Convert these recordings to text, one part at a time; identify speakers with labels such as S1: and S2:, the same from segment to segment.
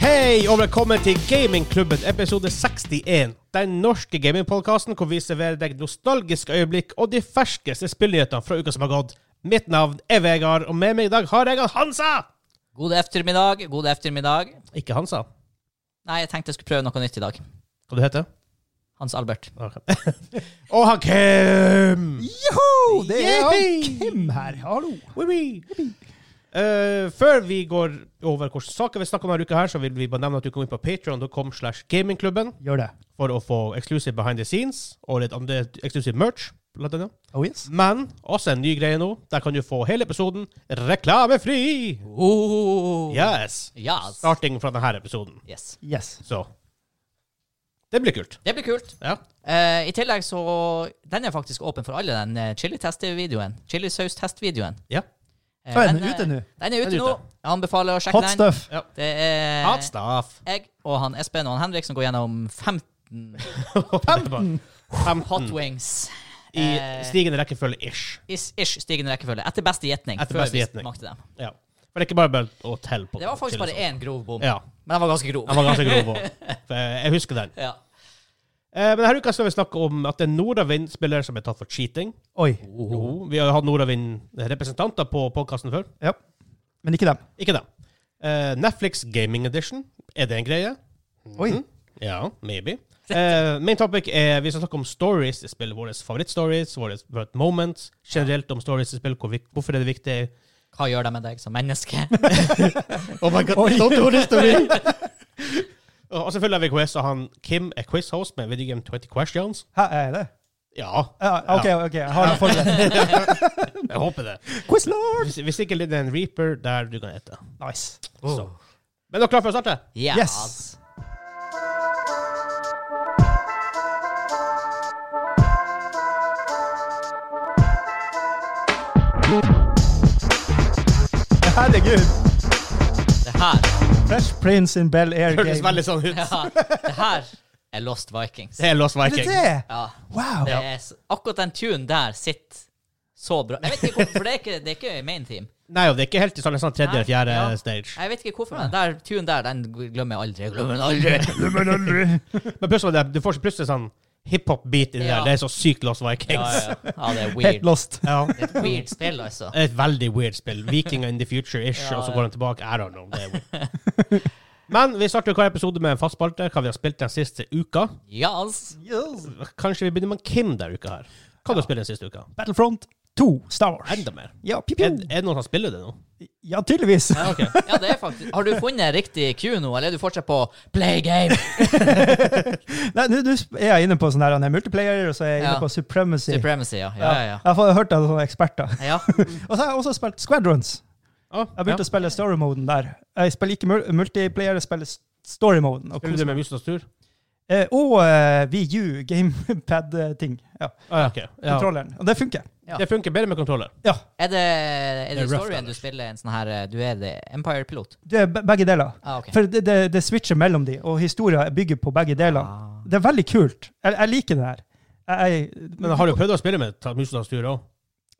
S1: Hei og velkommen til Gamingklubben episode 61. Den norske gamingpodkasten hvor vi serverer deg nostalgiske øyeblikk og de ferskeste spillnyhetene fra uka som har gått. Mitt navn er Vegard, og med meg i dag har jeg han Hansa!
S2: God eftermiddag, god eftermiddag.
S1: Ikke Hansa.
S2: Nei, jeg tenkte jeg skulle prøve noe nytt i dag.
S1: Hva du heter
S2: Hans Albert.
S1: du? og han Kim!
S3: Joho! Det er
S1: Yippee!
S3: han Kim her. Hallo.
S1: Wee wee. Eh, før vi går over hvilke saker vi snakker om denne uka, her, så vil vi bare nevne at du kan gå inn på patreon.com slash gamingklubben
S3: Gjør det.
S1: for å få exclusive behind the scenes og litt andre exclusive merch. Blant annet.
S3: Oh yes.
S1: Men også en ny greie nå. Der kan du få hele episoden reklamefri!
S2: Oh.
S1: Yes!
S2: Yes.
S1: Starting fra denne episoden.
S2: altså. yes.
S3: Yes.
S1: Så Det blir kult.
S2: Det blir kult.
S1: Ja.
S2: Eh, I tillegg så Den er faktisk åpen for alle, den eh, chili-test-videoen. Chili-saus-test-videoen.
S1: ja.
S2: Eh,
S3: Ja, er den ute
S2: Den
S3: nå?
S2: er
S1: Den er
S2: ute nå.
S1: ute.
S2: Jeg anbefaler å sjekke
S3: Hot
S2: den.
S3: stuff.
S1: ja.
S2: Det er
S1: Hot stuff.
S2: jeg og han Espen og han Henrik som går gjennom 15
S1: 15.
S2: eh. hot
S1: Mm.
S2: wings.
S1: I stigende rekkefølge-ish.
S2: Is, ish, stigende rekkefølge. Etter beste gjetning.
S1: Etter
S2: før
S1: beste
S2: vi
S1: gjetning.
S2: smakte dem.
S1: Ja. For det er ikke bare bare å telle på
S2: Det var faktisk bare
S1: til- liksom.
S2: én grov bom,
S1: Ja.
S2: men den var ganske grov.
S1: Den var ganske grov òg. Jeg husker den.
S2: Ja.
S1: Eh, Men denne uka skal vi snakke om at det er Nordavind-spillere som er tatt for cheating.
S3: Oi.
S1: Jo, vi har jo hatt Nordavind-representanter på podkasten før.
S3: Ja. Men ikke dem.
S1: Ikke det. Eh, Netflix Gaming Edition, er det en greie?
S3: Oi.
S1: Mhm. Ja, maybe. Eh, main topic er vi skal snakke om stories i spillet. Våre favorittstories, våre favorite moments. Generelt om stories i spill, hvor vi, hvorfor er det viktig?
S2: Hva gjør det med deg som menneske?
S1: Oh my god, don't do this to me! og og selvfølgelig har vi quiz, og han Kim er quiz-host med Video Game 20 Questions.
S3: Hæ, er det?
S1: Ja,
S3: Ja, OK, ok, jeg har den forberedt.
S1: jeg håper det.
S3: Quizlord!
S1: Hvis, hvis ikke det er en reaper der du kan ete.
S3: Nice.
S1: Så. Men er dere klare for å starte?
S2: Yes.
S3: Yes. Herregud.
S2: Det her
S3: Fresh Prince in Bel Air Game.
S1: Hørtes veldig sånn ut.
S2: ja, Det her er Lost Vikings.
S1: Det er Lost
S3: Er det
S1: Viking.
S3: det?
S2: Ja.
S3: Wow.
S2: Det er, s- akkurat den tunen der sitter så bra. Jeg vet ikke hvorfor, for det er ikke, det er ikke main team.
S1: Nei, og det er ikke helt i sånn, sånn tredje
S2: Nei,
S1: eller fjerde
S2: ja.
S1: stage.
S2: Jeg vet ikke hvorfor den der tunen der, den glemmer jeg aldri. Jeg glemmer den aldri.
S3: Men aldri.
S1: Men plutselig, det, du får så plutselig sånn hiphop-beat inni
S2: Ja.
S1: der. Det er så sykt Lost
S2: Ja,
S1: Vikings.
S2: ja. ja, det er
S3: Helt
S2: weird.
S3: lost.
S1: Ja.
S2: Det er et weird spill, altså.
S1: Det er et veldig weird spill. Vikinger in the future-ish,
S2: Ja,
S1: og så
S2: ja.
S1: går den tilbake. I don't know. Det er weird. Men vi starter jo hver episode med en fast spalte, hva vi har spilt den siste uka.
S2: Yes.
S1: Kanskje vi begynner med Kim denne uka her. Hva har du spilt den siste uka?
S3: Battlefront 2, Star Wars.
S1: Enda mer.
S3: Ja, piu,
S1: Er,
S2: Mm.
S3: piu.
S1: er det noen som spiller det nå?
S3: ja, tydeligvis.
S1: Ja, ok.
S2: Ja, det er faktisk Har du funnet riktig Q nå, eller er du fortsatt på play game?
S3: Nei, Nå nå er jeg inne på sånn her, han er multiplayer, og så er jeg inne
S2: Ja.
S3: på Supremacy.
S2: Supremacy, ja. Ja, ja,
S3: Jeg har fått- hørt av sånne eksperter.
S2: ja. ja.
S3: Og så har jeg også spilt Squadrons.
S1: Ah,
S3: Jeg begynte å spille story-moden der. Jeg spiller ikke mul- multiplayer, jeg spiller s- story-moden. Og,
S1: Spiller du
S3: kos-
S1: det med Musens tur?
S3: Eh, og eh, VU, gamepad-ting. Ja,
S1: Ah, ja, ok. ja.
S3: Kontrolleren. Og det funker.
S2: Ja.
S1: Det funker bedre med kontroller.
S3: Ja,
S2: Er det, er
S1: Det
S2: det
S1: er rough,
S2: storyen du
S1: Anders.
S2: spiller en sånn her eh, Du er det Empire-pilot?
S3: det er be- begge deler.
S2: Ah, ok.
S3: For det, det, det switcher mellom de, og historien bygger på begge deler.
S2: Ah.
S3: Det er veldig kult. Jeg, jeg liker det her. Jeg, jeg,
S1: Men har du prøvd å spille med ta- Musens tur òg?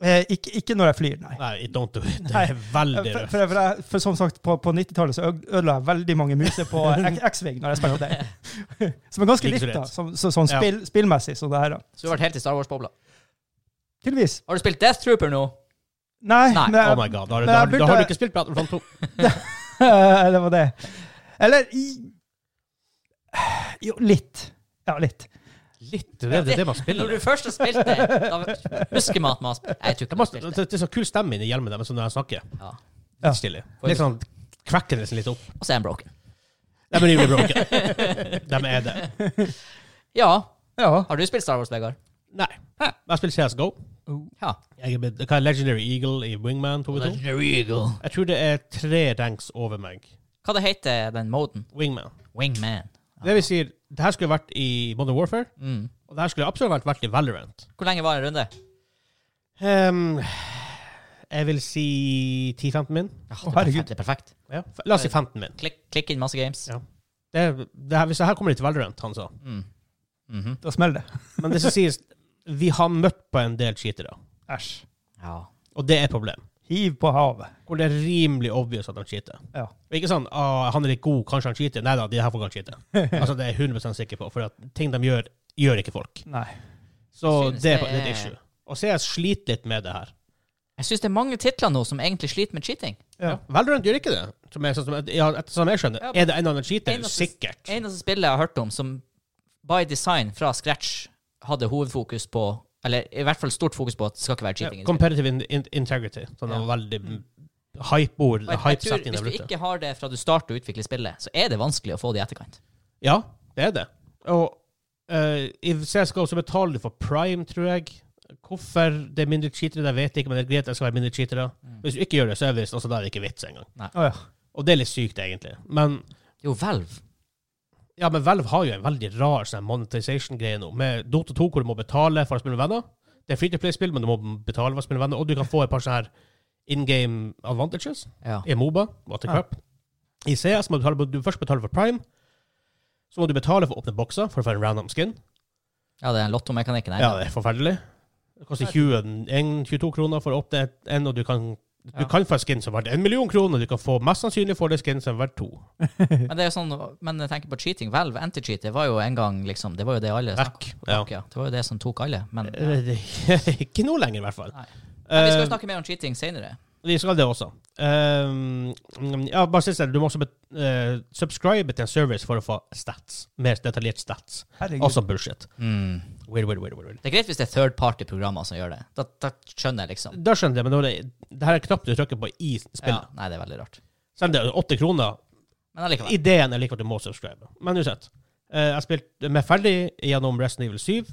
S3: eh, ikke, ikke når jeg flyr, nei.
S1: Nei, don't do it. Det
S3: Nei.
S1: er veldig
S3: For,
S1: røft.
S3: for, for, jeg, for som sagt, på, på 90-tallet så øg- ødela jeg veldig mange muser på eh, X- X-Wing når jeg spilte det. Som er ganske
S1: Like så
S3: likt, da.
S1: rett.
S3: Som, så, sånn
S1: Ja.
S3: spill, spillmessig som det her. da.
S2: Så du har vært helt i Star Wars-bobla?
S3: Tydeligvis.
S2: Har du spilt Death Trooper nå?
S3: Nei,
S2: Nei,
S3: men jeg,
S1: Oh my god, da har, du- da,
S3: men
S1: har,
S3: jeg
S1: da har du
S3: burde-
S1: ikke spilt Battlefront 2.
S3: det var det. Eller i Jo, litt. Ja, litt.
S1: Litt, det er det, det man spiller.
S2: Når
S1: med.
S2: du først har spilt det, da husker man at man har spilt Jeg tror
S1: Det, må,
S2: ikke man har spilt det.
S1: det, det er så kul stemme inni hjelmen deres når jeg snakker.
S2: Ja.
S3: Ja.
S1: Litt stille. Litt sånn cracker nesten litt opp.
S2: Og så er den broken.
S1: De er rimelig broken. De er det.
S2: Ja.
S3: Ja.
S2: Har du spilt Star Wars, Vegard?
S1: Nei. Jeg spiller CSGO.
S2: Ja.
S1: Jeg er blitt, hva er Legendary Eagle i Wingman 2v2?
S2: Eagle.
S1: Jeg tror det er tre ranks over meg.
S2: Hva det heter den moden?
S1: Wingman.
S2: Wingman.
S1: Det vil si, det her skulle vært i Modern Warfare,
S2: Mm.
S1: og det her skulle absolutt vært, vært i Valorant.
S2: Hvor lenge var en runde?
S1: Ehm, jeg vil si 10-15 min.
S2: Ja,
S3: Å,
S2: det, er perfekt,
S3: herregud.
S2: det er perfekt.
S1: Ja. f- La oss si 15 min.
S2: Klikk, klikk inn masse games.
S1: Ja. Det, det her, hvis det her kommer de til Valorant, han sa.
S2: Mm. Mhm.
S3: Da smeller det.
S1: Men det som sies, vi har møtt på en del cheatere.
S3: Æsj.
S2: ja.
S1: Og det er et problem.
S3: Hiv på havet.
S1: Hvor det er rimelig obvious at han cheater.
S3: Ja.
S1: Og Ikke sånn ah, 'han er litt god, kanskje han cheater'. Nei da, de her folkene cheater. Altså, det er jeg 100 sikker på, for at ting de gjør, gjør ikke folk.
S3: Nei.
S1: Så
S2: Synes
S1: det er
S2: det
S1: et
S2: er-
S1: issue. Og CS sliter litt med det her.
S2: Jeg syns det er mange titler nå som egentlig sliter med cheating.
S3: Ja.
S1: Valorant gjør ikke det, som jeg, sånn som, ja, etter som jeg skjønner.
S2: Ja,
S1: er det en eller annen cheater?
S2: eneste-
S1: Sikkert.
S2: Eneste spillet jeg har hørt om som by design fra scratch hadde hovedfokus på Eller i hvert fall stort fokus på at det skal ikke være cheating. i
S1: Ja,
S2: spillet.
S1: competitive in in integrity. Sånn
S2: Ja.
S1: veldig mm, hype-ord.
S2: Og jeg- jeg tror
S1: Hype-setting
S2: Hvis
S1: der
S2: du
S1: ute.
S2: ikke har det fra du starter å utvikle spillet, så er det vanskelig å få det i etterkant.
S1: Ja, det er det. Og eh, i CSGO så betaler du for prime, tror jeg. Hvorfor det er mindre cheatere, det vet jeg ikke, men det er greit at det skal være mindre cheatere.
S2: Mm.
S1: Hvis du ikke gjør det, så er det visst altså, da er det ikke vits engang.
S3: Å ja.
S1: Og det er litt sykt, egentlig. Men
S2: Jo, Valve.
S1: ja, men Valve har jo en veldig rar sånn monetization-greie nå, med Dota 2, hvor du må betale for å spille med venner. Det er free to play-spill, men du må betale for å spille med venner, og du kan få et par sånne her in game advantages
S2: Ja.
S1: i Moba, What the
S3: Ja.
S1: Cup. I CS må du, betale, du først betale for prime, så må du betale for å åpne bokser for å få en random skin.
S2: ja, det er lottomekanikken her.
S1: Ja, det er forferdelig. Det koster 20, en- 22 kroner for å åpne et- en, og du kan, du
S2: Ja.
S1: kan få en skin som er verdt en million kroner, og du kan få mest sannsynlig få det skin som er verdt to.
S2: Men det er jo sånn, men jeg tenker på cheating. Valve anti-cheat, det var jo en gang liksom Det var jo det alle snakket
S1: Back.
S2: om.
S1: Ja.
S2: Ja, det var jo det som tok alle. Men, ja.
S1: Eh, Ikke nå lenger, i hvert fall.
S2: Nei. men vi skal jo
S1: Eh,
S2: snakke mer om cheating senere.
S1: Vi skal det også. Um, ja, bare siste, du må også bet- eh, subscribe til en service for å få stats. Mer detaljert stats.
S3: Herregud.
S1: Også bullshit.
S2: Mm.
S1: Weird, weird, weird, weird.
S2: Det er greit hvis det er third party-programmer som gjør det. Da, da skjønner jeg liksom.
S1: Da skjønner jeg, men da er det, det her er knapt du trykker på i
S2: Ja,
S1: spillet.
S2: nei, det er veldig rart.
S1: Selv om det er åtte kroner,
S2: Men allikevel.
S1: Ideen er like at du må subscribe. Men uansett. eh, jeg spilte meg ferdig gjennom Resident Evil 7.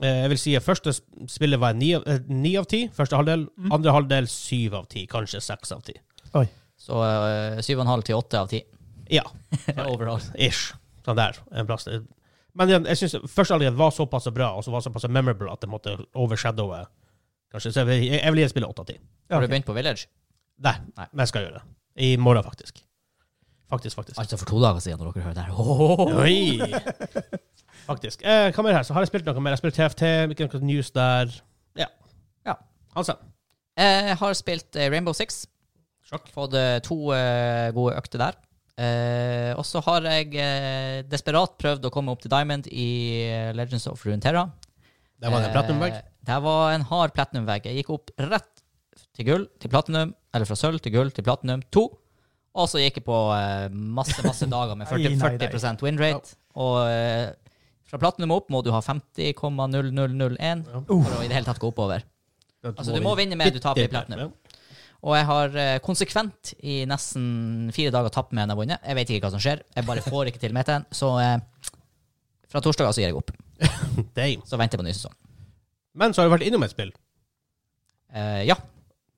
S1: Eh, jeg vil si at første sp- spillet var ni av- eh, ni av ti, første halvdel.
S3: Mm.
S1: Andre halvdel syv av ti, kanskje seks av ti.
S2: Så øh, 7,5 til 8 av 10
S1: Ja,
S2: overall.
S1: ish. Sånn der. En plass. Men igjen, jeg synes første halvdel var såpass bra og så var såpass memorable at det måtte overshadowe kanskje. Så jeg vil, jeg vil gi spillet åtte av ti.
S3: Ja,
S2: Har du
S3: ok.
S2: begynt på Village?
S1: Nei,
S2: Nei.
S1: men jeg skal gjøre det. I morgen, faktisk. Faktisk, faktisk.
S2: Altså for to dager siden, når dere hører det her. Åh.
S1: Oi! Faktisk. Eh, hva mer her? Så har jeg spilt noe mer. Jeg har spilt TFT, ikke noe news der. Ja.
S2: Ja.
S1: Altså.
S2: Jeg har spilt eh, Rainbow Six.
S1: Sjakk.
S2: Fått eh, to eh, gode økter der. Eh, og så har jeg eh, desperat prøvd å komme opp til Diamond i eh, Legends of Runeterra.
S1: Det var en platinumvegg.
S2: Eh, Det var en hard platinumvegg. Jeg gikk opp rett til gull til platinum, eller fra sølv til gull til platinum 2. Og så gikk jeg på eh, masse, masse dager med 40,
S3: Ai, nei, nei.
S2: 40 win rate. Og eh, fra platinum opp må du ha 50,0001
S1: Ja.
S2: for å i det hele tatt gå oppover. Altså, du må vinne mer, du taper i platinum. Og jeg har eh, konsekvent i nesten fire dager tapt med en jeg har vunnet. Jeg vet ikke hva som skjer. Jeg bare får ikke til metaen. Så eh, fra torsdager så gir jeg opp.
S1: Damn.
S2: Så venter jeg på ny sesong.
S1: Men så har du vært innom et spill.
S2: Eh, ja.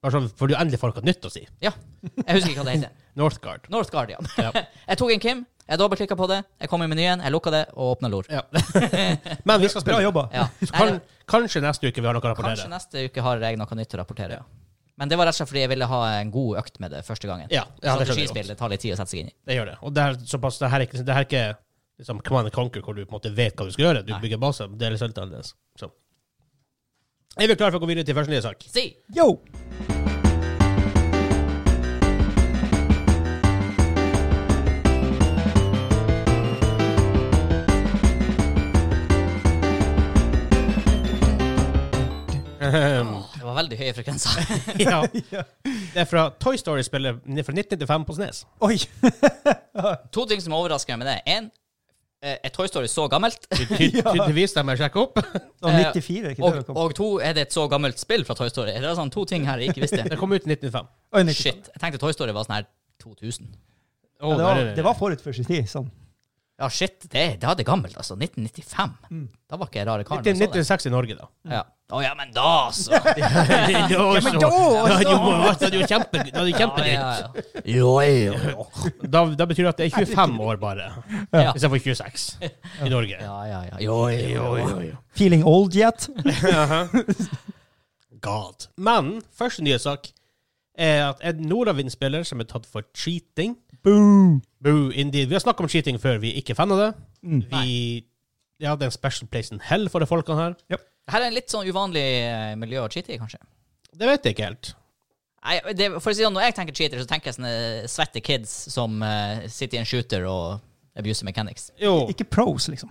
S1: Bare sånn, for du endelig får noe nytt å si.
S2: Ja. Jeg husker ikke hva det heter.
S1: Northgard.
S2: North Guardian.
S1: Ja.
S2: Jeg tok en Kim, jeg dobbeltklikka på det, jeg kom i menyen, jeg lukka det og åpna LOR.
S1: ja. Men vi skal
S3: Bra
S1: spille.
S3: jobba.
S2: Ja.
S1: Så kan,
S2: Nei,
S1: kanskje neste uke vi har noe å
S2: kanskje
S1: rapportere.
S2: neste uke har jeg noe nytt å rapportere. Men det var rett og slett fordi jeg ville ha en god økt med det første gangen.
S1: Ja, ja det skjønner jeg
S2: Strategispill
S1: godt.
S2: det tar litt tid å sette seg inn i.
S1: Det gjør det. Og det er såpass, det her er ikke, det her er ikke liksom Command and Conquer, hvor du på en måte vet hva du skal gjøre. Du
S2: Nei.
S1: bygger base. Det er litt annerledes. Så. Er vi klare for å gå videre til første nye sak?
S2: Si!
S3: Yo!
S2: Det var veldig høye frekvenser.
S1: ja. Det er fra Toy Story-spillet fra 1995 på Snes.
S3: Oi!
S2: To ting som overrasker meg med det. En, eh, er Toy Story så gammelt?
S1: Ty- ty- Tydeligvis de jeg sjekker opp.
S3: Da
S2: Eh,
S3: 94, Sånn ikke
S2: Og,
S3: det? kom?
S2: og to, er det et så gammelt spill fra Toy Story? Det er sånn to ting her jeg ikke visste.
S1: Det kom ut i 1995.
S3: Oi, 90.
S2: Shit. Jeg tenkte Toy Story var sånn her 2000.
S1: Å,
S3: Ja, Det
S1: nei,
S3: var,
S1: nei, nei.
S3: det var forut for sin tid. Sånn.
S2: Ja, shit. Det, da er det gammelt, altså. 1995. Da var ikke jeg rare
S1: sånn
S2: karen. når jeg så
S1: 1996
S2: det.
S1: i Norge, da.
S2: Ja. Å ja, men da, altså. så!
S1: ja,
S3: men da, altså!
S1: jo, altså, det er jo kjempe, det er jo
S2: Ja,
S1: kjempegøy.
S2: ja, ja. Jo, jo.
S1: Da, da betyr det at det er 25 år, bare.
S2: Ja.
S1: Istedenfor 26 i Norge.
S2: Ja, ja, ja. Jo, jo, jo.
S3: Feeling old yet?
S1: God. Men første nye sak er at en Nordavind-spiller som er tatt for cheating
S3: Boom!
S1: Boo, indeed. Vi har snakket om cheating før. Vi er ikke fan av det.
S3: Mm.
S1: Vi ja, det er en special place in hell for de folkene her.
S2: Her er en litt sånn uvanlig eh, miljø å cheate i, kanskje.
S1: Det vet jeg ikke helt.
S2: Nei, det, for å si det sånn, Når jeg tenker cheater, så tenker jeg sånne svette kids som eh, sitter i en shooter og abuser mechanics.
S1: Jo.
S3: Ikke pros, liksom.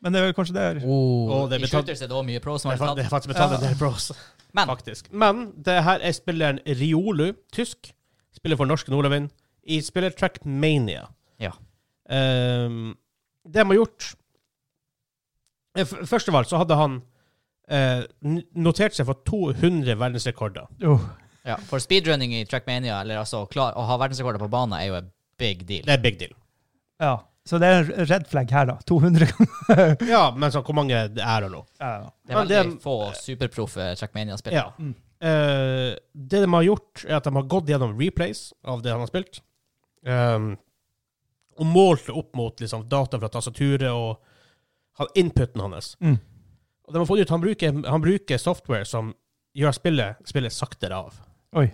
S3: Men det er vel kanskje der
S1: Å, det er
S2: I
S1: betalt-
S2: shooters er det også mye pro som
S1: Det er
S2: har
S1: fa- det er
S2: tatt.
S1: faktisk betalt en del bros,
S2: Men
S1: faktisk. Men det her er spilleren Riolu, tysk. Spiller for norske Nordløven. I spiller Trackmania.
S2: ja.
S1: Ehm, det de har gjort Eh, f- Først av alt så hadde han eh, n- notert seg for 200 verdensrekorder.
S3: Jo.
S2: ja. For speedrunning i Trackmania, eller altså klar, å ha verdensrekorder på banen, er jo en big deal.
S1: Det er big deal.
S3: Ja. Så det er en red flag her, da. 200 ganger.
S1: Ja, men sånn, hvor mange det er og nå?
S3: Ja, ja.
S2: Det er
S1: men det-
S2: veldig få superproffe Trackmania-spillere.
S1: Ja. Eh, det de har gjort, er at de har gått gjennom replays av det han har spilt. Ehm, og målt det opp mot liksom, data fra tastaturet og han- inputen hans.
S3: Mm.
S1: Og de har funnet ut at han bruker, han bruker software som gjør spillet, spillet saktere av.
S3: Oi.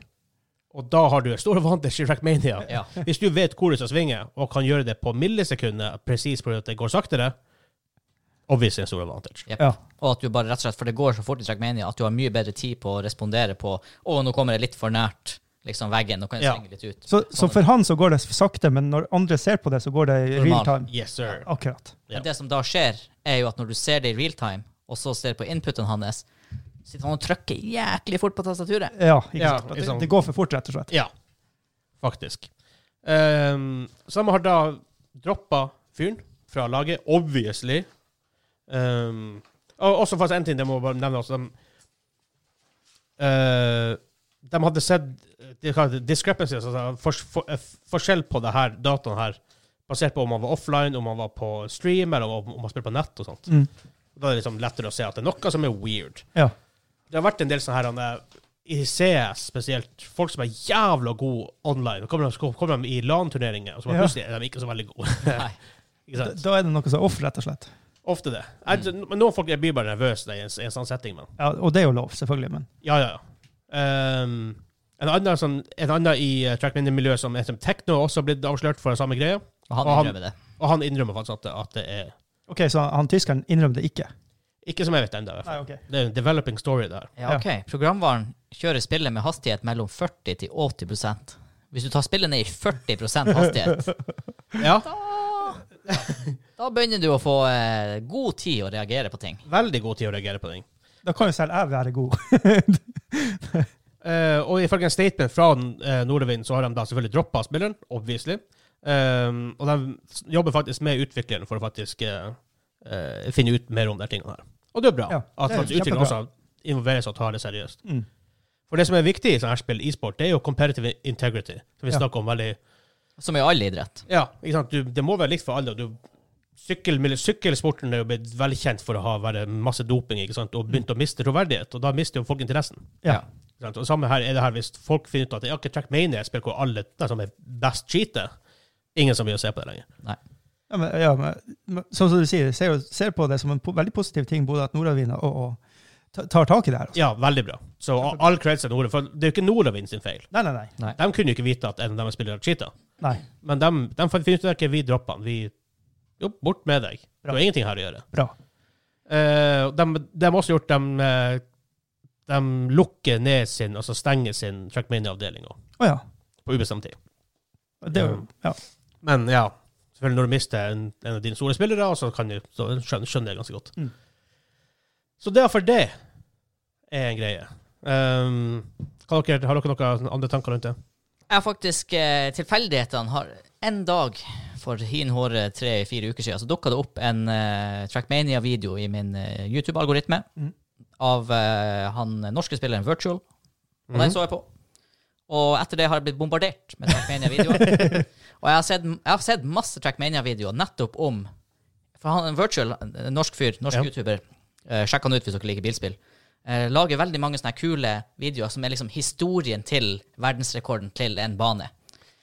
S1: Og da har du en stor advantage i Trackmania.
S2: Ja.
S1: Hvis du vet hvor du skal svinge, og kan gjøre det på millisekundet presis fordi at det går saktere, obviously en stor advantage.
S2: Jep.
S3: Ja.
S2: Og at du bare rett og slett, for det går så fort i Trackmania, at du har mye bedre tid på å respondere på Å, nå kommer jeg litt for nært liksom veggen, nå kan jeg
S1: Ja.
S2: svinge litt ut.
S3: Så, så for han så går det sakte, men når andre ser på det, så går det i real
S2: Normal.
S3: time.
S1: Yes, sir.
S3: Akkurat.
S1: Ja.
S2: Men det som da skjer, er jo at når du ser det i real time, og så ser på inputen hans, sitter han og trykker jæklig fort på tastaturet.
S3: Ja, ikke
S1: Ja,
S3: sant.
S1: ikke
S3: Det,
S1: sant.
S3: det går for fort, rett og slett.
S1: Ja, faktisk. Um, så de har da droppa fyren fra laget, obviously. Um, og også faktisk en ting jeg må bare nevne også. De, eh, de hadde sett de kaller det discrepancies, altså fors- for, eh, forskjell på det her dataen her, basert på om man var offline, om man var på stream, eller om, om man spilte på nett og sånt.
S3: Mm.
S1: Da er det liksom lettere å se at det er noe som er weird.
S3: Ja.
S1: Det har vært en del sånne her han er- i CS spesielt, folk som er jævla gode online. Så kommer de, så kommer de i LAN-turneringer, og så bare
S3: Ja.
S1: plutselig er de ikke så veldig gode.
S2: Nei.
S1: ikke
S3: Da, Mm.
S1: sant?
S3: da er det noe som er off, rett og slett.
S1: Ofte det. Jeg, men Noen folk jeg blir bare nervøse i en, i en sånn setting, men
S3: Ja, og det er jo lov, selvfølgelig, men
S1: ja, ja, ja. Ehm, en, annen, sånn, en annen i uh, trackminder-miljøet som heter Tekno, også blitt avslørt for den samme greia.
S2: Og han
S1: Og han-
S2: innrømmer det.
S1: Og han innrømmer faktisk at det, at det er
S3: OK, så han tyskeren innrømmer det ikke.
S1: Ikke som jeg vet ennå, i hvert fall.
S3: ok.
S1: Det er en developing story, det her.
S2: Ja, ok. Programvaren kjører spillet med hastighet mellom 40 til 80 Hvis du tar spillet ned i 40 hastighet,
S1: Ja,
S2: da begynner du å få eh, god tid å reagere på ting.
S1: veldig god tid å reagere på ting.
S3: Da kan jo selv jeg være god.
S1: Eh, og ifølge en statement fra uh, Nordavind så har de da selvfølgelig droppa spilleren, obviously. Ehm, og de s- jobber faktisk med utvikleren for å faktisk eh, eh, finne ut mer om de tingene her. Og det er bra
S3: Ja,
S1: at
S3: det er
S1: faktisk utvikleren
S3: kjempebra.
S1: også involveres og tar det seriøst.
S3: Mm.
S1: For det som er viktig i sånne her spill, e-sport, det er jo competitive integrity. Som vi
S3: Ja.
S1: snakker om veldig
S2: Som i all idrett.
S1: Ja, ikke sant? Du, det må være likt for alle. og Du, sykkel, sykkelsporten er jo blitt veldig kjent for å ha være masse doping ikke sant? og begynt å miste troverdighet. Og da mister jo folk interessen.
S3: Ja.
S1: Ikke sant? Og det samme her er det her hvis folk finner ut at ja, ikke Trackmania er et spill hvor alle de som er best cheater. Ingen som vil se på det lenger.
S2: Nei.
S3: Ja, men, ja, men, men sånn som du sier, ser, jo- ser på det som en po veldig positiv ting både at Nordavind og, og ta- tar tak i det her. Altså.
S1: Ja, veldig bra. Så a- all creds til Nora, for det er jo ikke Nordavind sin feil.
S3: Nei, nei, nei.
S1: De kunne jo ikke vite at en av dem spiller cheater.
S3: Nei,
S1: Men de, de fant- finner ut at ok, vi dropper han. Vi jo, bort med deg. Det har ingenting her å gjøre.
S3: Bra.
S1: Eh, de, de har også gjort dem eh, De lukker ned sin, altså stenger sin Trackmania-avdeling også,
S3: Å ja.
S1: på ubestemt tid.
S3: Det er jo ja.
S1: Men ja, selvfølgelig når du mister en, en av dine store spillere, så, kan du, så skjønner, skjønner jeg ganske godt.
S3: Mm.
S1: Så derfor det er en greie. Um, kan dere, har dere noen andre tanker rundt det?
S2: Jeg har faktisk eh, tilfeldighetene har En dag for hin håre tre-fire uker siden så dukka det opp en eh, Trackmania-video i min eh, YouTube-algoritme
S3: Mhm.
S2: av eh, han norske spilleren Virtual. Og den så jeg på. Og etter det har jeg blitt bombardert med Trackmania-videoer. og jeg har, sett, jeg har sett masse Trackmania-videoer nettopp om For han Virtual, en norsk fyr, norsk
S1: Ja.
S2: YouTuber, eh, sjekk han ut hvis dere liker bilspill, eh, lager veldig mange sånne kule videoer som er liksom historien til verdensrekorden til en bane.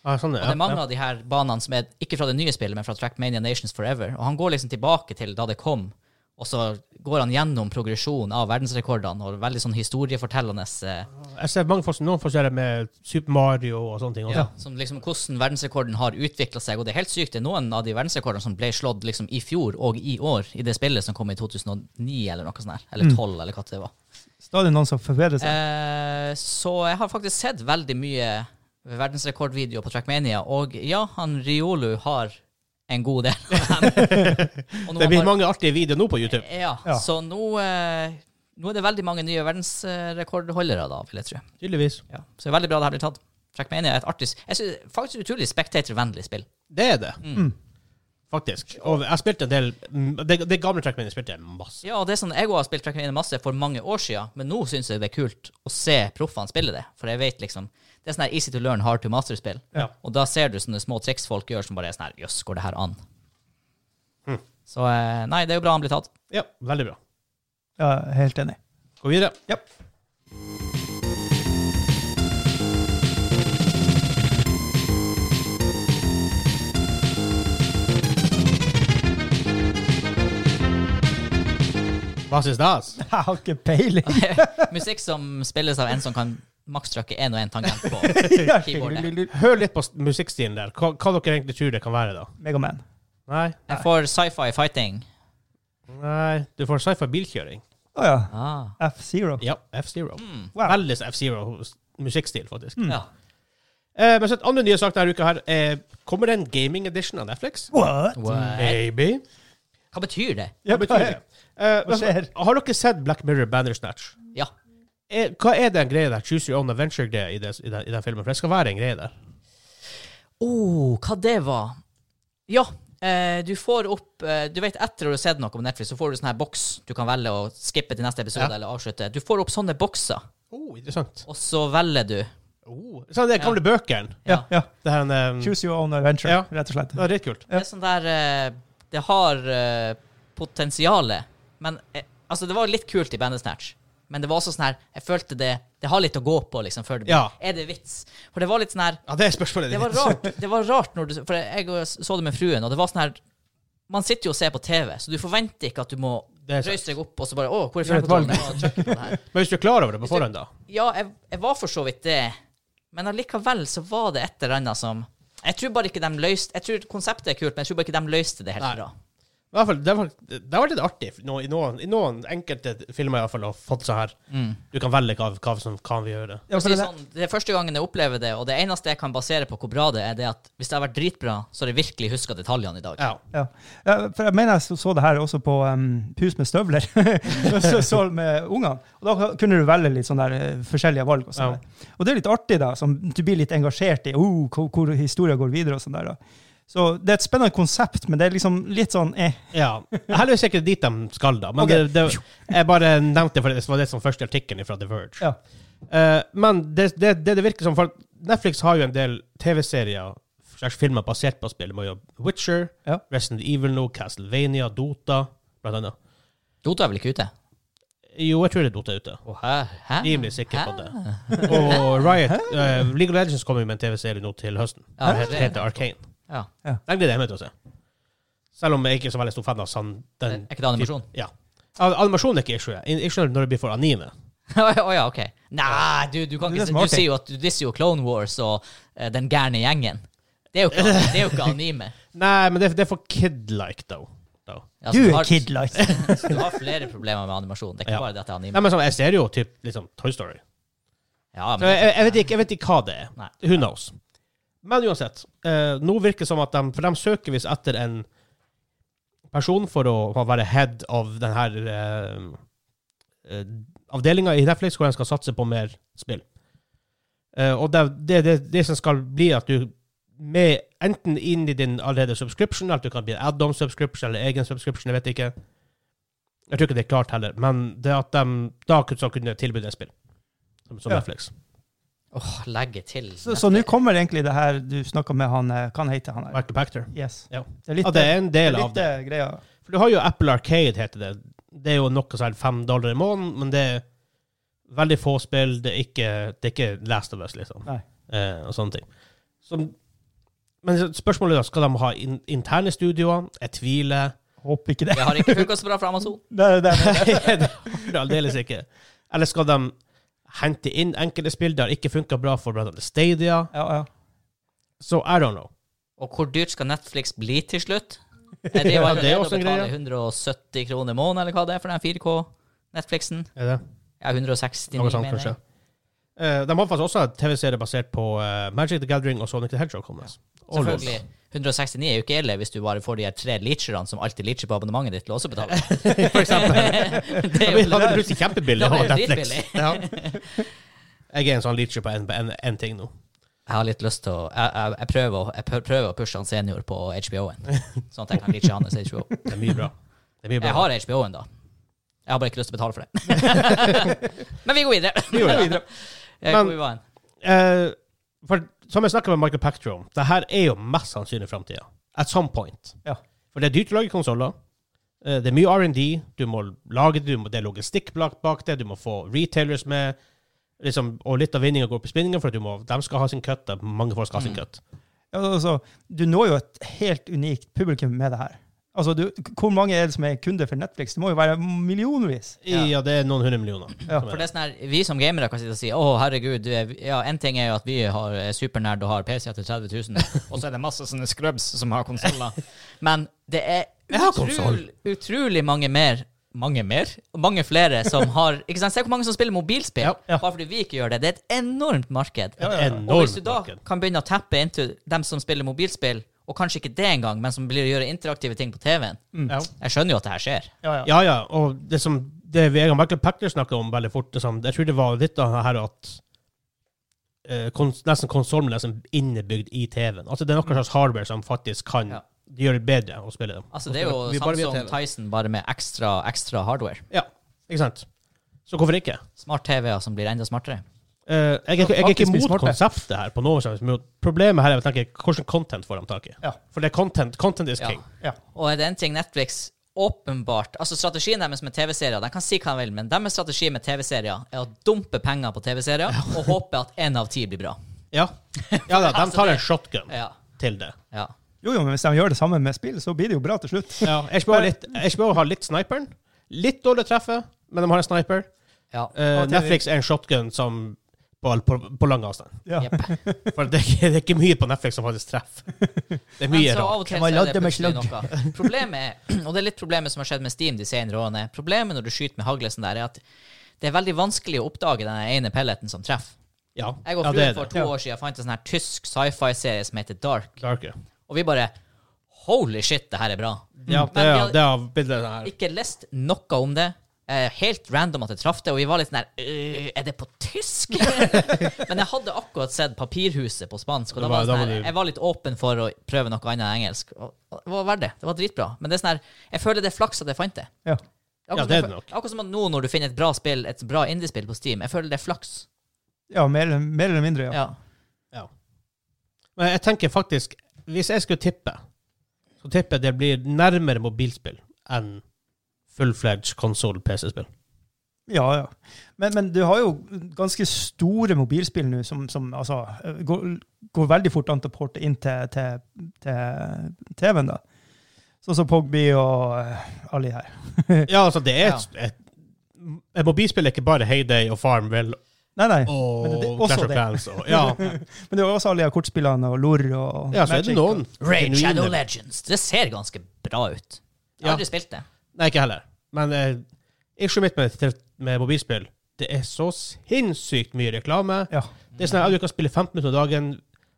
S1: Ah, sånn,
S2: Og
S1: ja.
S2: det er mange av de her banene som er ikke fra det nye spillet, men fra Trackmania Nations Forever. Og han går liksom tilbake til da det kom, og så går han gjennom progresjonen av verdensrekordene, og veldig sånn historiefortellende eh,
S1: Jeg ser mange folk, noen forskjeller med Super Mario og sånne ting. Også.
S2: ja, som liksom hvordan verdensrekorden har utvikla seg. Og det er helt sykt. Det er noen av de verdensrekordene som ble
S1: Mm.
S2: slått liksom i fjor og i år, i det spillet som kom i 2009 eller noe sånt. her, Eller 12, eller hva det var.
S3: Stadig noen som forvirrer seg.
S2: Eh, så jeg har faktisk sett veldig mye verdensrekordvideo på Trackmania, og ja, han Riolu har en god del av dem. Og nå
S1: Det
S2: har
S1: blir
S2: bare-
S1: mange artige videoer nå på YouTube.
S2: Ja,
S3: Ja.
S2: så nå, eh, nå er det veldig mange nye verdensrekordholdere, da, vil jeg tro.
S1: Tydeligvis.
S2: Ja. Så det er veldig bra det her blir tatt. Trackmania er et artig Jeg synes faktisk utrolig spektatorvennlig spill.
S1: Det er det.
S2: Mm.
S1: Faktisk. Og jeg spilte en del Det, det gamle trackmanet spilte jeg masse.
S2: Ja, og det er sånn, Jeg også har spilt Trackmania masse for mange år siden, men nå syns jeg det er kult å se proffene spille det. For jeg vet liksom Det er sånn her easy to learn, hard to master-spill.
S3: Ja.
S2: Og da ser du sånne små triks folk gjør som bare er sånn her Jøss, går det her an? Så eh, nei, det er jo bra han blir tatt.
S1: Ja, veldig bra.
S3: Ja, helt enig.
S1: Gå videre.
S3: Ja.
S1: Hva syns dere?
S3: Jeg har ikke peiling.
S2: Musikk som spilles av en som kan makstrykke én og én tangent på keyboardet.
S3: Megaman.
S1: Hør litt på s- musikkstilen der. Hva, hva dere egentlig tror det kan være, da? Nei,
S2: Jeg får sci-fi fighting.
S1: nei. Du får sci-fi bilkjøring.
S3: Å ja.
S2: Ah.
S3: F-Zero.
S1: Ja, F-Zero.
S3: Wow.
S1: Veldig F-Zero-musikkstil, faktisk.
S2: Ja.
S1: Eh, men så et andre nye sak denne uka her er Kommer det en gaming edition av Netflix?
S3: What?
S2: What?
S1: Maybe.
S2: eh, Hva betyr det?
S1: Hva betyr det? Eh, men så-
S3: skjer?
S1: har dere sett Black Mirror Bandersnatch?
S2: Ja.
S1: Eh, hva er den greia der? Choose your own adventure-greia i, det- i, den- i den filmen? For det skal være en greie der.
S2: oh, hva det var. Ja, eh, du får opp eh, Du vet, etter å ha sett noe på Netflix, så får du sånn her boks du kan velge å skippe til neste episode
S1: Ja.
S2: eller avslutte. Du får opp sånne bokser,
S1: Oh, interessant.
S2: og så velger du.
S1: Oh. Sånn de gamle bøkene.
S3: Ja, ja.
S1: Det her um, Det
S3: Choose your own adventure,
S1: Ja.
S3: rett og slett.
S1: er litt kult.
S2: Det er sånn der eh, Det har eh, potensialet, men eh, Altså, det var litt kult i Bandersnatch, men det var også sånn her Jeg følte det Det har litt å gå på, liksom, før det blir
S1: Ja.
S2: Er det vits? For det var litt sånn her
S1: Ja, det er spørsmålet
S2: Det
S1: ditt.
S2: var rart, det var rart når du For jeg og- så det med fruen, og det var sånn her Man sitter jo og ser på TV, så du forventer ikke at du må
S1: Det er sant.
S2: røyse deg opp og så bare Å, hvor er
S3: Gjør et valg.
S2: fjernkontrollen? Og trykke på det her.
S1: Men hvis du er klar over det på
S2: Hvis du-
S1: forhånd, da?
S2: Ja, jeg, jeg var for så vidt det, men allikevel så var det et eller annet som Jeg tror bare ikke de løste Jeg tror konseptet er kult, men jeg tror bare ikke de løste det helt
S1: Nei.
S2: bra.
S1: I hvert fall, det, var, det har vært litt artig nå, i, noen, i noen enkelte filmer i hvert fall, å få det sånn her. Du kan velge hva, hva som kan vi gjøre.
S2: For
S3: Ja,
S2: å
S3: for
S2: si
S3: det-
S2: sånn, det er første gangen jeg opplever det, og det eneste jeg kan basere på hvor bra det er, det er at hvis det har vært dritbra, så har jeg virkelig huska detaljene i dag.
S1: Ja.
S3: Ja. ja, for jeg mener jeg så- så det her også på um, Hus med støvler. så, så med ungene. Og da kunne du velge litt sånne der, eh, forskjellige valg. Og, sånn
S1: Ja.
S3: der. og det er litt artig, da. Som du blir litt engasjert i oh, hvor, hvor historien går videre. og sånn der. Da. Så det er et spennende konsept, men det er liksom litt sånn eh.
S1: ja. Heldigvis er ikke dit de skal, da. Men
S3: Ok.
S1: det, det, jeg bare nevnte det, for det var det som første artikkelen fra The Verge.
S3: Ja.
S1: Eh, men det, det, det det virker som folk, Netflix har jo en del TV-serier slags filmer basert på spill. De har jo Witcher,
S3: Ja.
S1: Resident Evil nå, Castlevania, Dota, blant annet.
S2: Dota er vel ikke ute?
S1: Jo, jeg tror det er Dota ute.
S2: Å, hæ? Hæ?
S1: Rimelig sikker på det. Og Riot, eh, League of Legends kommer jo med en TV-serie nå til høsten.
S2: Ja,
S1: Den heter,
S2: det-
S1: heter Arcane.
S2: Ja.
S1: Den gleder jeg meg til å se. Selv om jeg ikke er så veldig stor fan av sånn
S2: Er
S1: den
S2: ikke det animasjon?
S1: Ja. Al- Animasjon er ikke issue. Issue er når det blir for anime.
S2: Å ja, ok. Nei, du, du kan
S3: Det er
S2: ikke si Du
S3: det som er artig.
S2: sier jo at du disser jo Clone Wars og eh, den gærne gjengen. Det er jo ikke, det er jo ikke anime.
S1: Nei, men det, er- det er for kid-like, though. though.
S2: Altså,
S3: Du
S2: du
S3: er
S2: har-
S3: kid like.
S2: Du har flere problemer med animasjon. Det er ikke
S1: Ja.
S2: bare det at det er anime.
S1: Nei, men sånn, jeg ser jo typ liksom Toy Story.
S2: Ja,
S1: Så
S2: men,
S1: jeg, jeg, jeg, vet ikke, jeg vet ikke hva det er.
S2: Nei.
S1: Who knows? Men uansett, eh, nå virker det som at de, for de søker visst etter en person for å ha- være head av den her eh, eh, avdelinga i Netflix hvor de skal satse på mer spill. Eh, og det, det, det, det som skal bli at du med enten inn i din allerede subscription, eller at du kan bli en add-on subscription eller egen subscription, jeg vet ikke. Jeg tror ikke det er klart heller, men det at de da kunne- så kunne tilby det spill, som, som
S3: Ja.
S1: Netflix.
S2: Åh, legge til
S3: Så så nå kommer egentlig det her du snakka med han eh, Hva han heter han her?
S1: Back to Pactor.
S3: Yes.
S1: Ja.
S3: Det er litt
S1: Ja, det er en del
S3: det er
S1: av
S3: litt,
S1: det.
S3: eh, greia.
S1: For du har jo Apple Arcade, heter det. Det er jo noe sånn fem dollar i måneden, men det er veldig få spill. Det er ikke, det er ikke Last of Us, liksom.
S3: Nei.
S1: Eh, og sånne ting. Så, men så spørsmålet er da, skal de ha in interne studioer? Jeg tviler.
S3: Håper ikke det.
S2: Det har ikke funka så bra for Amazon.
S3: det, er- det, er-
S1: det har de aldeles ikke. Eller skal de hente inn enkelte spill? Det har ikke funka bra for blant annet Stadia.
S3: ja, ja.
S1: Så I don't know.
S2: Og hvor dyrt skal Netflix bli til slutt? Er det jo
S1: Ja, det er
S2: allerede å
S1: også en
S2: betale 170 kroner i måneden, eller hva det er, for den 4K-Netflixen?
S1: Er det?
S2: Ja, 169,
S1: Noe sånt,
S2: mener jeg.
S1: kanskje. Eh, de har faktisk også en TV-serie basert på eh, Magic the Gathering og Sonic the Hedgehog. Kommer. Og LOL.
S2: Selvfølgelig. 169 er jo ikke ille hvis du bare får de her tre leacherne som alltid leacher på abonnementet ditt til å også betale.
S1: For eksempel.
S2: det er
S1: Vi
S2: jo
S1: hadde
S2: det.
S1: brukt det kjempebillig
S2: Da var
S1: av
S2: det
S1: Netflix.
S2: dritbillig.
S1: Ja. Jeg er en sånn leacher på en- på en- en ting nå.
S2: Jeg har litt lyst til å Jeg, jeg, jeg, prøver, å- jeg prø- prøver å pushe han senior på HBO-en, sånn at jeg kan leache hans HBO.
S1: Det er mye bra. Det er mye bra.
S2: Jeg har HBO-en, da. Jeg har bare ikke lyst til å betale for det. Men vi går videre.
S1: Vi går videre.
S2: Eh, Hvor
S1: Men-
S2: vi var hen?
S1: Eh, for som jeg snakka med Michael Pactor om, det her er jo mest sannsynlig framtida. At some point.
S3: Ja.
S1: For det er dyrt å lage konsoller. Eh, Det er mye R&D. Du må lage det, du må, det er logistikk bak bak det, du må få retailers med. Liksom, og litt av vinninga går på spinninga, for at du må, de skal ha sin cut. og Mange folk skal ha sin
S2: Mm.
S1: cut.
S3: Ja, altså, du når jo et helt unikt publikum med det her. Altså, du, hvor mange er det som er kunder for Netflix? Det må jo være millionvis.
S1: Ja. det er noen hundre millioner.
S3: Ja.
S1: som er det.
S2: For det er sånn her, Vi som gamere kan sitte og si å herregud, du er, ja, en ting er jo at vi har er supernerd og har PC til 30 000, og så er det masse sånne scrubs som har konsoller. Men det
S1: Jeg
S2: er
S1: har konsoll.
S2: utrolig, utrolig mange mer mange mer, og mange flere som har ikke sant, Se hvor mange som spiller mobilspill,
S1: Ja, ja.
S2: bare fordi vi ikke gjør det. Det er et enormt marked.
S1: Et
S2: Og hvis
S1: enormt
S2: du da
S1: marked.
S2: kan begynne å tappe into dem som spiller mobilspill, og kanskje ikke det engang, men som blir å gjøre interaktive ting på TV-en
S1: Mm. Ja.
S2: Jeg skjønner jo at det her skjer.
S3: Ja,
S1: Ja, ja. Og det som det Vegard Michael Pachter snakka om veldig fort, liksom, jeg tror det var litt av det her at eh, kons nesten konsollen er liksom innebygd i TV-en. Altså det er noen slags hardware som faktisk kan
S2: Ja.
S1: gjøre det bedre å spille dem.
S2: Altså, det er jo
S1: Vi bare via
S2: Samsung
S1: TV.
S2: Tyson bare med ekstra, ekstra hardware.
S1: Ja, ikke sant? Så hvorfor ikke?
S2: Smart-TV-er som blir enda smartere.
S1: Eh, jeg, er ikke- jeg er ikke
S3: Faktisk blir
S1: imot
S3: smarte.
S1: konseptet her. på noe som helst måte. Problemet her er jeg tenker, hvordan content får de tak i.
S3: Ja.
S1: For det er content. Content is
S2: Ja.
S1: king.
S3: ja.
S2: Og er det en ting Netflix åpenbart Altså, strategien deres med TV-serier De kan si hva de vil, men deres strategi med TV-serier er å dumpe penger på TV-serier og håpe at én av ti blir bra.
S1: Ja, ja da, de
S2: Altså,
S1: tar en
S2: det-
S1: shotgun
S2: Ja.
S1: til det.
S2: ja.
S3: Jo, jo, men hvis de gjør det samme med spill, så blir det jo bra til slutt.
S1: Ja, HBO, har litt, HBO har litt sniperen. Litt dårlig treffe, men de har en sniper.
S2: ja.
S1: Eh,
S3: Og TV.
S1: Netflix er en shotgun som på, på, på lang avstand.
S3: Ja.
S2: Jepp.
S1: For det er, ikke, det er ikke mye på Netflix som faktisk treffer. Det er
S2: Men
S1: mye
S2: så
S1: rart.
S2: av og til
S3: Hvem har
S2: så er det
S3: ladd dem med
S2: plutselig noe. Problemet er, og det er litt problemet som har skjedd med Steam de senere årene, problemet når du skyter med haglesen der, er at det er veldig vanskelig å oppdage den ene pelleten som treffer.
S1: Ja,
S2: Jeg og
S1: ja,
S2: fruen
S1: det er
S2: for
S1: det.
S2: to år siden fant en sånn her tysk sci-fi-serie som heter Dark,
S1: Darker.
S2: og vi bare Holy shit, det her er bra.
S1: Ja, det
S2: vi
S1: er,
S2: hadde-
S1: det er bildet her.
S2: Ikke lest noe om det. Eh, helt random at det traff det, og vi var litt sånn her «Øh, Er det på tysk? Men jeg hadde akkurat sett Papirhuset på spansk,
S1: Det
S2: og da
S1: var-
S2: var jeg
S1: da
S2: sånn
S1: var
S2: her,
S1: du-
S2: jeg var litt åpen for å prøve noe annet enn engelsk. Og, og det var verdt det. Det var dritbra. Men det er sånn her, jeg føler det er flaks at jeg fant det.
S3: Ja.
S2: Akkurat
S1: Ja,
S2: som
S1: det er
S2: jeg
S1: det
S2: fø-
S1: nok.
S2: Akkurat som at nå når du finner et bra spill, et bra indiespill på Steam, jeg føler det er flaks.
S3: Ja, mer, eller- mer eller mindre, ja.
S2: Ja.
S1: Men jeg tenker faktisk, hvis jeg skulle tippe, så tipper jeg det blir nærmere mobilspill enn full-fledged konsoll-PC-spill.
S3: Ja, ja. Men, men du har jo ganske store mobilspill nå som, som altså, går, går veldig fort an til å porte inn til, til, til TV-en, da. Sånn som Pogby og eh, alle de her.
S2: Eh.
S1: Ja, altså, det er et, et, et mobilspill er ikke bare Heyday og Farmville
S3: Nei, nei.
S1: og
S3: Men det er også
S1: Clash of
S3: det.
S1: Clans. Og, ja.
S3: Men det er jo også alle de her kortspillene og LOR og
S1: ja, så er det
S3: Magic og-
S1: noen
S2: Raid
S1: genuine-
S2: Shadow Legends. Det ser ganske bra ut.
S1: Ja.
S2: Jeg har aldri spilt det.
S1: Nei, ikke heller. Men eh, issue mitt med, til- med mobilspill Det er så sinnssykt mye reklame.
S3: Ja.
S1: Det er sånn at Du kan spille 15 minutter om dagen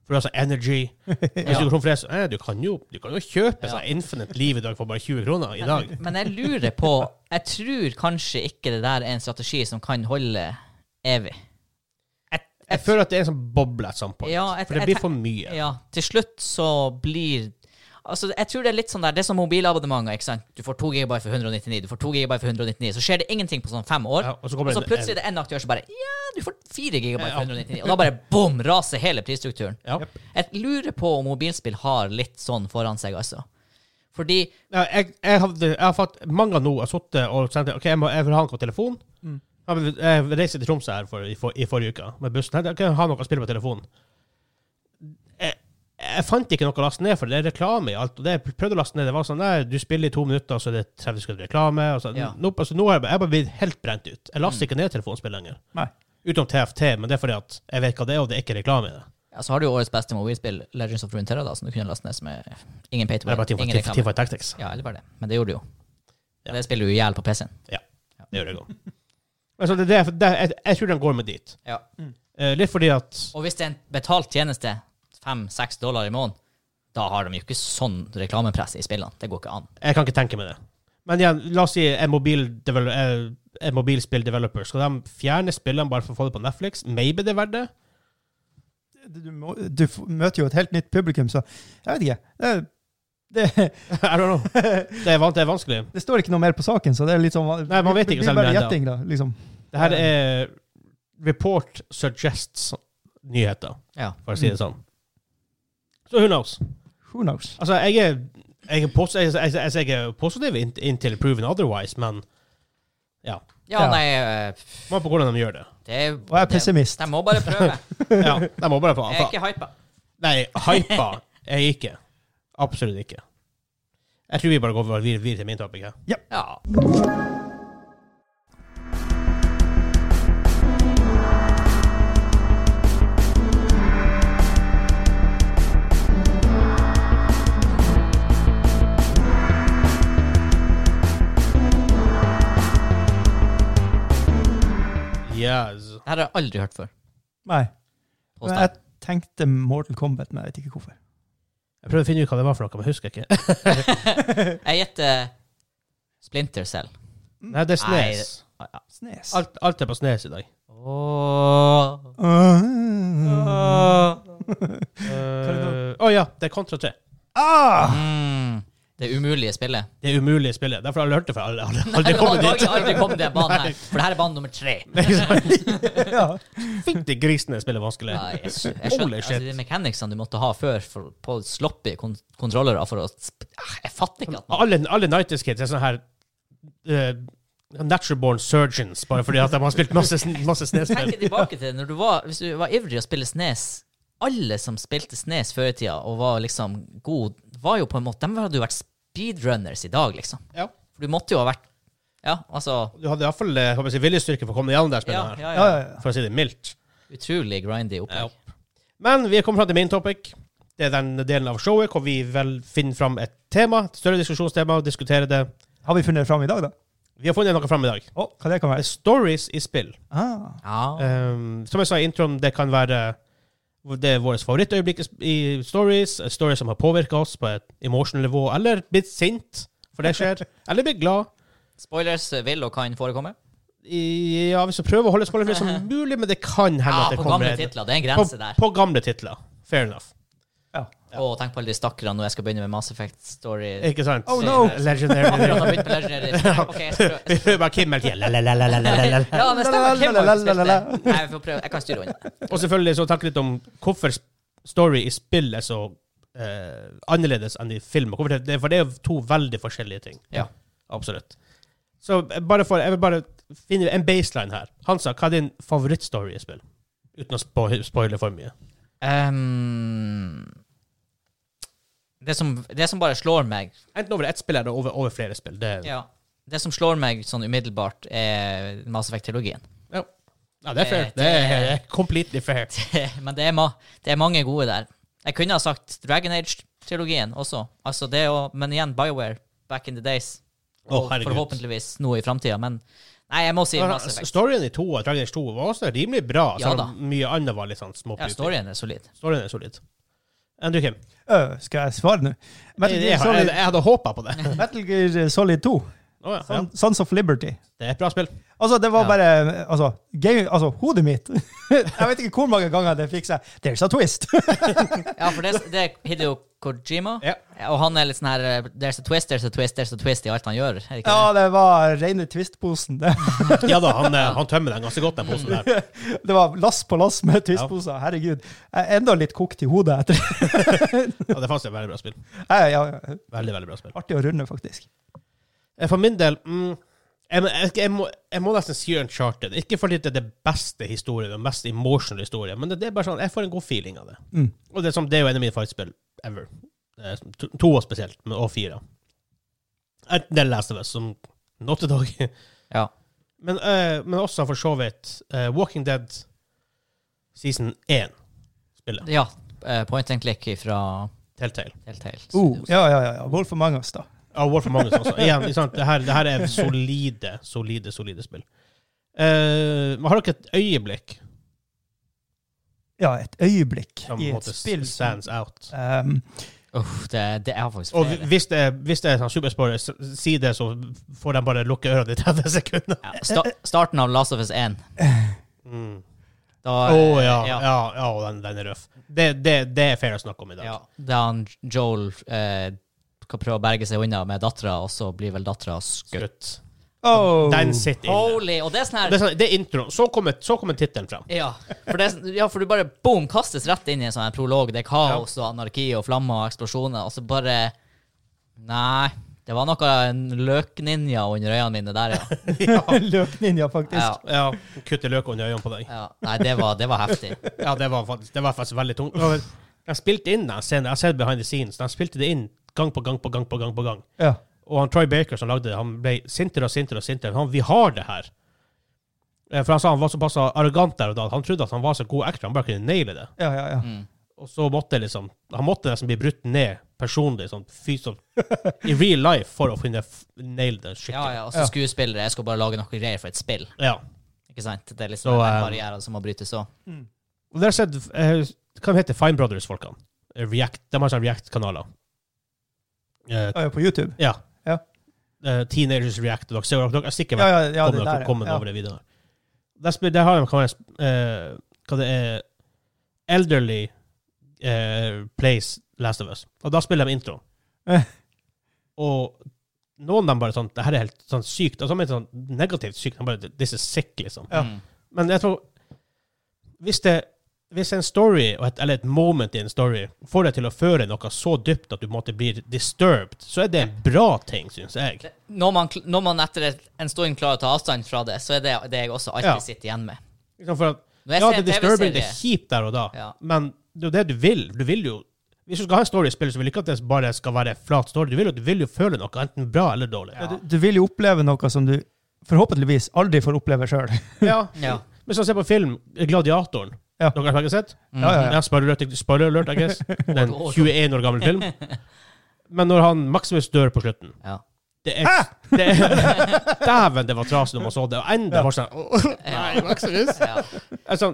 S1: for å ha sånn energy. Hvis du går tom for det, så eh, du kan jo, du kan jo kjøpe sånn Infinite Liv i dag for bare 20 kroner. i dag.
S2: Men jeg lurer på Jeg tror kanskje ikke det der er en strategi som kan holde evig. Jeg,
S1: Jeg føler at det er en sånn boble at some point.
S2: Ja, jeg-
S1: for det
S2: jeg
S1: blir for mye.
S2: ja, til slutt så blir Altså, jeg tror det er litt sånn der Det er som mobilabonnementer, ikke sant. Du får 2 GB for 199, du får 2 GB for 199, så skjer det ingenting på sånn fem år.
S1: Ja, og så
S2: og
S1: kommer
S2: så
S1: det en-
S2: plutselig er det en aktør som bare Ja, du får 4 GB
S1: Ja.
S2: for 199, og da bare bom, raser hele prisstrukturen.
S1: Ja.
S2: Jeg lurer på om mobilspill har litt sånn foran seg, altså. Fordi
S1: Ja, jeg, jeg, hadde, jeg har fått mange nå har sittet og sendt OK, jeg, må, jeg vil ha noe på telefon.
S2: Mm.
S1: Jeg, vil- jeg reiste til Tromsø her for, i, for, i forrige uke med bussen. Jeg kan ha noe å spille på telefonen. Jeg, jeg fant ikke noe å laste ned, for det er reklame i alt. Og det jeg prøvde å laste ned, det var sånn Nei, du spiller i to minutter, og så er det 30 sekunder reklame. Og så,
S2: Ja. Mm.
S1: nå, altså, nå har jeg, bare- jeg bare blitt helt brent ut. Jeg laster ikke ned telefonspill lenger.
S3: Nei.
S1: Utenom TFT, men det er fordi at jeg vet hva det er, og det er ikke reklame i det.
S2: Ja, så har du jo årets beste mobilspill, Legends of Runeterra, da, som du kunne laste ned som er ingen pay to
S1: Det er
S2: win.
S1: bare Team
S2: Ingen
S1: Fight- Team
S2: reklame.
S1: Fight Tactics.
S2: Ja, eller bare det. Men det gjorde du jo.
S1: Ja.
S2: Det spiller du i hjel på PC-en.
S1: Det gjør jeg òg. Altså, det, det, det, jeg, jeg tror de går med dit.
S2: Ja.
S1: Eh, litt fordi at
S2: Og hvis det er en betalt tjeneste, fem-seks dollar i måneden, da har de jo ikke sånn reklamepress i spillene. Det går ikke an.
S1: jeg kan ikke tenke meg det. Men igjen, la oss si en mobildevel- eh, en mobilspilldeveloper. Skal de fjerne spillene bare for å få det på Netflix? Maybe det er verdt det?
S3: Du, må, du f- møter jo et helt nytt publikum, så jeg vet ikke. Det, det,
S1: I don't know. Det er, van- det er vanskelig.
S3: det står ikke noe mer på saken, så det er litt sånn
S1: Nei, man vet ikke
S3: Det
S1: selv
S3: blir bare
S1: det enda.
S3: gjetting, da. liksom.
S1: Det her er report suggests nyheter,
S2: Ja. Mm.
S1: for å si det sånn. Så who knows?
S3: Who knows?
S1: Altså, jeg er, jeg er, pos jeg, jeg, jeg, jeg er positiv inn- inntil proven otherwise, men ja.
S2: Ja,
S3: Ja.
S2: nei eh,
S1: Man på hvordan de gjør det.
S2: det er,
S3: Og jeg er
S2: det,
S3: pessimist.
S2: De må bare prøve.
S1: Ja, De må bare få
S2: Jeg er ikke hypa.
S1: Nei, hypa er jeg ikke. Absolutt ikke. Jeg tror vi bare går videre, videre til min topic. her.
S2: Ja.
S1: Yes.
S2: Det her har jeg aldri hørt før.
S3: Nei.
S2: Hos
S3: Men
S2: deg.
S3: jeg tenkte Mortal Kombat, men jeg vet ikke hvorfor.
S1: Jeg prøvde å finne ut hva det var for noe, men husker jeg
S2: Mm.
S1: ikke.
S2: Jeg gjetter Splinter Cell.
S1: Nei, det er
S2: Nei,
S1: snes.
S3: Snes.
S1: Alt, alt er på snes i dag.
S2: Åh.
S3: Ah.
S1: Eh, Å ja, det er Kontra 3.
S3: Ah!
S2: Mm. Det umulige spillet.
S1: Det er umulig å spille. Derfor har jeg hørt det fra alle. alle,
S2: Nei,
S1: alle
S2: det
S1: kommet
S2: har
S1: dit.
S2: aldri, aldri kommet til banen her, for det her er bane nummer tre.
S3: Ja.
S1: Fytti grisen, det spillet er vanskelig.
S2: Ja, jeg, skj- jeg skjønner
S1: Holy
S2: altså,
S1: shit.
S2: de mechanicsene du måtte ha før for, på sloppy kon kontrollere for å sp- Ah, Jeg fatter ikke at man
S1: Alle, alle Nighties Kids er sånne her eh, natural born surgeons, bare fordi at de har spilt masse, sn- masse snespill.
S2: Tenk tilbake til når du var, hvis du var ivrig å spille Snes. Alle som spilte Snes før i tida og var liksom god, var jo på en måte De hadde jo vært speedrunners i dag, liksom.
S1: Ja.
S2: For du måtte jo ha vært Ja, altså
S1: Du hadde iallfall si, viljestyrke for å komme gjennom det spillet
S2: ja,
S1: her,
S2: ja,
S3: Ja,
S2: ja.
S3: ja, ja.
S1: for å si det mildt.
S2: Utrolig grindy opplegg.
S1: Men vi er kommet fram til main topic. Det er den delen av showet hvor vi vel finner fram et tema, et større diskusjonstema, og diskuterer det.
S3: Har vi funnet det fram i dag, da?
S1: Vi har funnet noe fram i dag.
S3: Å, hva det kan være?
S1: Stories i spill.
S3: Ah.
S2: Ja.
S1: Um, som jeg sa i introen, det kan være det er vårt favorittøyeblikk i stories. Stories som har påvirka oss på et emotional nivå, eller blitt sint, for det skjer. eller blitt glad.
S2: Spoilers vil og kan forekomme.
S1: I, ja, hvis vi prøver å holde spoilerfri som mulig, men det kan hende
S2: Ja,
S1: at det
S2: på
S1: kommer
S2: gamle
S1: en-
S2: titler. Det er en
S1: på,
S2: grense der.
S1: på gamle titler. Fair enough.
S3: Ja.
S2: Og tenk på alle de stakkarene når jeg skal begynne med Mass Effect Story.
S1: Ikke sant?
S3: Oh, no.
S1: Legendary.
S2: Akkurat har begynt på Legendary. Ok, jeg skal prøve.
S1: Vi hører bare Kim hele tiden. La, la, la, la, la, la, la, la.
S2: Ja, det stemmer. Kim har jo spilt det. Nei, Jeg får prøve. Jeg kan styre unna.
S1: Og selvfølgelig så tenke litt om hvorfor sp- story i spill er så eh, annerledes enn i film. Hvorfor det- det- For det er jo to veldig forskjellige ting.
S2: Ja.
S1: Absolutt. Så eh, bare for, jeg vil bare finne en baseline her. Hansa, hva er din favorittstory i spill? Uten å spo- spoile for mye.
S2: Ehm, det, som, det som bare slår meg
S1: Enten over ett spill eller over, over flere spill. Det, ja.
S2: ja, Det som slår meg sånn umiddelbart, er Mass Effect-trilogien.
S1: Ja, det er fair.
S2: Det-
S1: Det er completely fair.
S2: Men det er, ma det er mange gode der. Jeg kunne ha sagt Dragon Age-trilogien også. Altså det å, men igjen, Bioware, back in the days.
S1: Å,
S2: Og
S1: herregud.
S2: forhåpentligvis noe i framtida. Men nei, jeg må si Mass Effect.
S1: Storyen i 2 og Dragon Age 2 var også rimelig bra,
S2: Ja
S1: selv
S2: da.
S1: om mye annet var litt sånn
S2: Ja,
S1: småpiping.
S2: storyen er solid.
S1: Storyen er solid. Andrew Kim,
S3: Øh, skal jeg svare nå? Metal
S1: jeg, jeg,
S3: Gear
S1: jeg,
S3: Solid,
S1: jeg hadde håpa på det.
S3: Metal Gear Solid 2.
S1: Å ja, ja.
S3: Son- Sons of Liberty.
S1: Det er et bra spill.
S3: Altså, det var
S2: Ja.
S3: bare Altså, game, altså hodet mitt Jeg vet ikke hvor mange ganger det fikk seg There's a twist!
S2: Ja, for det, det er Hideo Kojima.
S1: Ja.
S2: Og han er litt sånn her eh, There's a twist, there's a twist, there's a twist i alt han gjør. Er det ikke
S3: ja, det var rene twist-posen. Det,
S1: Ja da, han, eh, han tømmer den ganske godt, den posen der.
S3: det var lass på lass med twist-poser. Herregud. Jeg er enda litt kokt i hodet etter
S1: Ja, det er faktisk et veldig bra spill.
S3: Nei, ja, ja.
S1: Veldig, veldig bra spill.
S3: Artig å runde, faktisk.
S1: Eh, For min del mm, jeg, må- jeg, jeg, må, jeg må nesten si Uncharted. Ikke fordi det er det beste historien, den mest emotional historien, men det, det er bare sånn, jeg får en god feeling av det.
S3: Mm.
S1: Og det er, som, det er jo en av mine favorittspill ever. Eh, To, to år spesielt, men- og fire. Enten det leste vi som Not a Dog,
S2: det? Ja.
S1: men, eh, men også for så vidt eh, Walking Dead season 1 spillet.
S2: ja. eh, Point and click fra
S1: Telltale.
S2: Telltale.
S1: Uh,
S3: Oh,
S2: Studios.
S3: ja, ja, ja, ja. Wolf Among us, da.
S1: Ja, War for Magnus også. Igjen, ikke sant? Det, her, det her er solide, solide, solide spill. Eh, men har dere et øyeblikk
S3: Ja, et øyeblikk
S1: som
S3: i
S1: på en
S3: et
S1: måte
S3: spill. som-
S1: stands out?
S3: Ehm,
S2: Uff, det, det jeg har faktisk
S1: Og
S2: flere.
S1: hvis det, hvis det er sånn superspoiler, s- si det, så får de bare lukke ørene i 30 sekunder.
S2: Ja, sta starten av Last of Us 1.
S1: Å
S2: Da,
S1: ja,
S2: eh,
S1: ja. ja, og den, den er røff. Det, det, det er fair å snakke om i dag.
S2: Ja, da han Joel eh, kan prøve å berge seg unna med dattera, og så blir vel dattera skutt.
S1: Skutt.
S3: oh.
S1: Den sitter inne.
S2: Holy! Og det er sånn
S1: Det
S2: her
S1: er, sånn, det er introen. Så kommer, så kommer tittelen frem.
S2: ja for, det, er sånn- ja, for du bare boom, kastes rett inn i en sånn her prolog. Det er kaos og anarki og flammer og eksplosjoner, og så bare Nei. Det var noe en løkninja under øynene mine der, ja.
S3: Løkninja, faktisk.
S2: ja.
S1: Ja, Kutte løk under øynene på deg.
S2: ja. Nei, det var, det var heftig.
S1: Ja, det var faktisk, det var faktisk veldig tungt. Og De spilte inn den scenen. Jeg har sett behind the scenes. De spilte det inn gang på gang på gang på gang. på gang.
S3: Ja.
S1: Og han Troy Baker som lagde det, han ble sintere og sintere og sintere. Han, vi har det her. Eh, For han sa han var såpass arrogant der og da. at Han trodde at han var så god actor, han bare kunne naile det.
S3: ja, ja, ja.
S1: Og så måtte liksom, han måtte nesten bli brutt ned personlig, sånn fysisk, i real life, for å kunne f- naile det
S2: Ja,
S1: skikkelig.
S2: ja, og så skuespillere. Jeg skal bare lage noe greier for et spill.
S1: Ja.
S2: Ikke sant? Det er
S1: Så,
S2: liksom den
S1: eh,
S2: barrieren som må brytes òg.
S3: Mm.
S1: Og dere har sett, eh, hva de heter Fine Brothers-folkene? React, de har sånne React-kanaler. Eh,
S3: Ja, ja, på YouTube.
S1: ja.
S3: Ja.
S1: Eh, Teenagers React, dere, ser- dere har sikkert
S3: Ja,
S1: vært
S3: ja, ja, det
S1: kommer
S3: der,
S1: dere kommer
S3: ja.
S1: over det videre. Der, spil, der har de hva, er, eh, hva det er Elderly eh, Plays Last of Us. Og da spiller de introen.
S3: Eh.
S1: Og noen av dem bare sånn Det her er helt sånn sykt. Og så er det sånn negativt sykt. De bare This is sick, liksom.
S3: Ja.
S2: Mm.
S1: Men jeg tror Hvis det hvis en story, og et- eller et moment i en story, får deg til å føre noe så dypt at du på en måte blir disturbed, så er det en bra ting, syns jeg.
S2: Når man, kl- når man etter et, en stund klarer å ta avstand fra det, så er det det jeg også alltid
S1: Ja.
S2: sitter igjen med.
S1: Liksom for at
S2: Når jeg
S1: ja, det
S2: ser en
S1: er disturbing, det
S2: TV-serie-
S1: er kjipt der og da,
S2: Ja.
S1: men det er jo det du vil. Du vil jo Hvis du skal ha en storyspill, så vil du ikke at det bare skal være en flat story. Du vil jo, du vil jo føle noe, enten bra eller dårlig.
S3: Ja, du, du vil jo oppleve noe som du forhåpentligvis aldri får oppleve sjøl.
S1: Ja.
S2: Ja.
S1: Men så se på film, Gladiatoren.
S3: Ja.
S1: Dere har ikke sett?
S3: Ja, ja, ja.
S1: Ja, spoiler alert, spoiler alert, I guess. Det er en 21 år gammel film. Men når han Maximus dør på slutten
S2: Ja.
S1: Det er, det er Dæven, det var trasig når man så det. Og enda var sånn «Åh, Nei, Maximus.
S2: Ja.
S1: Altså,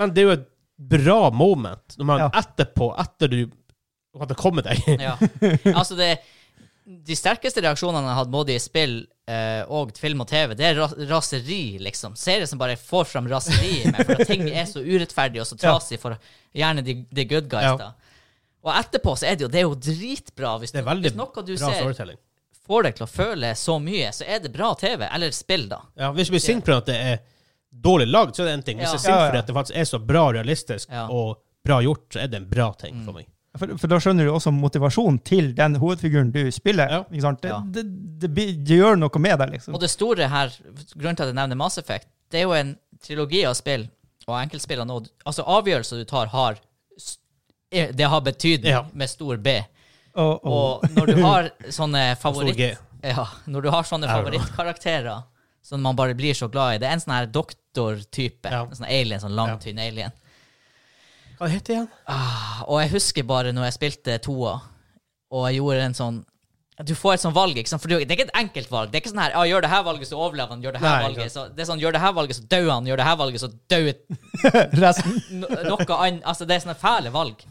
S1: men det er jo et bra moment når man
S3: Ja.
S1: etterpå, etter du hadde kommet deg
S2: Ja. Altså, det, de sterkeste reaksjonene jeg har hatt både i spill eh, og film og TV, det er ra raseri, liksom. Serier som bare får fram raseriet i meg, for at ting er så urettferdig og så trasig for gjerne de, de good guys,
S1: Ja.
S2: da. Og etterpå så er det jo, det er jo dritbra hvis,
S1: Det er
S2: no-
S1: veldig
S2: hvis noe du
S1: bra
S2: ser
S1: storytelling.
S2: får deg til å føle så mye, så er det bra TV, eller spill, da.
S1: Ja, hvis du blir sint fordi at det er dårlig lagd, så er det en ting. Hvis du
S2: Ja.
S1: er sint
S3: Ja, ja.
S1: fordi at det faktisk er så bra realistisk
S2: Ja. Mm.
S1: og bra gjort, så er det en bra ting for meg.
S3: For, for da skjønner du også motivasjonen til den hovedfiguren du spiller.
S1: Ja.
S3: Ikke sant? Det,
S2: Ja.
S3: det, det, blir- det gjør noe med deg, liksom.
S2: Og det store her, grunnen til at jeg nevner Mass Effect, det er jo en trilogi av spill, og enkeltspiller nå, altså avgjørelser du tar har, s- er- det har betydning
S1: Ja. Oh.
S2: med stor B.
S3: Og, og,
S2: Og når du har sånne favoritt...
S1: G.
S2: Ja, når du har sånne
S1: Er det
S2: favorittkarakterer, som man bare blir så glad i, det er en sånn her doktortype,
S1: Ja.
S2: en sånn alien, sånn lang,
S1: Ja.
S2: tynn alien.
S1: Hva heter det igjen?
S2: Og jeg husker bare når jeg spilte toa, og jeg gjorde en sånn Du får et sånt valg, ikke sant? For det er ikke et enkelt valg. Det er ikke sånn her ja, 'Gjør det her valget, så overlever han'. Gjør det her
S1: Nei,
S2: valget, så Det er sånn 'Gjør det her valget, så dør han'. Gjør det her valget, så dør
S3: resten.
S2: no noe annet Altså, det er sånne fæle valg.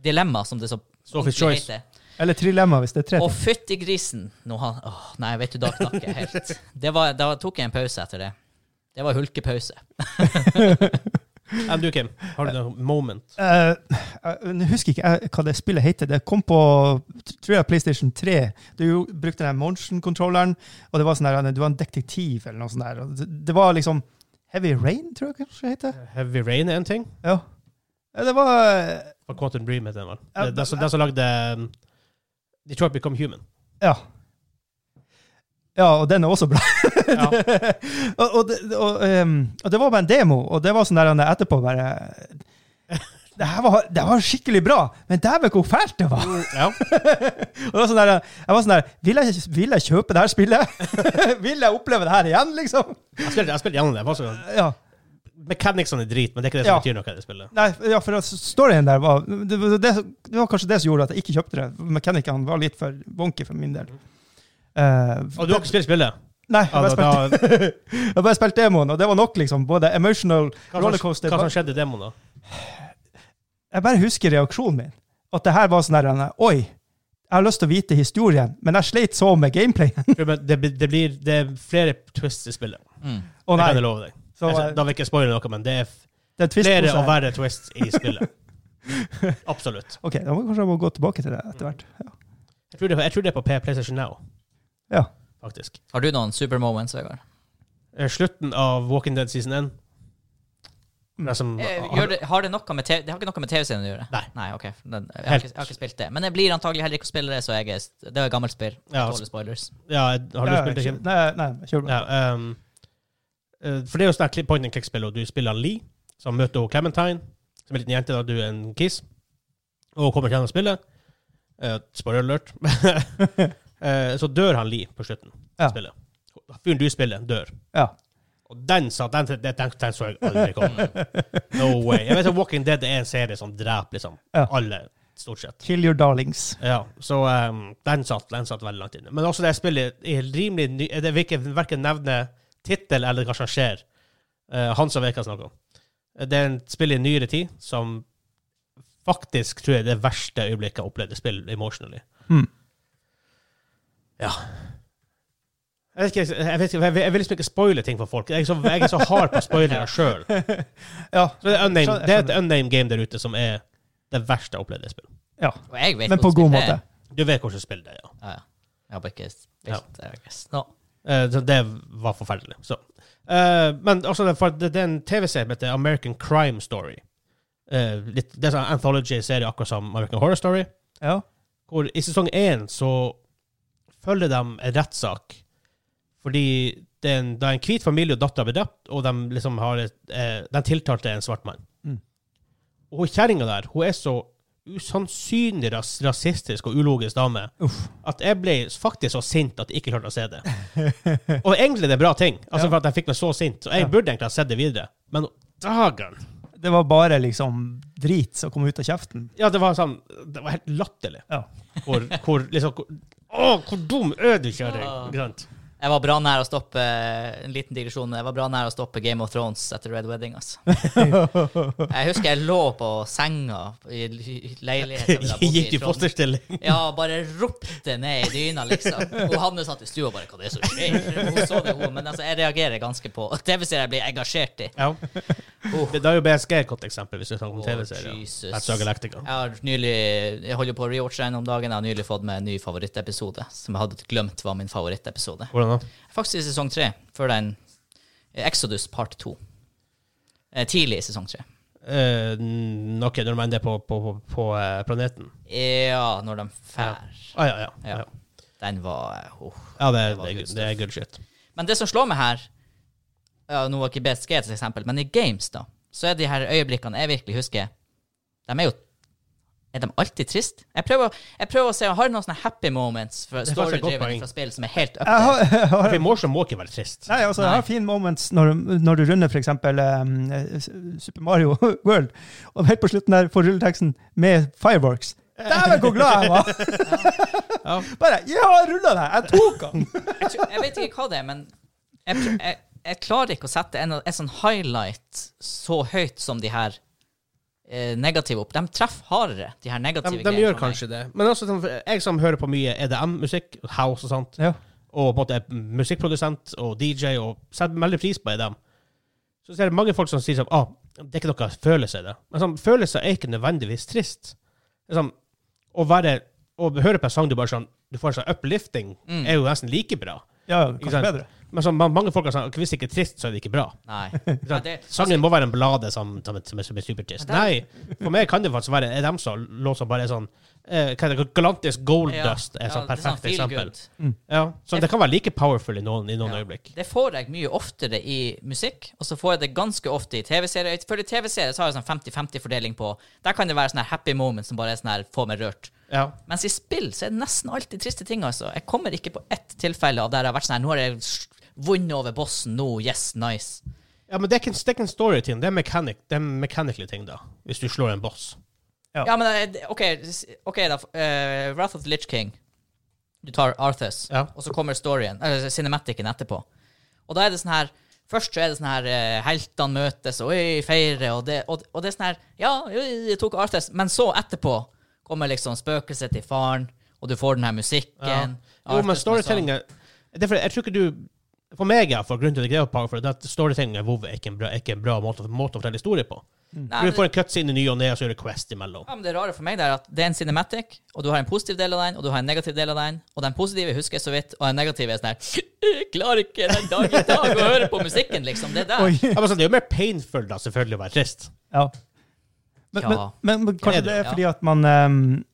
S2: Dilemma, som det så
S1: Sophie's
S2: ordentlig
S1: choice.
S2: heter.
S3: Eller trilemma, hvis det er tre.
S2: Og fytti grisen! Nå han Åh, nei, vet du, da knakk jeg helt. Det var, da tok jeg en pause etter det. Det var hulkepause.
S1: Enn du, Kim? Har du noe moment?
S3: Eh, jeg jeg husker ikke jeg, hva det spillet heter. Det kom på tror jeg, PlayStation 3. Du jo brukte den motion-controlleren, og det var sånn der, du var en detektiv eller noe sånt. Der. Og Det, det var liksom Heavy Rain, tror jeg kanskje det heter.
S1: Heavy Rain er en ting.
S3: Ja. Ja, Det var
S1: Og Quantum Dream heter den vel.
S3: Ja,
S1: Det- Det er som- det er som lagde um, Detroit Become Human.
S3: Ja. Ja, og den er også bra.
S1: Ja.
S3: og, og, det, og, ehm, og det var bare en demo, og det var sånn der han etterpå bare det her, var, det var skikkelig bra, men dæven hvor fælt det var!
S1: ja.
S3: Og det var sånn der, jeg var sånn der vil jeg, vil jeg kjøpe det her spillet? vil jeg oppleve det her igjen, liksom?
S1: Jeg spilte, jeg spilte gjennom det. Faktisk.
S3: Ja,
S1: Mechanicsene er drit, men det er ikke det som
S3: Ja.
S1: betyr noe i det spillet.
S3: nei, ja for at storyen der var det, var- det, det var kanskje det som gjorde at jeg ikke kjøpte det. Mekanikeren var litt for wonky for min del. Eh,
S1: Og du har ikke spilt spillet?
S3: Nei, jeg bare,
S1: Ja, da-
S3: spilte, jeg bare spilte demoen, og det var nok, liksom. Både emotional
S1: Hva som,
S3: rollercoaster
S1: hva som skjedde i demoen, da?
S3: Jeg bare husker reaksjonen min. At det her var sånn her Oi, jeg har lyst til å vite historien, men jeg sleit så med gameplayen.
S1: For, men Det, blir- det, blir, det er flere twists i spillet.
S2: Mm.
S3: Å
S1: Det kan jeg
S3: nei.
S1: love deg.
S3: Så,
S1: Jeg
S3: eh,
S1: skal- da vil jeg ikke spoile noe, men det er
S3: det er twist på
S1: flere
S3: seg.
S1: og verre twists i spillet. Absolutt.
S3: Ok, da må kanskje jeg må gå tilbake til det etter hvert. Ja.
S1: Jeg tror det, jeg tror det er på P- PlayStation Now,
S3: ja.
S1: faktisk.
S2: Har du noen super moments, Vegard?
S1: Eh, Slutten av Walking Dead season 1. Det er som,
S2: Eh, Gjør det, har det, noe med TV, det har ikke noe med TV-serien å gjøre?
S1: Nei.
S2: ok. Den, jeg, har ikke, jeg har ikke spilt det. Men jeg blir antagelig heller ikke å spille det, så jeg er, det er et gammelt spill.
S1: Ja,
S2: Tåler spoilers.
S1: ja, har du
S3: Ja,
S1: spilt det, Kim?
S3: kjør- Nei, nei, kjør bare.
S1: Ja, ehm, eh, for det er jo sånn her point and click-spill, og du spiller Lee, som møter hun Clementine, som er en liten jente da du er en kiss, og hun kommer til henne og spiller. Uh, spoiler alert. Eh, så dør han Lee på slutten av
S3: Ja.
S1: spillet. Fyren du spiller, dør.
S3: Ja.
S1: Og den sa den, den, den, den så jeg aldri komme. No way. Jeg vet at Walking Dead er en serie som dreper liksom
S3: Ja.
S1: alle, stort sett.
S3: Kill your darlings.
S1: Ja, så ehm, den, satt, den satt veldig langt inne. Men også det spillet er rimelig ny Det vil ikke verken nevne tittel eller hva som skjer. Eh, han som vet hva jeg snakker om. Det er et spill i nyere tid som faktisk tror jeg er det verste øyeblikket jeg har opplevd i spill emotionally.
S3: Hmm.
S1: Ja. Jeg vet, ikke, jeg, vet ikke, jeg, vil, jeg vil liksom ikke spoile ting for folk. Jeg er så, jeg er så hard på spoilere sjøl. Det
S3: Ja.
S1: er unnamed-
S3: Skjønner-
S1: det er et
S3: skjønner.
S1: unnamed game der ute som er det verste jeg har opplevd i spill.
S3: ja.
S2: Og jeg vet
S3: Men på
S2: hvordan
S3: god
S2: spill det er.
S3: måte.
S1: Du vet hvordan spill det er, ja.
S2: Ja, ja. Jeg har bare ikke spilt det, I guess. No.
S1: Eh, Så det var forferdelig. Så. Eh, men også det, for det, det er en TV-serie som heter American Crime Story. Eh, litt, det er en anthology-serie akkurat som American Horror Story.
S3: Ja.
S1: Hvor I sesong én så følger de en rettssak fordi det er en, da en hvit familie og datter blir drept, og de liksom har et, eh, den tiltalte er en svart mann.
S3: Mm.
S1: Og hun kjerringa der hun er så usannsynlig ras rasistisk og ulogisk dame
S3: Uff.
S1: at jeg ble faktisk så sint at jeg ikke klarte å se det. Og egentlig er det en bra ting, altså
S3: Ja.
S1: for at jeg fikk meg så sint. Og jeg
S3: Ja.
S1: burde egentlig ha sett det videre, men dagen
S3: Det var bare liksom drit som kom ut av kjeften.
S1: Ja, det var sånn Det var helt latterlig.
S3: Ja.
S1: Hvor, hvor liksom hvor, Å, hvor dum er du, kjøring!
S2: Ja.
S1: Ikke sant?
S2: Jeg var bra nær å stoppe eh, en liten digresjon, jeg var bra nær å stoppe Game of Thrones etter Red Wedding. altså. Jeg husker jeg lå på senga i leiligheten. vi da bodde i
S1: Gikk i
S2: Trondheim.
S1: fosterstilling.
S2: Ja, bare ropte ned i dyna, liksom. Og Hanne satt i stua og bare Hva det er som skjer? Hun så det, hun. Men altså, jeg reagerer ganske på TV-serier jeg blir engasjert i.
S1: Ja. Det, det er jo BSG et godt eksempel, hvis vi snakker om
S2: Å,
S1: TV-serier.
S2: Jesus.
S1: That's so Galactica.
S2: Jeg har nylig Jeg holder på å rewatche en om dagen. Jeg har nylig fått meg en ny favorittepisode, som jeg hadde glemt var min favorittepisode.
S1: Hvordan da?
S2: Faktisk i sesong tre, før den Exodus part to. Eh, Tidlig i sesong tre.
S1: Eh, n- OK, når de ender på, på, på, på eh, planeten.
S2: Ja, når de fær.
S1: Ah, ja, ja.
S2: Ja.
S1: ja.
S2: Den var eh, oh.
S1: ja det,
S2: Det var
S1: det, er
S2: good
S1: good- det er good shit.
S2: Men det som slår meg her ja, Nå var ikke BSG et eksempel, men i games, da, så er de her øyeblikkene jeg virkelig husker De er jo Er de alltid trist? Jeg prøver, å- jeg prøver å se Har du noen sånne happy moments fra
S1: Det er faktisk et godt
S2: story-driven
S1: poeng.
S2: fra spill som er helt up
S3: Jeg
S2: there?
S3: har, jeg har,
S1: For Emotion må ikke være trist.
S3: nei, altså, jeg
S2: Nei.
S3: har fine moments når, når du runder f.eks. Um, eh, Super Mario World, og helt på slutten der får rulleteksten med fireworks. Dæven, hvor glad jeg var!
S1: Ja.
S3: Bare Ja, rulla deg! Jeg tok den!
S2: Jeg, tror, jeg vet ikke hva det er, men jeg, pr- jeg, jeg klarer ikke å sette en, en sånn highlight så høyt som de her eh, negative opp. De treffer hardere, de her
S1: De,
S2: negative
S1: de gjør
S2: for meg.
S1: kanskje det. Men også, sånn, for jeg som hører på mye E EDM-musikk, house og sånt,
S3: Ja.
S1: og på en måte er musikkprodusent og DJ, og setter veldig pris på EDM, så ser jeg mange folk som sier sånn ah, det er ikke noe følelse i det. Men sånn, følelser er ikke nødvendigvis trist. Det er sånn, å være å høre på en sang du bare sånn Du får en sånn uplifting,
S2: Mm.
S1: er jo nesten like bra.
S3: ja,
S1: Ikke
S3: kanskje
S1: sant?
S3: bedre.
S1: Men sånn, man- mange folk har sånn «Ok, Hvis det ikke er trist, så er det ikke bra.
S2: Nei.
S1: Ikke
S2: Ja,
S1: sant?
S2: det,
S1: Sangen må være en blade som, som, er- som er, som er supertrist.
S2: Men
S1: Nei, for meg kan det faktisk være er dem som låt som bare er sånn eh, hva heter det, Galantisk Gold Dust er et sånn
S2: det er
S1: perfekt
S2: feel
S1: eksempel.
S2: good.
S1: Ja, så det kan være like powerful i noen, i noen
S2: Ja.
S1: øyeblikk.
S2: Det får jeg mye oftere i musikk, og så får jeg det ganske ofte i TV-serier. For i TV-serier så har jeg sånn 50-50-fordeling på Der kan det være sånne her happy moments som bare er sånn her få meg rørt.
S1: Ja.
S2: Mens i spill så er det nesten alltid triste ting, altså. Jeg kommer ikke på ett tilfelle av der jeg har vært sånn her Nå har jeg s- vunnet over bossen, nå, yes, nice.
S1: ja, men det er ikke en- det er ikke en story-ting. Det er mechanic, det er mechanical ting, da. Hvis du slår en boss.
S3: Ja.
S2: Ja, men eh, OK, s- ok da. eh, Wrath of the Litch King. Du tar Arthus,
S1: Ja.
S2: og så kommer storyen, eller cinematicen etterpå. Og da er det sånn her Først så er det sånn her eh, heltene møtes og oi, feirer, og det, og, og det er sånn her Ja, oi, jeg tok Arthus. Men så etterpå kommer liksom spøkelset til faren, og du får den her musikken.
S1: Jo,
S2: Arthas
S1: men
S2: med
S1: storytellinga Derfor, jeg tror ikke du For meg, iallfall, grunnen til at jeg greier å pakke for det, er at storytellinga i WoW er ikke en bra, er ikke en bra måte, måte å fortelle historie på.
S2: sånn- Nei,
S1: Du
S2: men-
S1: får en cutscene i ny og ne, og så gjør du Quest imellom.
S2: Ja, men Det rare for meg det er at det er en cinematic, og du har en positiv del av den, og du har en negativ del av den, og den positive husker jeg så vidt, og den negative er sånn her Jeg klarer ikke den dag i dag å høre på musikken, liksom. Det er der.
S3: Oi.
S1: Ja, men så det er jo mer painful, da, selvfølgelig, å være trist.
S3: Ja. Men, men,
S2: Ja.
S3: men, men kanskje
S1: Er det
S3: det
S2: jo,
S3: er
S2: ja.
S3: fordi at man ehm,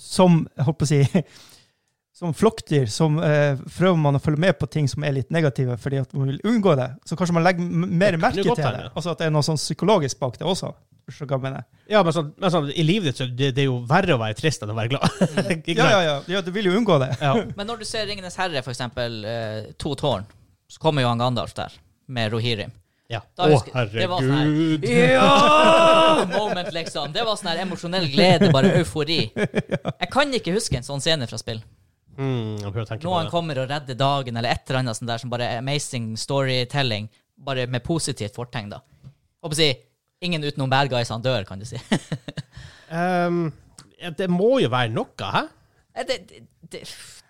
S3: som jeg holdt på å si, som flokkdyr som eh, prøver man å følge med på ting som er litt negative, fordi at man vil unngå det. Så kanskje man legger m- mer
S1: Det kan
S3: merke
S1: jo
S3: til
S1: godt
S3: det.
S1: hende.
S3: Altså at det er noe sånn psykologisk bak det også. Så hva mener jeg?
S1: Ja, men sånn, men sånn i livet ditt så er det, det er jo verre å være trist enn å være glad.
S2: Mm.
S1: Ikke
S3: Ja, ja,
S1: sant?
S3: ja, ja, du vil jo unngå det.
S1: Ja.
S2: Men når du ser Ringenes herre, for eksempel eh, To tårn, så kommer jo han Gandalf der med Rohirrim.
S1: Ja.
S2: Da
S1: Å,
S2: husker- det var sånn her-
S1: herregud.
S2: Ja! Moment, liksom. Det var sånn her emosjonell glede, bare eufori. Jeg kan ikke huske en sånn scene fra spill.
S1: Mm, jeg prøver å tenke på
S2: Noen
S1: det.
S2: kommer og redder dagen, eller et eller annet sånt der som bare er amazing storytelling, bare med positivt fortegn, da. Og på å si Ingen utenom bad guys han dør, kan du si.
S1: Ehm, ja, det må jo være noe, hæ?
S2: Eh, det, det, det,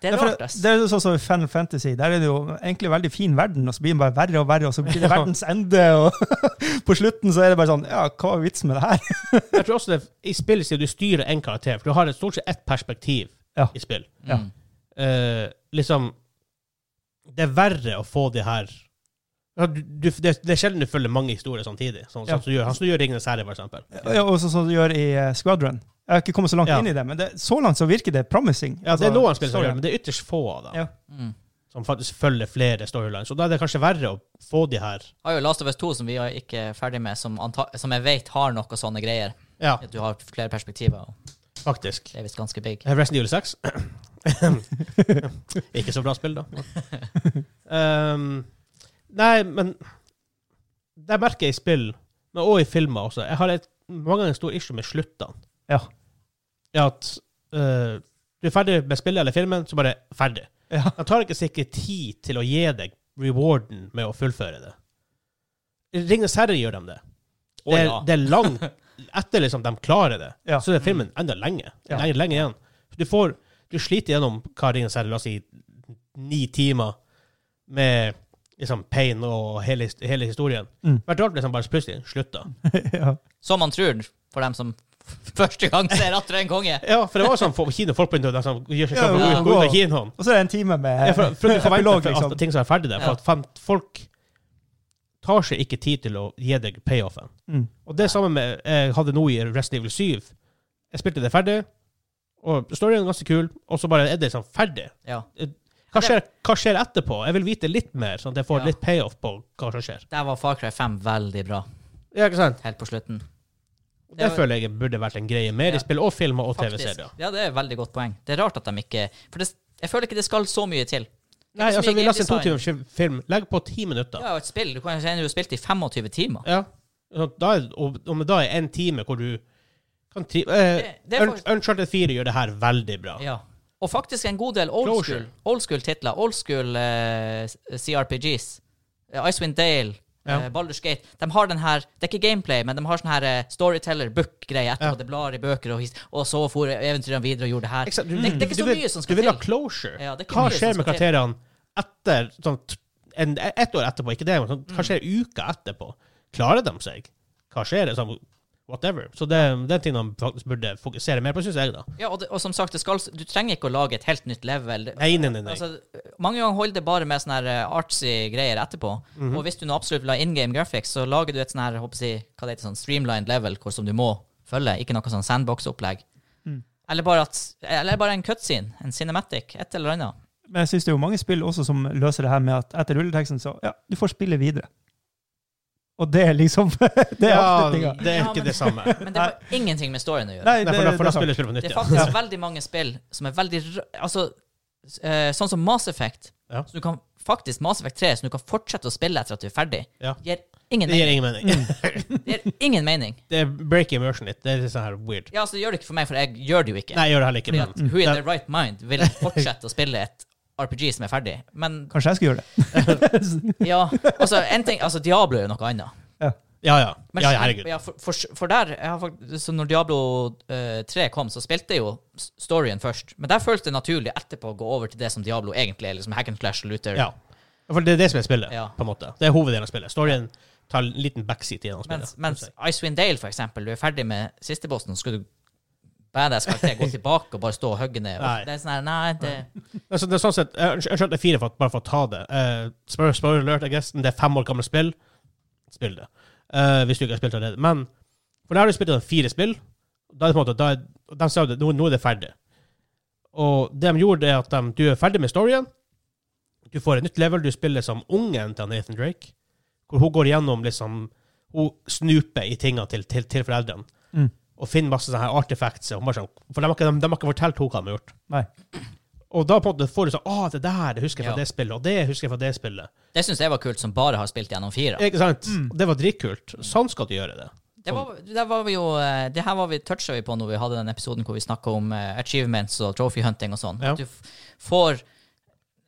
S2: det er
S3: Ja, for
S2: rart, ass.
S3: det er jo sånn som i Final Fantasy. Der er det jo egentlig veldig fin verden, og så blir den bare verre og verre, og så blir det verdens ende, og på slutten så er det bare sånn Ja, hva var vitsen med det her?
S1: Jeg tror også det i spill sier du styrer én karakter, for du har et stort sett ett perspektiv
S3: Ja.
S1: i spill.
S3: ja.
S2: Mm.
S1: Eh, liksom Det er verre å få de her ja, du, du, det, det er sjelden du følger mange historier samtidig. Sånn,
S3: Ja.
S1: sånn, som du gjør, han som gjør Ringenes herre, for eksempel.
S3: Ja, og sånn som du gjør i eh, Squadron. Jeg har ikke kommet så langt
S1: Ja.
S3: inn i det, men det, så langt så virker det promising.
S1: Ja, det
S3: Altså,
S1: er noen spill som
S3: storyen.
S1: gjør det, men det er ytterst få av dem
S3: Ja.
S2: Mm.
S1: som faktisk følger flere storylines. Og da er det kanskje verre å få de her
S2: Har jo Last of Us 2, som vi er ikke er ferdig med, som, anta som jeg vet har noe sånne greier.
S1: Ja,
S2: At du har flere perspektiver, og
S1: faktisk.
S2: det er visst ganske big.
S1: Eh, Resident Evil 6. Ikke så bra spill, da. Ehm, nei, men Det merker jeg i spill, men også i filmer også. Jeg har et, mange ganger stor issue med sluttene.
S3: Ja.
S1: Ja, at eh, du er ferdig med spillet eller filmen, så bare ferdig.
S3: Ja.
S1: Han tar ikke sikkert tid til å gi deg rewarden med å fullføre det. I Ringenes herre gjør de det.
S2: Å,
S1: Det er,
S2: ja.
S1: det er langt etter liksom de klarer det.
S3: Ja.
S1: Så er filmen enda lenge.
S3: Ja.
S1: Lenge, lenge igjen. Så du, får, du sliter gjennom hva Ringenes herre, la oss si ni timer med liksom pain og hele, his- hele historien.
S3: Mm.
S1: Hvert år liksom bare plutselig slutta.
S3: ja.
S2: Som man tror, for dem som første gang ser Atter en konge.
S1: Ja, for det var sånn på kino, folk begynte å liksom, gjøre seg
S3: Ja,
S1: klar for å
S2: ja.
S1: gå ut av kinoen.
S3: Og så er det en time med
S1: Ja, for, for du forventer
S3: epilog,
S1: for
S3: liksom.
S1: at ting som er ferdig der.
S2: Ja.
S1: For at fan- folk tar seg ikke tid til å gi deg payoffen.
S3: Mm.
S1: Og det er samme med jeg hadde nå i Resident Evil 7. Jeg spilte det ferdig, og storyen er ganske kul, og så bare er det liksom ferdig.
S2: Ja.
S1: Hva skjer, hva skjer etterpå? Jeg vil vite litt mer, sånn at jeg får
S2: Ja.
S1: litt payoff på hva som skjer.
S2: Der var Far Cry 5 veldig bra,
S1: Ja, ikke sant?
S2: helt på slutten.
S1: Og
S2: Det
S1: Det
S2: var-
S1: føler jeg burde vært en greie mer
S2: Ja.
S1: i spill og filmer og
S2: Faktisk.
S1: TV-serier.
S2: Ja, det er et veldig godt poeng. Det er rart at de ikke For det, jeg føler ikke det skal så mye til.
S1: Nei,
S2: så
S1: altså,
S2: mye
S1: vi laster en to
S2: gamedesign.
S1: timers film. Legg på ti minutter.
S2: Ja, og et spill. Du kan jo si at du har spilt i 25 timer.
S1: Ja. Så Da er, og, og men da er en time hvor du kan tri... Eh,
S2: Det- det er
S1: Un-
S2: faktisk-
S1: Uncharted 4 gjør det her veldig bra.
S2: Ja. Og faktisk en god del old
S1: Closure.
S2: school, old school titler. Old school eh, CRPGs. Eh, Icewind Dale,
S1: Ja.
S2: eh, Baldur's Gate. De har den her Det er ikke gameplay, men de har sånn her eh, storyteller-book-greie
S1: Ja.
S2: etterpå. Det blar i bøker, og, his- og så for eventyrene videre og gjorde det her.
S1: Ikke sant? Du,
S2: Det, det er ikke
S1: du
S2: så
S1: vil-
S2: mye som
S1: Du
S2: skal
S1: vil ha
S2: til.
S1: closure.
S2: Ja, det er ikke
S1: Hva
S2: mye som
S1: skjer med
S2: skal til.
S1: karakterene etter sånn, t- en, ett år etterpå? Ikke det, men sånn,
S2: Mm.
S1: hva skjer uka etterpå? Klarer de seg? Hva skjer? Sånn, whatever. Så det, det er en ting de faktisk burde fokusere mer på, syns jeg, da.
S2: Ja, og, det, og som sagt, det skal, du trenger ikke å lage et helt nytt level.
S1: Nei, nei, nei. nei.
S2: Altså, mange ganger holder det bare med sånne her eh, artsy greier etterpå.
S1: Mhm.
S2: Og hvis du nå absolutt vil ha in game graphics, så lager du et sånn her håper jeg, hva det heter, sånn streamlined level hvor som du må følge, ikke noe sånn sandbox-opplegg.
S3: Mm.
S2: Eller, bare at, eller bare en cutscene, en cinematic, et eller annet.
S3: Men jeg syns det er jo mange spill også som løser det her med at etter rulleteksten så Ja, du får spille videre. Og det er liksom Det er
S1: ja,
S3: avslutninga.
S1: det er
S2: Ja,
S1: ikke
S2: men-
S1: det samme. Nei,
S2: Men det har ingenting med storyen å gjøre.
S3: Nei, det,
S1: for da for
S3: det
S1: da
S3: er sant.
S1: spiller spillet på nytt
S2: Det er
S1: igjen.
S2: faktisk veldig mange spill som er veldig r- Altså, s- eh, sånn som Mass Effect,
S1: Ja.
S2: som du kan faktisk Mass Effect 3 som du kan fortsette å spille etter at du er ferdig,
S1: Ja.
S2: gir ingen
S1: Det gir
S2: mening.
S1: ingen mening.
S3: Mm.
S2: Det gir ingen mening.
S1: Det er break immersion litt. Det er litt sånn her weird.
S2: Ja, altså, det gjør det ikke for meg, for jeg gjør det jo ikke.
S1: Nei, jeg gjør det heller ikke.
S2: Fordi at
S1: Men
S2: who in their right mind vil fortsette å spille et RPG som er ferdig? Men
S3: Kanskje jeg skal gjøre det.
S2: ja, altså, en ting, altså Diablo er jo noe annet.
S1: ja, ja.
S2: Men
S1: ja, ja herregud.
S2: Ja, for, for, for der, jeg har fakt- så når Diablo eh, 3 kom, så spilte jeg jo s- storyen først. Men der føltes det naturlig etterpå å gå over til det som Diablo egentlig er. liksom Hack and Clash, Luther.
S1: Ja. For det er det som er spillet,
S2: Ja.
S1: på en måte. Det er hoveddelen av spillet. Storyen tar en liten backseat i det spillet.
S2: Mens, mens Icewind Dale, for eksempel, du er ferdig med siste bossen, så skal du badass karakter gå tilbake og bare stå og hogge ned.
S1: Nei.
S2: Det er sånn her, nei, det...
S1: Altså, det er sånn sett, jeg jeg skjønte fire for at, bare for å ta det. Eh, spoiler, spoiler alert, I guess. men Det er fem år gamle spill. Spill det. Eh, hvis du ikke har spilt allerede. Men for da har du spilt sånn fire spill. Da er det på en måte, da er, de sa jo det, nå, nå er det ferdig. Og det de gjorde, er at de, du er ferdig med storyen. Du får et nytt level. Du spiller som ungen til Nathan Drake. Hvor hun går gjennom liksom, Hun snuper i tinga til, til, til foreldrene.
S3: Mm.
S1: Og finner masse sånne her artifacts. Og hun bare sånn, for de har, ikke, de, de har ikke fortalt henne hva de har gjort.
S3: Nei.
S1: Og da på en måte får du sånn Å, det der det husker jeg fra
S2: Ja.
S1: det spillet, og det husker jeg fra det spillet.
S2: Det syns jeg var kult, som bare har spilt gjennom fire.
S1: Ikke sant? Det var dritkult. Sånn skal du gjøre det.
S2: Det, var, det, var vi jo, eh, det her var vi toucha vi på når vi hadde den episoden hvor vi snakka om eh, achievements og trophy hunting og sånn.
S1: Ja.
S2: Du f- får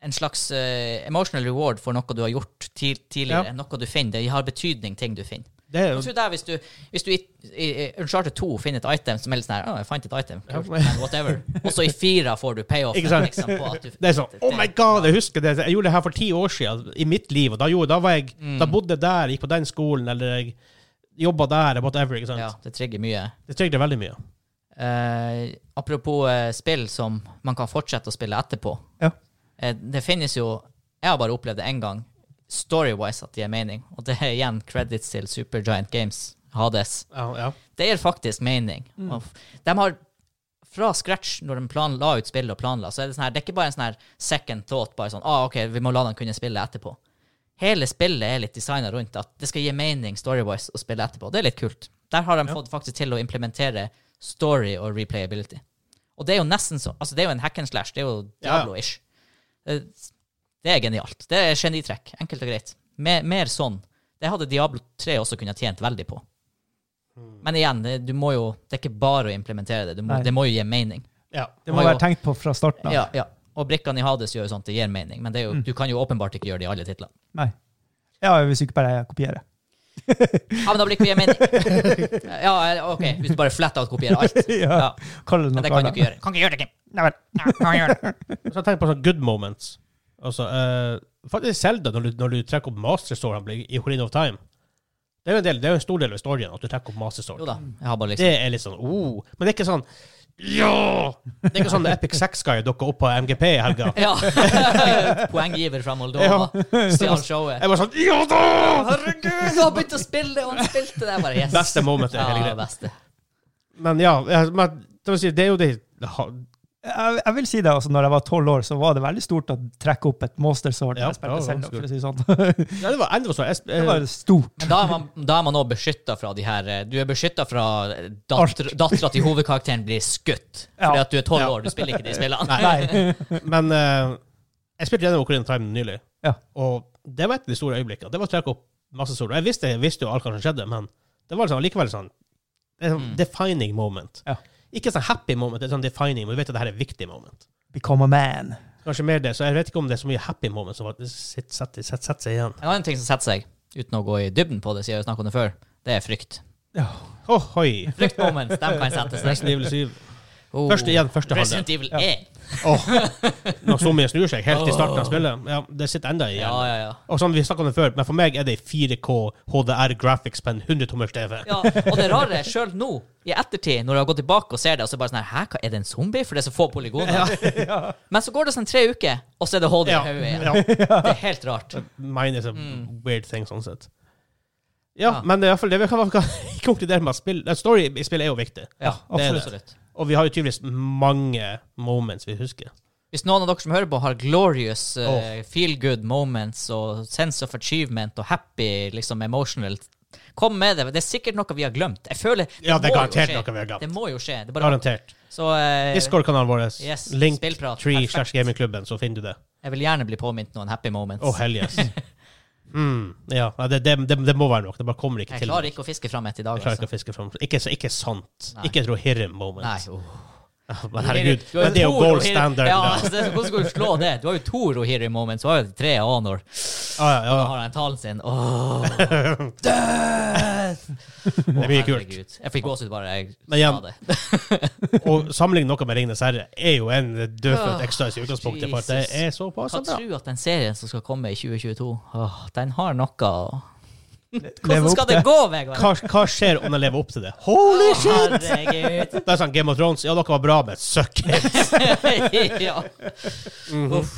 S2: en slags eh, emotional reward for noe du har gjort ti tidligere.
S1: Ja.
S2: Noe du finner. Det har betydning, ting du finner.
S1: Det er
S2: Jeg
S1: jo
S2: tror det er hvis du, hvis du i, i, i Uncharted 2 finner et item som er litt sånn her, «Å, jeg fant et item,
S1: Ja.
S2: kult, men whatever. Og så i fira får du payoff.
S1: Ikke sant?
S2: Liksom, på at du,
S1: det er sånn Oh my god, jeg husker det. Jeg gjorde det her for ti år siden i mitt liv, og da, gjorde, da var jeg Da bodde jeg der, gikk på den skolen, eller jeg jobba der, whatever. Ikke sant?
S2: Ja, det trigger mye.
S1: Det trigger veldig mye.
S2: Eh, apropos eh, spill som man kan fortsette å spille etterpå.
S3: Ja.
S2: Eh, det finnes jo Jeg har bare opplevd det én gang, story-wise, at det gir mening. Og det er igjen credits til Supergiant Games, Hades.
S1: Ja, ja.
S2: Det gir faktisk mening. Og f- De har fra scratch, når de plan, la ut spillet og planla, så er det sånn her, det er ikke bare en sånn her second thought, bare sånn ah, OK, vi må la dem kunne spille etterpå. Hele spillet er litt designa rundt at det skal gi mening story-wise å spille etterpå. Det er litt kult. Der har de fått faktisk til å implementere story og replayability. Og det er jo nesten så Altså, det er jo en hack and slash. Det er jo
S1: Ja.
S2: Diablo-ish. Eh, Det er genialt. Det er genitrekk. Enkelt og greit. Mer, mer sånn. Det hadde Diablo 3 også kunnet tjent veldig på. Men igjen, det, du må jo, det er ikke bare å implementere det. Du må,
S3: Nei.
S2: det må jo gi mening.
S1: ja.
S3: Det må
S2: Og-
S3: være tenkt på fra starten av.
S2: Ja, ja. Og brikkene i Hades gjør jo sånt, det gir mening. Men det er jo,
S3: Hmm.
S2: du kan jo åpenbart ikke gjøre det i alle titler.
S3: Nei. Ja, hvis ikke bare jeg kopierer.
S2: Ja, men da blir det ikke mening. Ja, OK, hvis du bare flat out kopierer alt.
S3: ja.
S2: Ja.
S3: Kaller det
S2: Men
S3: noe
S2: det kan du
S3: annet.
S2: ikke gjøre. Kan ikke gjøre det, Kim.
S3: Nei vel.
S2: Nei, kan ikke gjøre det.
S1: Så jeg tenker på sånn good moments. Altså, eh, faktisk Zelda, når, du- når du trekker opp Master Sword i Horino of Time Det er jo en, del, det er jo en stor del av historien at du trekker opp Master Sword.
S2: Jo da. Jeg har bare liksom
S1: Det er litt sånn oh. Men det er ikke sånn Ja! Det er ikke sånn Epic Sex Guy dukka opp på MGP i helga.
S2: Ja. Poenggiver fra Moldova. Stjal showet.
S1: Jeg var sånn Ja da!
S2: Herregud, han har begynt å spille, og han spilte det. Jeg bare, yes.
S1: Beste momentet i hele
S2: Ja,
S1: greia.
S2: beste.
S1: Men ja, jeg- men, det, vil si, det er jo det ha-
S3: Jeg, jeg vil si det, altså, når jeg var tolv år, så var det veldig stort å trekke opp et monster sword.
S1: Ja,
S3: når jeg spilte
S1: ja,
S3: Zelda,
S1: absolutt.
S3: for å si det sånn.
S1: ja, Det var enda sånn. Jeg, sp-
S3: det
S1: eh,
S3: var stort.
S2: Men da er man, da er man også beskytta fra de her eh, Du er beskytta fra dattera til hovedkarakteren blir skutt.
S3: Ja.
S2: Fordi at du er tolv
S1: Ja.
S2: år, du spiller ikke de spillene.
S3: Nei.
S1: men eh, jeg spilte gjennom Ocarina of Time nylig,
S3: Ja.
S1: og det var et av de store øyeblikkene. Det var å trekke opp masse solo. Jeg visste, jeg visste jo alt hva som skjedde, men det var liksom, likevel sånn det er sånn defining moment.
S3: Mm. Ja.
S1: Ikke sånn happy moment, det er sånn defining, men du vet at det her er et viktig moment.
S3: Become a man.
S1: Kanskje mer det, så jeg vet ikke om det er så mye happy moments som faktisk sitter- setter setter- setter seg igjen.
S2: En annen ting som setter seg, uten å gå i dybden på det, siden vi snakket om det før, det er frykt.
S3: Ja.
S1: Ohoi!
S2: Fryktmoments, de kan sette seg.
S1: Resident Evil 7.
S2: Oh.
S1: Første igjen, første halvdel.
S2: Resident Evil 1.
S1: Åh, Når så mye snur seg helt i starten av spillet. Ja, det sitter enda i
S2: Ja,
S1: hjernen.
S2: ja, ja.
S1: Og sånn, vi snakket om det før, men for meg er det 4K HDR graphics på en 100-tommers TV.
S2: Ja, og det rare er sjøl nå, i ettertid, når jeg har gått tilbake og ser det, og så bare sånn her Hæ, hva er det en zombie? For det er så få polygoner. Men så går det sånn tre uker, og så er det hold i
S1: Ja,
S2: hodet igjen.
S1: ja.
S2: Det er helt rart.
S1: Mine is a weird thing, sånn sett. Ja,
S2: Ja.
S1: men det er i hvert fall det vi kan vi kan konkludere med at spill, at story i spillet er jo viktig.
S2: Ja,
S1: det er det.
S2: absolutt.
S1: Og vi har jo tydeligvis mange moments vi husker.
S2: Hvis noen av dere som hører på, har glorious eh, feel good moments og sense of achievement og happy liksom emotional Kom med det. Det er sikkert noe vi har glemt. Jeg føler,
S1: Ja, det er
S2: må jo
S1: garantert
S2: skje.
S1: noe vi har glemt.
S2: Det må jo skje. Det er bare,
S1: Garantert.
S2: så eh,
S1: Discord-kanalen vår.
S2: Yes,
S1: Link
S2: spillprat.
S1: tree
S2: Perfekt.
S1: slash gamingklubben, så finner du det.
S2: jeg vil gjerne bli påminnet noen happy moments.
S1: Å, hell yes. Mm, ja, nei, det, det, det, det må være nok. Det bare kommer ikke
S2: jeg
S1: til.
S2: klarer ikke å fiske fram et i dag.
S1: Jeg klarer ikke
S2: Altså.
S1: å fiske fram. Ikke, så- ikke sant.
S2: Nei.
S1: Ikke et Rohirrim-moment.
S2: Nei, oh.
S1: Men herregud,
S2: Du har
S1: men det er jo
S2: to
S1: gold
S2: Rohirrim-
S1: standard.
S2: Ja,
S1: da.
S2: altså, hvordan skal du slå det? Du har jo to Rohirrim moments, og har jo tre Anor.
S1: Ah, ja,
S2: Da
S1: ja,
S2: har han talen sin. Åh,
S1: ja. Det er mye kult.
S2: herregud. Jeg fikk gåsehud bare jeg
S1: Men igjen,
S2: sa det.
S1: Og sammenligne noe med Ringenes herre er jo en dødfødt
S2: Åh,
S1: ekstra i utgangspunktet, for at det
S2: Jesus.
S1: er såpass
S2: Hva
S1: bra.
S2: tror du at den serien som skal komme i 2022, åh, den har noe å-
S3: Leve
S2: Hvordan
S3: opp
S2: skal det
S3: til.
S2: gå, Vegard?
S1: Hva, hva skjer om den lever opp til det? Holy
S2: Å,
S1: shit!
S2: Herregud.
S1: Det er sånn Game of Thrones. Ja, dere var bra, men suck it!
S2: ja. Uff.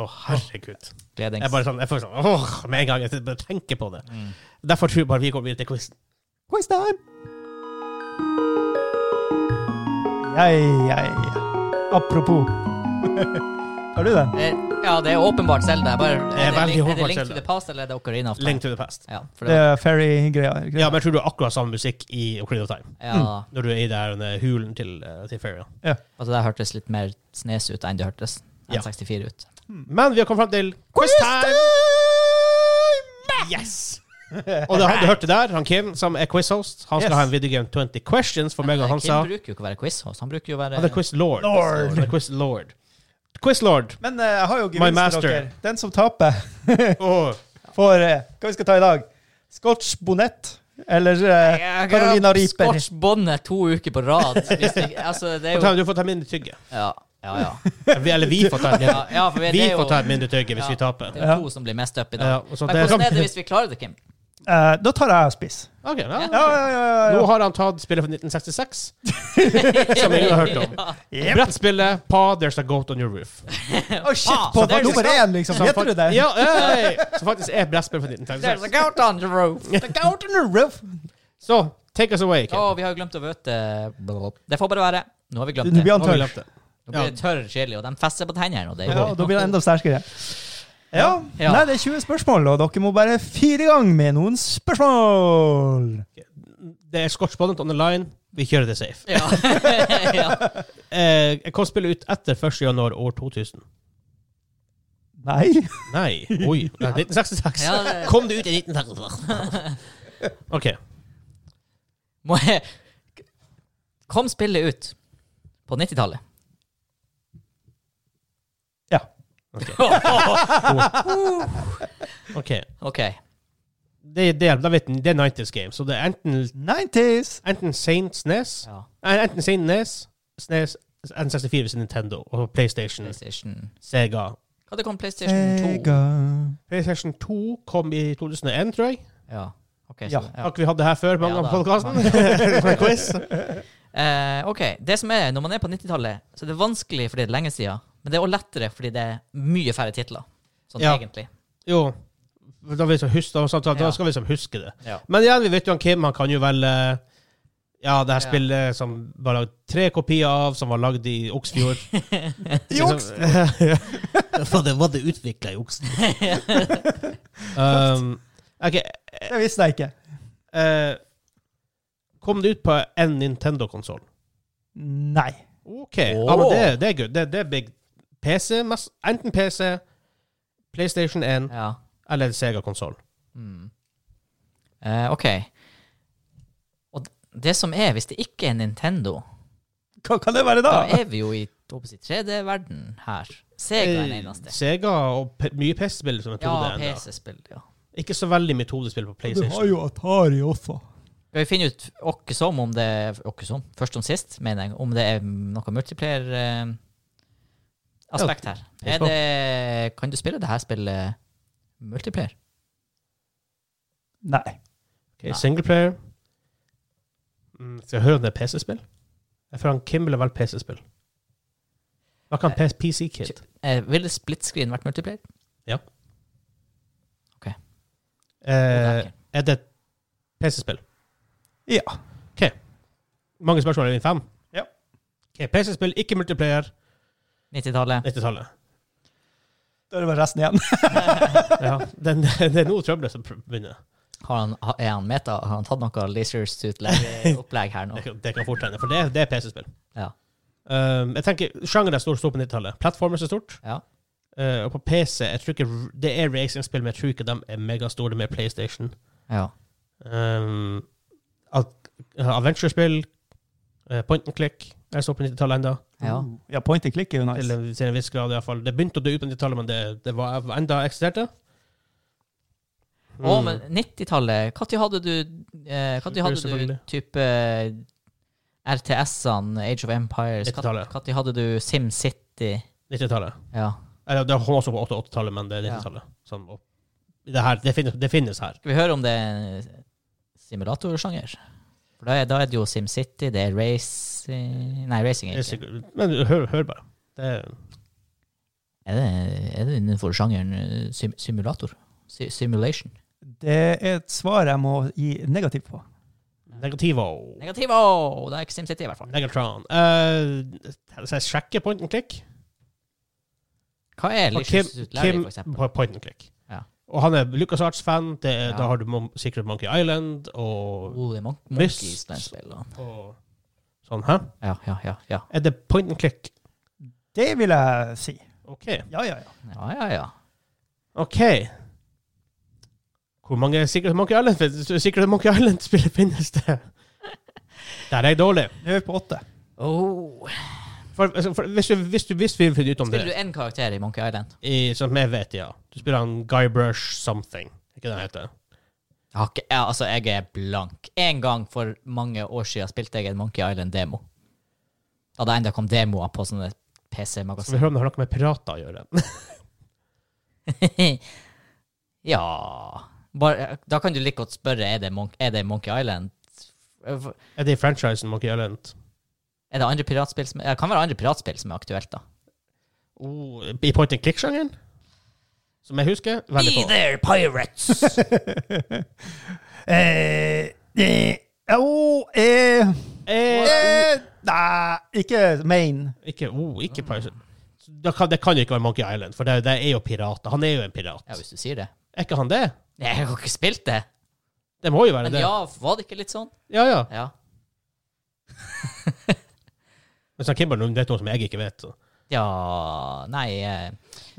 S1: Å, herregud.
S2: Gledings.
S1: Jeg bare sånn, jeg får sånn åh, med en gang jeg bare tenker på det.
S2: Mm.
S1: Derfor tror jeg bare vi går videre til quizen.
S3: Quiz time! Jeg, jeg. Apropos. Har du den?
S2: Eh, Ja, det er åpenbart Zelda. Jeg Bare,
S1: Det er
S2: er, det,
S1: veldig
S2: link- er det
S1: åpenbart
S2: Link to
S1: Zelda.
S2: the Past eller er det Ocarina of Time?
S1: Link to the past.
S2: Ja, for
S3: Det
S2: det,
S3: er fairy-greia. ikke sant?
S1: Ja, men jeg tror du har akkurat samme musikk i Ocarina of Time.
S2: ja,
S1: Når du er i der eh, hulen til, eh, til Fairia.
S2: altså det hørtes litt mer snes ut enn det hørtes
S1: Ja.
S2: N64 ut.
S1: Men vi har kommet fram til quiz time! Yes! Og det, han- du hørte der, han Kim, som er quiz-host, han skal
S3: Yes.
S1: ha en videogame 20 questions for meg og
S2: Men, eh,
S1: Hansa.
S2: Kim bruker jo ikke å være quiz-host. Han bruker jo å være
S1: Han er quiz-lord.
S3: Lord.
S1: Han er quiz-lord. Quiz-lord.
S3: Men eh, jeg har jo
S1: My
S3: gevinst
S1: master.
S3: til dere. Den som taper,
S1: Åh.
S3: får eh, Hva vi skal ta i dag? Scotch bonnet eller eh, Carolina Reaper?
S2: Scotchbåndet to uker på rad. Hvis det, altså, det er jo
S1: Du får ta mindre tygge.
S2: Ja, ja. ja.
S1: Vi- Eller vi får ta et
S2: ja,
S1: mindre,
S2: ja for det
S1: vi
S2: er jo,
S1: får ta et mindre tygge hvis
S2: Ja.
S1: vi taper.
S2: det er jo to som blir mest up i
S1: Ja,
S2: dag.
S1: og så
S2: Men
S1: det- sånn-
S2: hvordan er det hvis vi klarer det, Kim?
S3: Eh, da tar jeg og spiser.
S1: Ok, ja.
S3: Ja, ja, ja. ja,
S1: Nå
S3: ja.
S1: har han tatt spillet fra 1966, som ingen har hørt om.
S3: Yep.
S1: Brettspillet Pa, There's a Goat on Your Roof.
S3: Å, shit!
S2: Ah,
S3: På
S2: så det er
S3: nummer
S2: liksom-
S3: én, liksom. Vet du det?
S1: Ja, hey! Som faktisk er et brettspill fra
S2: There's a
S1: 1966.
S2: goat on the roof.
S3: The Garden of Ruff.
S1: Så take us away, Kim.
S2: Å, vi har jo glemt å vøte Det får bare være. Nå har vi
S3: Du
S2: glemt
S3: nå blir
S2: det.
S1: Nå
S3: han
S1: har vi
S3: tørr.
S1: glemt det.
S2: Nå blir det tørr kjedelig, og de fester på tennene. og det er
S3: Ja,
S2: jo-
S3: og da blir det enda sterkere. Ja.
S2: Ja.
S3: Nei, det er 20 spørsmål, og dere må bare fire i gang med noen spørsmål.
S1: Det er Scotch Bonnet on the line. Vi kjører det safe.
S2: Ja. ja.
S1: Eh, jeg kom spillet ut etter 1. januar år 2000.
S3: Nei.
S1: Nei, oi. Nei, 1966.
S2: Ja, det-
S1: Kom det ut i 1966? OK.
S2: Må jeg Kom spillet ut på 90-tallet.
S3: Ja.
S1: ok.
S2: OK.
S1: Det, det, da vet den, det er 90's game, så det er enten,
S3: 90s.
S1: enten Saint Snes
S2: Ja.
S1: Nei, Enten E Saint Nes, Snes, N64 hvis det er Nintendo, og PlayStation,
S2: PlayStation.
S1: Sega.
S2: Hva det kom
S1: Eh,
S2: PlayStation 2?
S3: Sega.
S1: PlayStation 2 kom i 2001, tror jeg.
S2: Ja. Ok, så,
S3: Ja.
S2: ja.
S1: Har ikke vi hatt det her før på
S2: Ja da.
S1: podkasten? Quiz.
S2: Eh, ok, det som er Når man er på 90-tallet, så er det vanskelig fordi det er lenge siden. Men det er også lettere fordi det er mye færre titler. Sånn
S1: Ja.
S2: egentlig.
S1: Jo. Da, vil vi huske, da, sant, da
S2: Ja.
S1: skal vi liksom huske det.
S2: Ja.
S1: Men igjen, vi vet jo han Kim han kan jo velge ja, det her
S2: Ja.
S1: spillet som var lagd tre kopier av, som var lagd i Oksfjord.
S3: I Oksfjord.
S1: For det var det utvikla i Oksfjord. um, ok,
S3: Det visste jeg ikke.
S1: Eh, kom det ut på en Nintendo-konsoll?
S3: Nei.
S1: OK. Ja, men det, det er good. Det, det er big. PC, mest, enten PC, PlayStation 1
S2: Ja.
S1: eller en Sega-konsoll.
S2: Mm. Eh, ok. Og d- det som er, hvis det ikke er Nintendo,
S3: Hva kan det være da?
S2: da er vi jo i håper jeg, 3D-verden her. Sega er den eneste.
S1: Eh, Sega og p mye PC-spill som metode.
S2: Ja,
S1: enda.
S2: PC-spill. ja.
S1: Ikke så veldig metodespill på PlayStation.
S3: jo Atari også.
S2: Skal vi finne ut åkke som om det åkke som, Først om sist, mener jeg. Om det er noe multiplayer-aspekt her.
S1: Ja,
S2: Er det, kan du spille det her spillet multiplayer?
S3: Nei.
S1: Okay, Singleplayer. Mm, skal jeg høre om det er PC-spill? Jeg tror han Kim ville valgt PC-spill. Hva kan PC-kid?
S2: Eh, ville split screen vært multiplayer?
S1: Eh, er det et PC-spill?
S3: Ja.
S1: Mange spørsmål er vi fem?
S3: Ja.
S1: Ok, PC-spill, ikke multiplayer,
S2: 90-tallet?
S1: 90-tallet.
S3: Da er det bare resten igjen.
S1: Ja, den, det er nå trøbbelet som pr- begynner.
S2: Har han, ha- er han meta? Har han tatt noe Laser Suit-opplegg her nå?
S1: Det, kan- det kan fort hende, for det, det er PC-spill.
S2: Ja.
S1: Um, jeg tenker, Sjangeren er stor, stor på 90-tallet. Plattformer er stort.
S2: Ja.
S1: Uh, og på PC jeg tror ikke, r- Det er racingspill, men jeg tror ikke de er megastore med PlayStation.
S2: ja.
S1: Um, ad- Adventure-spill, uh, point and click, er stor på 90-tallet ennå.
S2: Ja.
S3: Uh, ja, point and click er jo
S1: Til,
S3: nice.
S1: en- til en viss grad, iallfall. Det begynte å dø ut på 90-tallet, men det, det var enda eksisterte.
S2: Å, men 90-tallet Når hadde du eh, Når hadde du
S1: Selvfølgelig.
S2: type eh, RTS-ene, Age of Empires Når
S1: 90-tallet.
S2: hadde du SimCity?
S1: 90-tallet.
S2: Ja.
S1: Eller det kom også på 88-tallet, men det er 90-tallet. Sånn, og det, her, det, finnes, det finnes her.
S2: Skal vi høre om det er simulatorsjanger? For da er, da er det jo SimCity, det er racing Nei, racing
S1: Det er
S2: er ikke.
S1: sikkert, men hør, hør bare. Det, er-
S2: Er det, er det innenfor sjangeren eh, sim simulator? Si simulation?
S3: Det er et svar jeg må gi negativt på.
S1: negativo.
S2: Negativo! Det er ikke SimCity, i hvert fall.
S1: Negatron. Eh, så jeg sjekker point and click.
S2: Hva er
S1: Og
S2: Licious
S1: Ah, Kim,
S2: Larry,
S1: Kim
S2: for eksempel?
S1: på point and click.
S2: Ja.
S1: Og han er LucasArts-fan. Det er-
S2: Ja.
S1: Da har du Mon Secret Monkey Island og,
S2: Oh, det er Mon
S1: Miss-
S2: Monkeys, den spiller.
S1: og sånn. Hæ?
S2: Ja, ja, ja. Ja,
S1: Er det point and click?
S3: Det vil jeg si.
S1: OK.
S3: Ja, ja, ja.
S2: ja, ja. ja.
S1: OK. Hvor mange Secret Monkey Island Secret Monkey Island-spill finnes det? Der er jeg dårlig.
S3: Nå er vi på åtte.
S2: Oh.
S1: For, altså, for, hvis, du, hvis, du, hvis vi finner ut om
S2: Spiller
S1: det,
S2: du én karakter i Monkey Island?
S1: i, som jeg vet, ja Du spiller han Guy Brush something. Ikke det han heter?
S2: Jeg har ikke, ja, altså, jeg er blank. En gang for mange år siden spilte jeg en Monkey Island-demo. Da det enda kom demoer på sånne
S1: Skal vi
S2: PC-magasin.
S1: høre om det har noe med pirater å gjøre?
S2: ja Bare, Da kan du like godt spørre er det, Monk, er det Monkey Island. Er
S1: er det i franchisen Monkey Island?
S2: det andre piratspill som Det kan være andre piratspill som er aktuelt, da.
S1: Oh, I point and click-sjangeren? Som jeg husker veldig
S2: Be
S1: på.
S2: there, pirates!
S3: Eh, eh, oh, eh,
S1: Eh,
S3: eh, nei, ikke main.
S1: ikke oh, ikke Pirate. Det kan, det kan jo ikke være Monkey Island, for det, det er jo pirater. Han er jo en pirat.
S2: ja, hvis du sier det.
S1: Er ikke han det?
S2: Nei, Jeg har ikke spilt det.
S1: Det må jo være
S2: Men
S1: det.
S2: ja, var det ikke litt sånn?
S1: Ja, ja.
S2: Ja.
S1: Men sånn Kimberley, det er noe som jeg ikke vet. Så.
S2: Ja Nei, eh,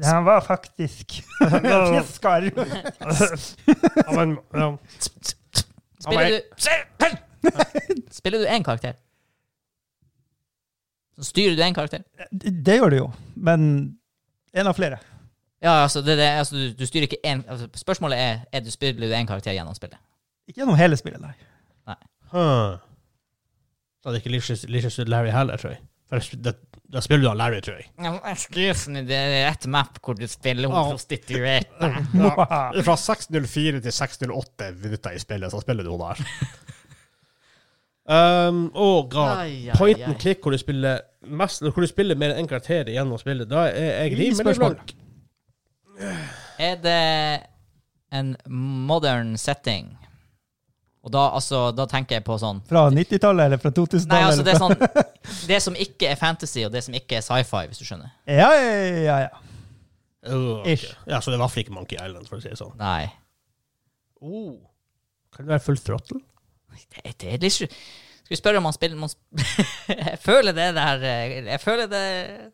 S3: Han var faktisk fisker.
S1: Ja, men, ja.
S2: spiller du Spiller du én karakter? Så styrer du én karakter?
S3: Det gjør det jo, men en av flere.
S2: Ja, altså, det, det, altså du, du styrer ikke én altså, Spørsmålet er er du spiller du én karakter gjennom spillet.
S3: Ikke gjennom hele spillet, nei.
S1: Huh. Da hadde ikke Licious Licious Larry heller, tror jeg. For jeg sp- da, da spiller du av Larry, tror jeg.
S2: Excuse me, det er ett map hvor du spiller
S1: Ja.
S2: prostituerte.
S1: Fra 6.04 til 6.08 minutter i spillet, så spiller du henne der. um, oh god. Point and click hvor du spiller mest, hvor du spiller mer enn én karakter gjennom spillet, da er jeg
S3: I
S1: rimelig
S3: spørsmål.
S1: blank.
S2: Er det en modern setting? Og da, altså, da tenker jeg på sånn
S3: Fra 90-tallet eller fra 2000-tallet?
S2: Nei, altså, det
S3: eller
S2: er sånn Det som ikke er fantasy, og det som ikke er sci-fi, hvis du skjønner.
S3: fra- Ja, ja, ja. ja.
S1: Uh,
S3: Ish.
S1: Ja, så det var i hvert fall ikke Monkey Island, for å si det sånn.
S2: Nei.
S1: Oh. Kan det være full throttle?
S2: Det, det er litt sju- Skal vi spørre om han spiller om han sp Jeg føler det der eh, Jeg føler det,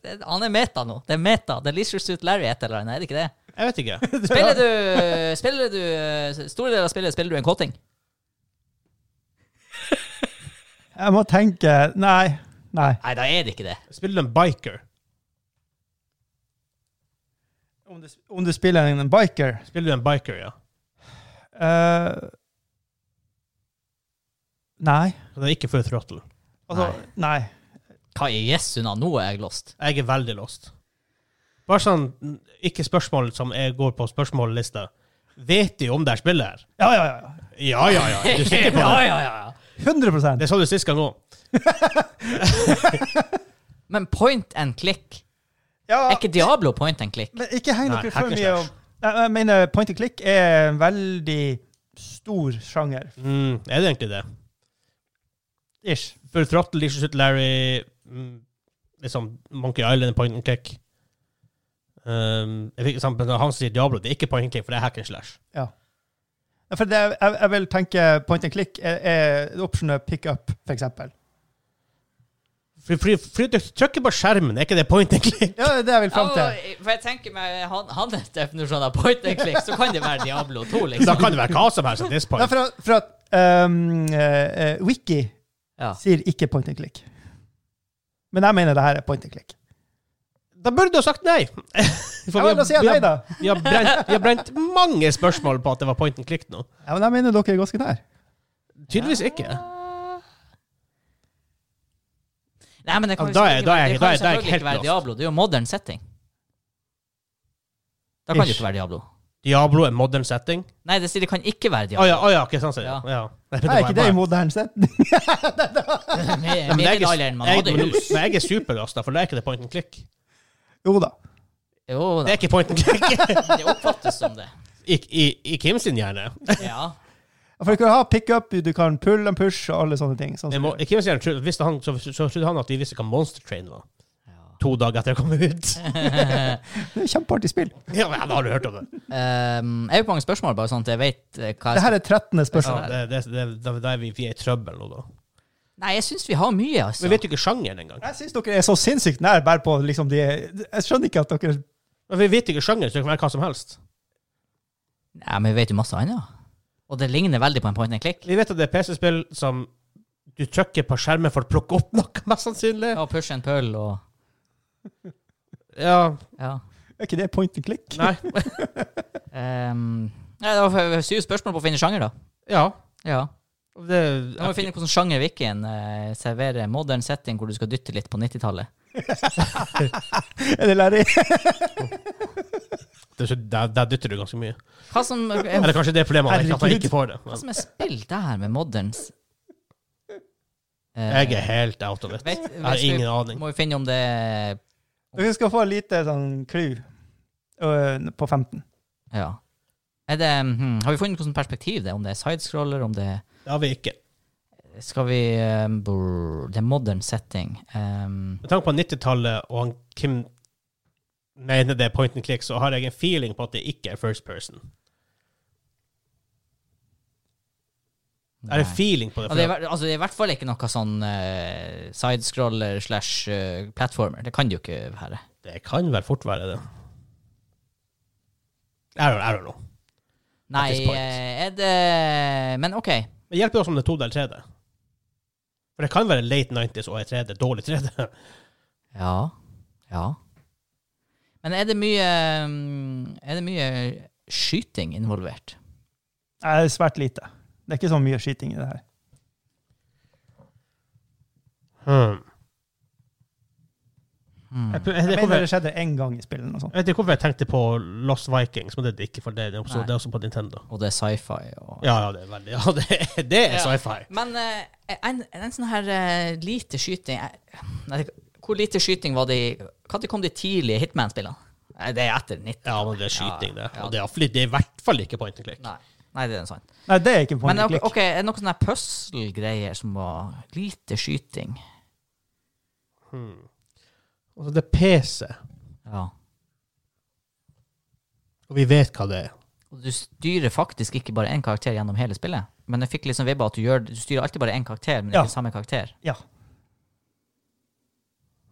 S2: det Han er meta nå. Det er meta. Det er Leisure Suit Larry et eller annet, er det ikke det?
S1: Jeg vet ikke.
S2: Spiller du Spiller du eh, Store deler av spillet spiller du en kåting?
S3: Jeg må tenke Nei. Nei.
S2: Nei, da er det ikke det.
S1: Spiller du en biker?
S3: Om du, om du spiller en biker
S1: Spiller du en biker, ja.
S3: eh, Nei.
S1: Så Det er ikke full throttle.
S3: Altså, nei.
S2: Hva i jesu navn? Nå er jeg lost.
S1: Jeg er veldig lost. Bare sånn, ikke spørsmål som jeg går på spørsmållista. Vet de om det her spillet her?
S3: Ja, ja, ja.
S1: Ja, ja, ja. Er du sikker på
S2: ja,
S1: det?
S2: ja, ja.
S3: ja. 100
S1: Det sa du sist gang òg.
S2: Men point and click
S3: ja,
S2: Er ikke Diablo point and click?
S3: Men ikke heng
S1: Nei,
S3: dere
S1: hack
S3: for
S1: and
S3: mye om
S1: slash.
S3: Nei, Jeg mener, point and click er en veldig stor sjanger.
S1: Mm, er det egentlig det?
S3: Ish.
S1: Full throttle, Licious Ut Larry, mm, liksom Monkey Island, point and click. Um, jeg fikk, eksempel, når han sier Diablo, det er ikke point and click, for det er hack and slash.
S3: Ja. Ja, For det, jeg, jeg vil tenke point and click er, er optionet pick up, for eksempel.
S1: For, for, for du trykker på skjermen, er ikke det point and click?
S3: Ja, det er det jeg vil
S2: Ja,
S3: frem til.
S2: for jeg tenker meg, han, han er definisjonen av point and click, så kan det være Diablo 2,
S1: Da
S2: liksom.
S1: kan det være hva som helst at this
S3: Nei,
S1: point.
S3: for, at- for at ehm, eh, eh, Wiki
S2: Ja.
S3: sier ikke point and click. Men jeg mener det her er point and click.
S1: Da burde du ha sagt nei. For
S3: Ja, men da sier jeg nei, da.
S1: Vi har, brent, vi har brent mange spørsmål på at det var point and click nå.
S3: Ja, men jeg mener dere er ganske nær.
S1: Tydeligvis ikke.
S2: Nei, men det
S1: Ja, da
S2: kan jo
S1: er-
S2: selvfølgelig
S1: da er
S2: være-
S1: jeg- da er-
S2: det kan jo
S1: da er jeg
S2: selvfølgelig
S1: helt
S2: ikke være
S1: lost.
S2: Diablo. Det er jo modern setting. Da kan det
S3: Ish.
S2: ikke være Diablo.
S1: Diablo er modern setting.
S2: Nei, det sier det kan ikke være
S1: Å
S2: Diablo.
S1: ja, sånn å ja, ikke sant, sier
S2: Ja.
S1: jeg. Ja.
S3: Nei, ikke det i
S1: bare-
S3: moderne sett.
S2: Med,
S1: Men
S2: med
S1: jeg er-
S2: middelalderen man
S1: jeg-
S2: hadde
S1: men-
S2: hus.
S1: Men jeg er supergass, da, for det er ikke det point and click.
S3: Jo da.
S2: Jo
S1: Det
S2: da,
S1: er ikke point and click
S2: det oppfattes som det.
S1: i, i, i Kim sin hjerne.
S2: Ja.
S3: For du kan ha pickup, du kan pull and push og alle sånne ting. Sånn
S1: Jeg
S3: som
S1: må, I Kim sin hjerne trodde- visste han, så, så trodde han at vi visste hva Monster Train var. To dager etter det kom ut.
S3: Det er et Kjempeartig spill.
S1: Ja, men har du hørt om det?
S2: Ehm, jeg har jo mange spørsmål, bare sånn at jeg vet eh, hva jeg skal
S3: Det her er 13.
S1: Ja,
S3: spørsmål.
S1: det, det, det, da, da er vi, vi er i trøbbel nå, da.
S2: Nei, jeg syns vi har mye, altså.
S1: Vi vet jo ikke sjangeren engang.
S3: Jeg syns dere er så sinnssykt nær bare på liksom de Jeg skjønner ikke at dere
S1: Men Vi vet jo ikke sjangeren, så det kan være hva som helst.
S2: Nei, men vi vet jo masse annet. Og det ligner veldig på en point and click.
S1: Vi vet at det er PC-spill som du trykker på skjermen for å plukke opp noe, mest sannsynlig.
S2: Ja, push and pull og
S1: Ja,
S2: Ja.
S3: Er ikke det point and click?
S1: nei.
S2: Ehm, nei, det var syv spørsmål på å finne sjanger, da.
S1: Ja.
S2: Ja.
S1: Det,
S2: Da må vi finne hvordan sånn sjanger Wikien uh, serverer modern setting hvor du skal dytte litt på 90-tallet.
S3: Er det lærer?
S1: det, der, der dytter du ganske mye.
S2: Hva som, eh,
S1: Eller kanskje det er problemet han ikke- at han
S3: Herregud.
S1: ikke får det.
S2: hva
S1: Men
S2: som er spill der med moderns Eh,
S1: jeg er helt out of it.
S2: vet-
S1: Jeg har
S2: vet vi-
S1: ingen aning.
S2: Må vi finne om det er-
S3: Dere skal få en lite sånn clou øh, på 15.
S2: Ja. Er det, hmm, har vi funnet hvilket perspektiv det er? Om det er sidescroller, om det er
S1: Det har vi ikke.
S2: Skal vi eh, brr, Det er modern setting. Ehm,
S1: Med tanke på 90-tallet og han Kim mener det er point and click, så har jeg en feeling på at det ikke er first person. Jeg har en
S2: nei.
S1: feeling på det.
S2: Ja,
S1: For
S2: det, er, i hver- altså, det er i hvert fall ikke noe sånn eh, sidescroller slash eh, platformer. Det kan det jo ikke være.
S1: det kan vel fort være det. I don't, I don't know.
S2: Nei,
S1: this point.
S2: eh, er det Men OK.
S1: Men hjelper det oss om det er 2D eller 3D? For det kan være late 90s og er 3D, dårlig 3D.
S2: Ja. Ja. Men er det mye mm, Er det mye skyting involvert?
S3: Det er svært lite. Det er ikke så mye skyting i det her.
S1: Hmm. Jeg,
S2: Hmm.
S1: prø- jeg,
S3: Jeg
S1: jeg,
S3: mener
S1: jeg,
S3: det skjedde én gang i spillet. og sånt.
S1: jeg vet ikke hvorfor jeg tenkte på Lost Vikings, men det er det ikke, for det, det, er, også,
S2: Nei.
S1: det er også på Nintendo.
S2: Og det er sci-fi og
S1: Ja, ja, det er veldig Ja, det, er- det er
S2: Ja.
S1: sci-fi.
S2: Men eh, en, en sånn her eh, lite skyting jeg, nei, det- Hvor lite skyting var det i Når kom de tidlige Hitman-spillene? Nei, Det er etter 90.
S1: Ja, men det er skyting, det.
S2: Ja, ja.
S1: Og det er, iallfall- det er i hvert fall ikke point and click.
S2: Nei. nei, det er sant.
S3: Nei, det er ikke point
S2: Men
S3: and
S2: ok,
S3: click.
S2: ok, er det noen sånne her puzzle-greier som var lite skyting?
S1: Altså, det er PC,
S2: Ja.
S1: og vi vet hva det er.
S2: Og du styrer faktisk ikke bare én karakter gjennom hele spillet. Men jeg fikk liksom vibba at du, gjør, du styrer alltid bare én karakter, men
S3: Ja.
S2: ikke samme karakter.
S3: Ja.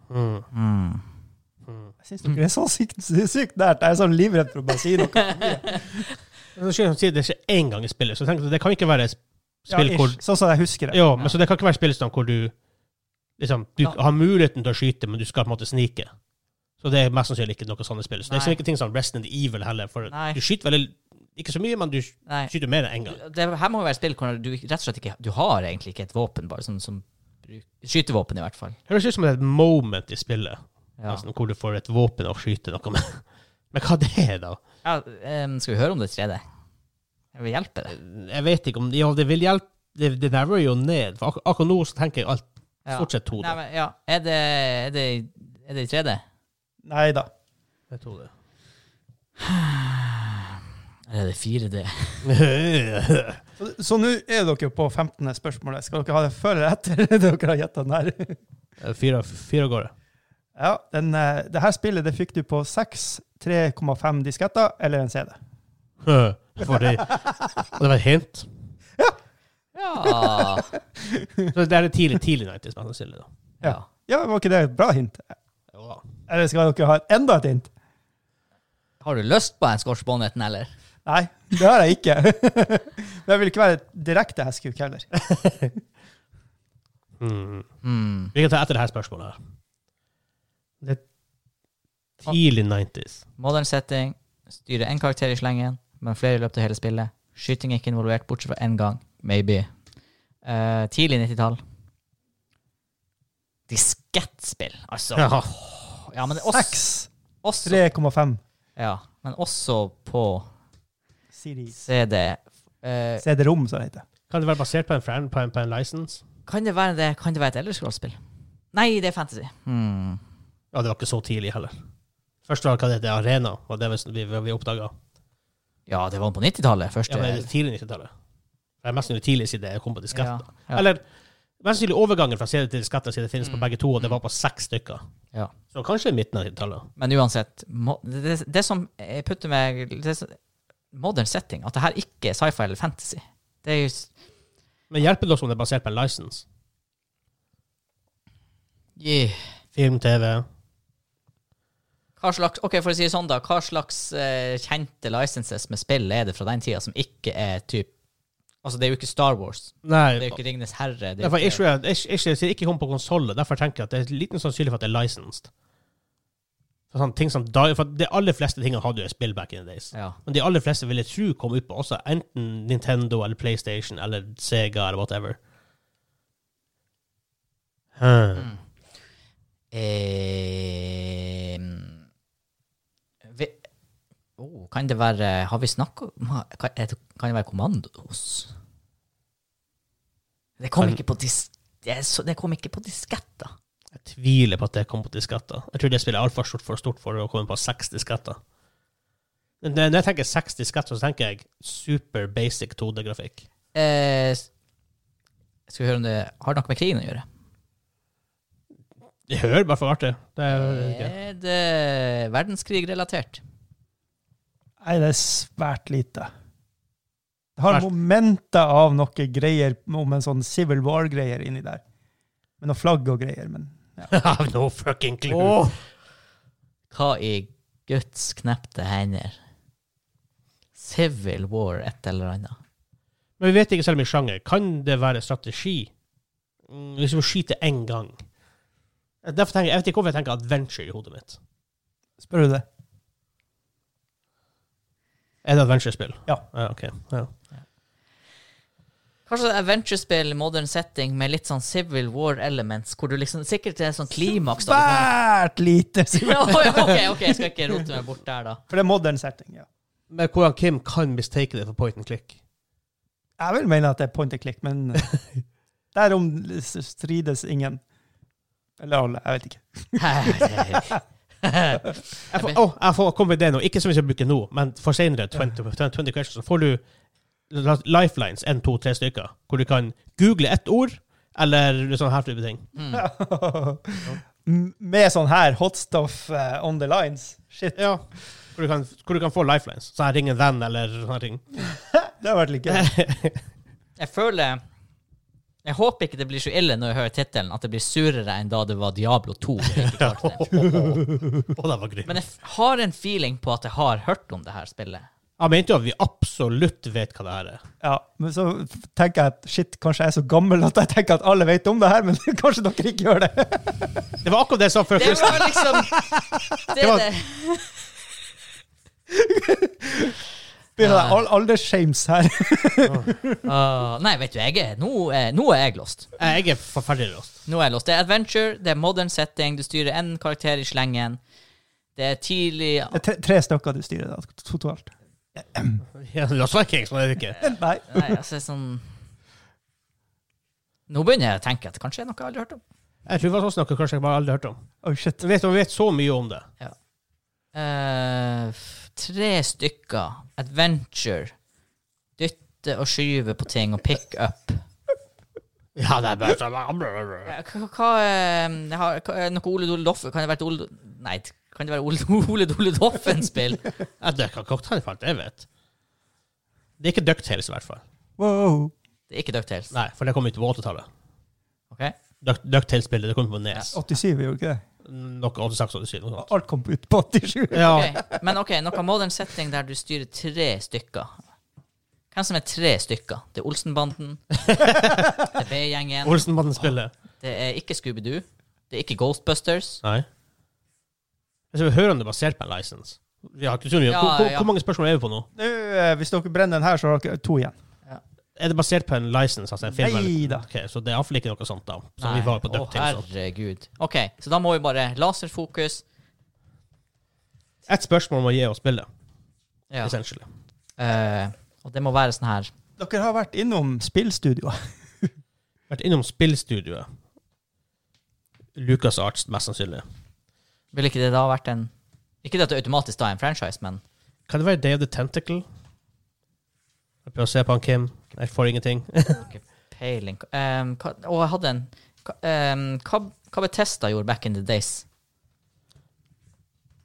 S1: Hmm.
S2: Mm.
S3: Jeg syns dere er så sykt, sykt nært. Jeg er så livredd for å bare si noe.
S1: Så skal jeg si Det skjer én gang i spillet, så jeg tenkte, det kan ikke være et spill
S3: Ja,
S1: hvor
S3: ish. sånn som jeg husker det.
S1: Jo, men så det kan ikke være spillstand hvor du liksom, du
S2: Ja.
S1: har muligheten til å skyte, men du skal på en måte snike. Så det er mest sannsynlig ikke noe sånne spill. Så det er
S2: Nei.
S1: liksom ikke ting som Resident Evil heller, for
S2: Nei.
S1: du skyter vel ikke så mye, men du
S2: Nei.
S1: skyter mer enn én gang.
S2: Det her må jo være spill hvor du rett og slett ikke Du har egentlig ikke et våpen, bare sånn som, som bruk- Skytevåpen, i hvert fall.
S1: Høres ut som det er et moment i spillet,
S2: Ja.
S1: nesten, hvor du får et våpen og skyter noe med. Men hva det er, da?
S2: Ja, em, skal vi høre om det 3D? Jeg vil hjelpe deg.
S1: Jeg vet ikke om Ja, det vil hjelpe. Det, det der var jo ned. For ak akkurat nå så tenker jeg alt
S2: Ja.
S1: stort sett
S2: Nei,
S1: hodet.
S2: men, ja. er, det, er, det, er det i 3D?
S3: Nei da.
S1: Et hode.
S2: Eller er det 4D?
S3: Så- Så nå er dere på 15. spørsmålet. Skal dere ha det før eller etter dere har gjetta den her?
S1: Fire fire av gårde.
S3: Ja, den, eh, det her spillet det fikk du på 6 3,5 disketter eller en CD.
S1: Hø. For det, og det var et hint.
S2: Ja.
S1: Så det er det tidlig, tidlig 90s, mest sannsynlig. da.
S2: ja.
S3: Ja, var ikke det et bra hint?
S1: Jo da.
S3: Eller skal dere ha enda et hint?
S2: Har du lyst på en Scotch Bonneten, eller?
S3: Nei, det har jeg ikke. Men jeg vil ikke være et direkte heskuk heller.
S1: Mm.
S2: Hmm.
S1: Vi kan ta etter det her spørsmålet her. Det er tidlig 90s.
S2: Modern setting. Styre én karakter i slengen, men flere i løpet av hele spillet. Skyting er ikke involvert, bortsett fra én gang. Maybe. Eh, tidlig 90-tall. Diskettspill, altså.
S1: Ja.
S2: Ja, men også,
S3: 6.
S2: også,
S3: 3,5
S2: ja, men også på
S3: CD.
S2: CD. Eh,
S3: CD-rom, som det heter.
S1: Kan det være basert på en, fran- på en, på en license?
S2: kan, det være det, kan det være et Elderscroll-spill? Nei, det er fantasy. Hmm.
S1: Ja, det var ikke så tidlig heller. Først var det hva det heter, Arena, og det var vi, vi oppdaga.
S2: Ja, det var på 90-tallet.
S1: Ja,
S2: Første
S1: men er det tidlig 90-tallet? Det er mest sannsynlig tidlig siden jeg kom på diskett.
S2: Ja,
S1: da.
S2: ja. Mm.
S1: Eller mest sannsynlig overgangen fra CD til diskett siden det finnes på begge to, og det var på seks stykker.
S2: Ja.
S1: Så kanskje midten av 90-tallet.
S2: Men uansett, mo- det, det som jeg putter meg det, som- Modern setting. At det her ikke er sci-fi eller fantasy. Det er jo s-
S1: Men hjelper det også om det er basert på en license? Film, TV
S2: Hva slags, ok, for å si det sånn da, hva slags eh, kjente licenses med spill er det fra den tida som ikke er typ Altså, det er jo ikke Star Wars. Det er
S1: Nei.
S2: jo ikke Ringenes herre. Det er
S1: Derfor,
S2: jo ikke,
S1: ikke, ikke, ikke, sier ikke kom på konsoller. Derfor tenker jeg at det er liten sannsynlig for at det er licensed. For, sånn, ting som, da- for De aller fleste tingene hadde jo et spill back in the days.
S2: ja.
S1: Men de aller fleste vil jeg tro kom ut på også enten Nintendo eller PlayStation eller Sega eller whatever. Hmm.
S2: Mm. Eh, vi, oh, kan det være Har vi snakka om kan, er det- kan det være Kommandos? Det kom
S1: Kan-
S2: ikke på dis, det, er så, det kom ikke på disketter.
S1: Jeg tviler på at det kom på disketter. Jeg tror det spillet er altfor stort for stort for å komme på seks disketter. Men Når jeg tenker seks disketter, så tenker jeg super basic 2D-grafikk.
S2: Eh, s- skal vi høre om det har noe med krigen å gjøre?
S1: Det hører bare for artig. Det er okay.
S2: Er det eh, verdenskrig-relatert?
S3: Nei, det er svært lite. Det har
S1: Svært.
S3: momenter av noe greier om en sånn Civil War-greier inni der. Med noe flagg og greier, men
S1: I have no fucking clue.
S2: Hva i Guds knepte hender? Civil War, et eller annet.
S1: Men vi vet ikke selv om i sjanger. Kan det være strategi? Mm, Hvis vi skyter én gang Eh, Derfor tenker, Jeg jeg vet ikke hvorfor jeg tenker adventure i hodet mitt.
S3: spør du det?
S1: Er det adventure-spill?
S3: Ja.
S1: ja ok. Ja.
S2: Kanskje et adventure-spill, modern setting, med litt sånn Civil War-elements, hvor du liksom sikkert er sånn klimaks da. du
S3: Svært lite!
S2: kan- Ja, ok, ok, jeg skal ikke rote meg bort der, da.
S3: For det er modern setting, ja.
S1: Men hvordan Kim kan mistake det for point and click?
S3: Jeg vil mene at det er point and click, men derom strides ingen. Eller alle, jeg vet ikke.
S1: Jeg får, oh, jeg får kom med det nå. Ikke som vi skal bruke nå, men for senere, 20, 20 questions, så får du lifelines, en, to, tre stykker, hvor du kan google ett ord, eller sånn her type ting.
S2: Mm.
S3: M- Med sånn her hot stuff eh, on the lines. Shit,
S1: Ja. Hvor du kan, hvor du kan få lifelines. Så jeg ringer en venn, eller sånne ting.
S3: det har vært litt gøy.
S2: Jeg føler Jeg håper ikke det blir så ille når jeg hører tittelen, at det blir surere enn da det var Diablo 2. jeg ikke klarte det.
S1: Å, det var grymt.
S2: Men jeg f- har en feeling på at jeg har hørt om det her spillet.
S1: Jeg mente jo at vi absolutt vet hva det her er.
S3: Ja, men så tenker jeg at shit, kanskje jeg er så gammel at jeg tenker at alle vet om det her, men kanskje dere ikke gjør det.
S1: Det var akkurat det jeg sa før.
S2: Det
S1: quiz.
S2: var liksom Det
S1: Det var-
S2: er det.
S3: Begynner det all aldersshames her.
S2: Ah, nei, vet du, jeg er, nå, er, nå er jeg lost.
S1: Jeg er altså. forferdelig råst.
S2: Nå er jeg lost. Det er adventure, det er modern setting, du styrer én karakter i slengen. Det er tidlig
S3: Det er tre, tre stykker du styrer da, totalt.
S1: Ja, Lost Vikings, men det er det ikke.
S3: Nei.
S2: Nei, altså sånn Nå begynner jeg å tenke at det kanskje er noe jeg aldri har hørt om.
S1: Jeg tror det var sånn noe kanskje jeg bare aldri har hørt om.
S3: Oh shit.
S1: Vi vet, vi vet så mye om det.
S2: Eh, f- tre stykker. Adventure. Dytte og skyve på ting og pick up.
S1: Ja, det er bare sånn
S2: Eh, Hva, hva, eh, jeg har, hva er noe Ole Dole Doffen Kan det være et Ole Nei, kan det være Ole, Ole Dole Doffen-spill?
S1: Jeg drikker cocktail for alt jeg vet. Det er ikke Ducktales, i hvert fall.
S3: Wow.
S2: Det er ikke DuckTales.
S1: Nei, for det kom ut på 80-tallet.
S2: Ok?
S1: Duck- Ducktales-spillet det kom på E Nes.
S3: 87 gjorde ikke det?
S1: Noe 86 87, noe sånt.
S3: Alt kom ut på 87.
S1: Ja.
S2: Ok, Men ok, noe modern setting der du styrer tre stykker. Hvem som er tre stykker? Det er Olsenbanden, det er B-gjengen,
S1: Olsenbanden-spillet.
S2: det er ikke Scooby-Doo, det er ikke Ghostbusters.
S1: Nei. Jeg skal høre om det er basert på en lisens. Vi har ikke så mye.
S2: Ja,
S1: hvor, hvor,
S2: ja.
S1: hvor mange spørsmål er vi på nå?
S3: Nå, eh, hvis dere brenner den her, så har dere to igjen.
S1: Er det basert på en lisens? Altså en film? eller-
S3: Nei da.
S1: Ok, så det er iallfall ikke noe sånt, da. Som
S2: Nei,
S1: vi var på
S2: å
S1: DuckTales. og-
S2: herregud. Ok, så da må vi bare laserfokus.
S1: Et spørsmål må gi oss spillet,
S2: Ja.
S1: essentially.
S2: eh, og det må være sånn her.
S3: Dere har vært innom spillstudioer.
S1: Vært innom spillstudioet. Lucas Arts, mest sannsynlig.
S2: Ville ikke det da vært en Ikke det at det automatisk da er en franchise, men
S1: Kan det være Day of the Tentacle? Jeg prøver å se på han Kim. Jeg får ingenting.
S2: peiling Ehm, hva, Og jeg hadde en hva- ehm, Hva, hva Bethesda gjorde back in the days?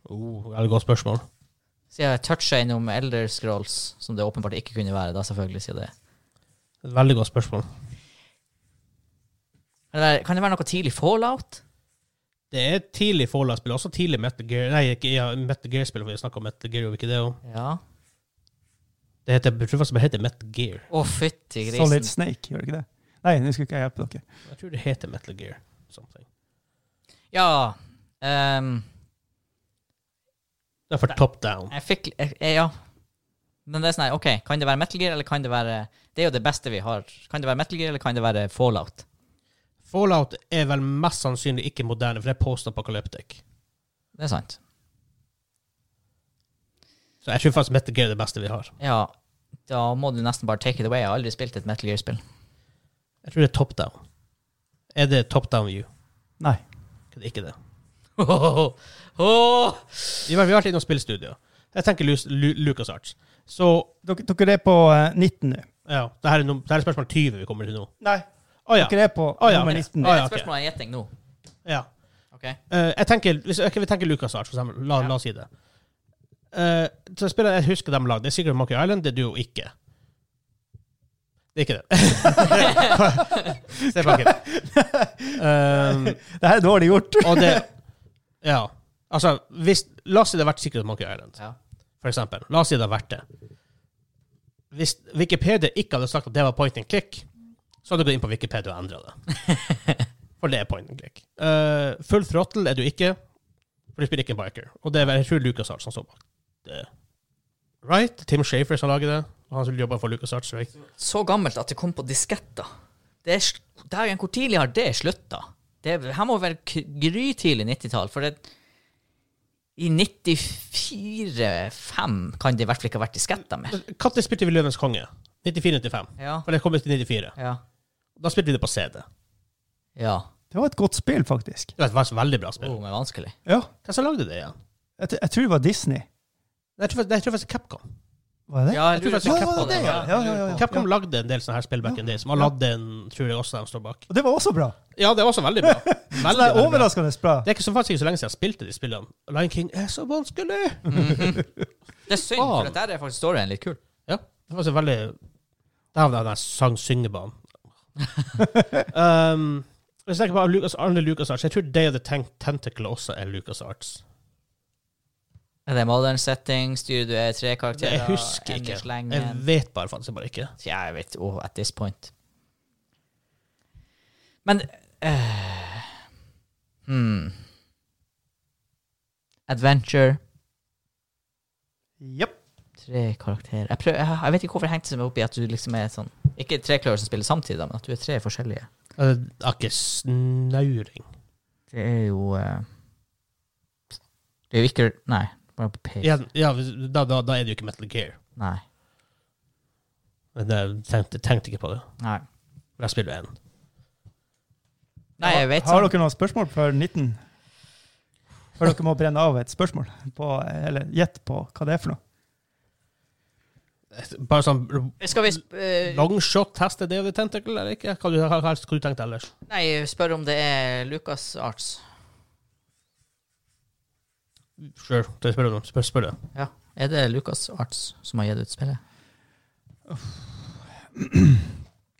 S1: Oh, det er et godt spørsmål.
S2: Siden jeg toucha innom Elder Scrolls, som det åpenbart ikke kunne være, da selvfølgelig, siden det
S1: Et veldig godt spørsmål.
S2: Kan det være, kan det være noe tidlig fallout?
S1: Det er et tidlig Fallout-spill, også tidlig Metal Gear. Nei, ikke ja, Metal Gear-spill, for vi snakket om Metal Gear, gjorde vi ikke det? også?
S2: Ja.
S1: Det heter, jeg tror faktisk det heter Metal Gear.
S2: Å, fytti
S1: Sånn
S2: grisen.
S3: Solid Snake, gjør det ikke det? Nei, nå skulle ikke jeg hjelpe dere.
S1: Jeg tror det heter Metal Gear. Something.
S2: Ja. ehm,
S1: Det er for top down.
S2: jeg fikk jeg, jeg, Ja. Men det er sånn her, OK, kan det være Metal Gear, eller kan det være Det er jo det beste vi har. Kan det være Metal Gear, eller kan det være fallout?
S1: Fallout er vel mest sannsynlig ikke moderne, for det er post-apocalyptic.
S2: Det er sant.
S1: Så jeg tror faktisk Metal Gear er det beste vi har.
S2: Ja, da må du nesten bare take it away. Jeg har aldri spilt et Metal Gear-spill.
S1: Jeg tror det er top down. Er det top down view?
S3: Nei.
S1: Det er ikke det. Ah,
S2: Åh!
S1: Vi har, vi har vært innom spillstudio. Jeg tenker Lus, Lu, Lucas Arts. Så
S3: Dere, dere er på eh, 19 nå.
S1: ja, det her er, num- det her er spørsmål 20 vi kommer til nå.
S3: Nei.
S1: Å ja.
S3: Dere er på
S1: Å, ja,
S3: nummer
S1: ok.
S3: 19.
S1: Å, ja.
S2: Et spørsmål er en gjetting nå.
S1: ja.
S2: Ok.
S1: Eh, jeg tenker, hvis ok, vi tenker Lucas Arts, for eksempel. La, la oss si det. Eh, så spillet jeg husker de lagde, det er Secret Monkey Island. Det er du jo ikke. Det er ikke det. Se på Kim. Um,
S3: Det her er dårlig gjort.
S1: og det Ja. Altså, hvis, la oss si det har vært Secret Monkey Island.
S2: Ja.
S1: for eksempel. La oss si det har vært det. Hvis Wikipedia ikke hadde sagt at det var point and click, så hadde du gått inn på Wikipedia og endra det. For det er point and click. Eh, full throttle er du ikke, for du spiller ikke en biker. Og det er vel jeg tror Lucas Arts som står bak det. Right? Tim Shafer som lager det. Og han som jobber for Lucas Arts. Right?
S2: Så gammelt at det kom på disketter. Det er, sl- dagen, hvor tidlig har det slutta? Det er- her må være k- grytidlig 90-tall, for det i 94-5 kan det i hvert fall ikke ha vært disketter mer.
S1: Når spilte vi Løvens konge? 94-95.
S2: Ja.
S1: For det kom ut i 94.
S2: Ja.
S1: Da spilte vi det på CD.
S2: ja.
S3: Det var et godt spill, faktisk.
S1: Det var et veldig bra spill.
S2: Oh, men vanskelig.
S3: Ja.
S1: Hvem som lagde det igjen?
S3: Jeg, t- jeg tror det var Disney.
S1: Nei, Jeg tror faktisk- nei, jeg tror faktisk Capcom.
S3: Var det det?
S2: Ja,
S1: Jeg tror
S2: jeg lurer
S1: faktisk
S2: litt
S1: det
S2: på
S1: var
S2: det.
S1: det,
S2: Ja,
S1: ja.
S3: Ja, ja, ja, ja.
S1: Capcom lagde en del sånne her spill back in the days, som Aladdin tror jeg også de står bak.
S3: Og det var også bra.
S1: Ja, det er også veldig bra. Veldig,
S3: Det er
S1: veldig bra.
S3: overraskende bra.
S1: Det er ikke så faktisk ikke så lenge siden jeg spilte de spillene. Lion King er så vanskelig!
S2: Mhm. Det er synd, for at der er faktisk storyen litt kul.
S1: Ja, det var så veldig Der var det den der sang-syngebanen. um, hvis jeg tenker på Lucas, andre Lucas Arts, jeg tror Day of the Tank Tentacle også er Lucas Arts.
S2: Er det modern setting? Styrer du er tre karakterer?
S1: Jeg husker ikke.
S2: ender slengen?
S1: Jeg vet bare faktisk bare ikke.
S2: Ja, jeg vet oh, At this point. Men eh, hmm. Adventure.
S3: Jepp.
S2: Tre karakterer. Jeg, prøver, jeg, jeg vet ikke hvorfor jeg hengte meg opp i at du liksom er sånn Ikke tre kløver som spiller samtidig, da, men at du er tre forskjellige.
S1: Uh, det er ikke snauring.
S2: Det er jo eh, Det er jo ikke Nei. Bare på page.
S1: Ja, ja, da, da, da er det jo ikke Metal Gear.
S2: Nei.
S1: Men jeg tenkte, tenkte ikke på det.
S2: Nei.
S1: For Jeg spiller jo en.
S2: Nei, jeg vet
S3: Har
S2: sånn.
S3: dere noen spørsmål før 19? Før dere må brenne av et spørsmål? På, eller gjett på hva det er for noe?
S1: Bare sånn
S2: Skal vi sp eh,
S1: Longshot tester det ved tentacle, eller ikke? Hva du, hva, hva skulle du tenkt ellers?
S2: Nei, spørre om det er Lucas Arts.
S1: Sure, det spør du om. Spør, spør du.
S2: Ja. Er det Lucas Arts som har gitt ut spillet?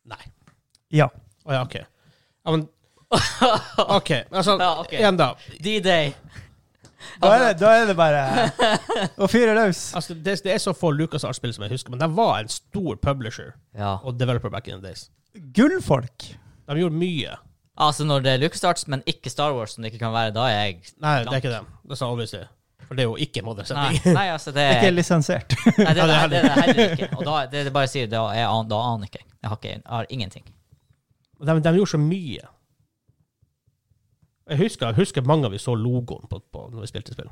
S1: Nei.
S3: Ja.
S1: Å ja, OK. Ja, men OK. Altså,
S2: Ja, ok.
S1: igjen, da.
S2: D-Day.
S3: Da er det, da er det bare å fyre løs.
S1: Altså, det, det er så få Lucas Art-spill som jeg husker, men de var en stor publisher
S2: Ja.
S1: og developer back in the days.
S3: Gullfolk.
S1: De gjorde mye.
S2: Altså, når det er LucasArts, men ikke Star Wars, som det ikke kan være, da er jeg
S1: Nei, det er ikke dem. Det sa obviously. For det er jo ikke
S2: Nei,
S1: modernisering.
S2: nei altså, det
S3: Ikke lisensiert.
S2: Nei, det,
S1: Ja, det
S2: nei,
S1: er
S2: det er det heller ikke. Og da, det, det bare sier, da, jeg, an- da aner ikke. jeg. Jeg har, ikke, jeg har ingenting.
S1: De, de gjorde så mye. Jeg husker, jeg husker mange av vi så logoen på, på når vi spilte spill.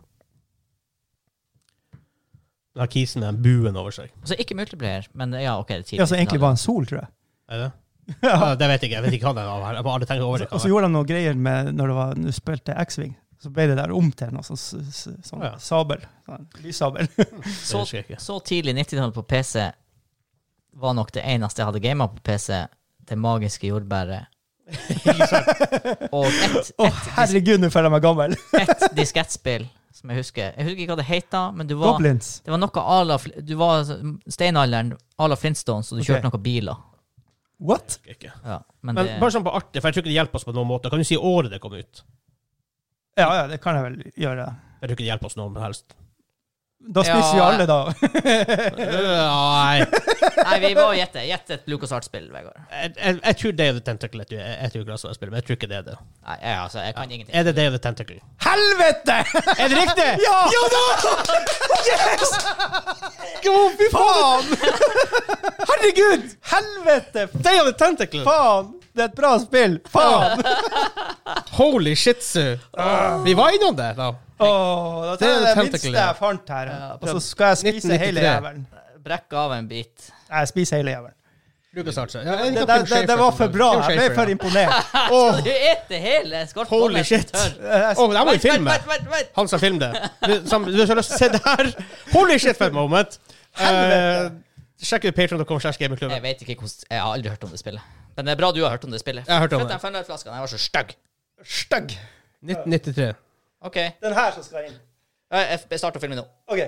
S1: Den her kisen med den buen over seg.
S2: Altså, ikke multiplayer, men ja, ok, det er tidlig.
S3: Ja, som altså egentlig var en sol, tror jeg.
S1: Er det? Ja, Altså, det vet jeg ikke. Jeg vet ikke hva den var. Jeg har aldri tenkt over det.
S3: Og så gjorde de noen greier med når det var, når du spilte X-Wing. Så ble det der om til noe sånn, s- s- sånn
S1: Ja.
S3: sabel. Sånn, lyssabel.
S1: Det husker jeg ikke.
S2: Så tidlig 90-tallet på PC var nok det eneste jeg hadde gamet på PC, det magiske jordbæret. Og et,
S3: Å, herregud, nå føler jeg meg gammel.
S2: et diskettspill som jeg husker. Jeg husker ikke hva det heita, men du var,
S3: Goblins.
S2: det var noe à la Fl- Du var steinalderen à la Flintstones, og du
S3: Ok.
S2: kjørte noen biler.
S3: What?
S1: Jeg husker ikke.
S2: Ja, men
S1: Men
S2: det,
S1: bare sånn på artig, for jeg tror ikke det hjelper oss på noen måte. Kan du si året det kom ut?
S3: Ja, ja, det kan jeg vel gjøre.
S1: Jeg tror ikke det hjelper oss noe som helst.
S3: Da spiser vi
S2: Ja.
S3: alle, da.
S1: Nei.
S2: Nei, vi var gjette. Gjett et Lucas Art-spill, Vegard.
S1: Jeg, jeg, jeg tror Dave the Tentacle er et- er et juleglasspiller, men jeg tror ikke det er det.
S2: Nei, jeg, altså, jeg kan ingenting.
S1: Er det Dave the Tentacle?
S3: Helvete!
S1: Er det riktig?
S3: Ja! Jo da! Yes! fy faen! Herregud! Helvete!
S1: Dave the Tentacle!
S3: Faen! Det er et bra spill! Faen!
S1: Holy shitsu! Vi var innom det, da.
S3: Åh, da
S1: Det
S3: tar
S1: er
S3: jeg det
S1: tentacle,
S3: minste
S1: ja.
S3: jeg fant her.
S2: Ja,
S3: Og så skal jeg spise
S1: 1993.
S3: hele jævelen.
S2: Brekk av en bit.
S3: Nei, Jeg spiser hele jævelen.
S1: Lucas Arts.
S3: Det, det, det, det var for bra. Jeg ble for imponert.
S1: Åh,
S2: Du eter hele skorpbollen.
S1: holy shit!
S3: Jeg-
S1: Åh, det her må vi
S2: Vent, vent,
S1: filme!
S2: vent, vent, vent.
S1: Han som filmer det. Du som- du har lyst til å se det her? Holy shit, for et moment! Eh, Sjekk ut patreon.com slash
S2: Jeg
S1: gamingklubben.
S2: vet ikke hvordan Jeg har aldri hørt om det spillet. Men det er bra du har hørt om det spillet.
S1: Jeg har hørt om
S2: Flytt
S1: det.
S2: den fennelflasken. Den var så stygg.
S3: Stygg.
S1: 1993.
S2: OK. Jeg-
S3: Den her som skal inn.
S2: Jeg starter å filme nå.
S3: OK.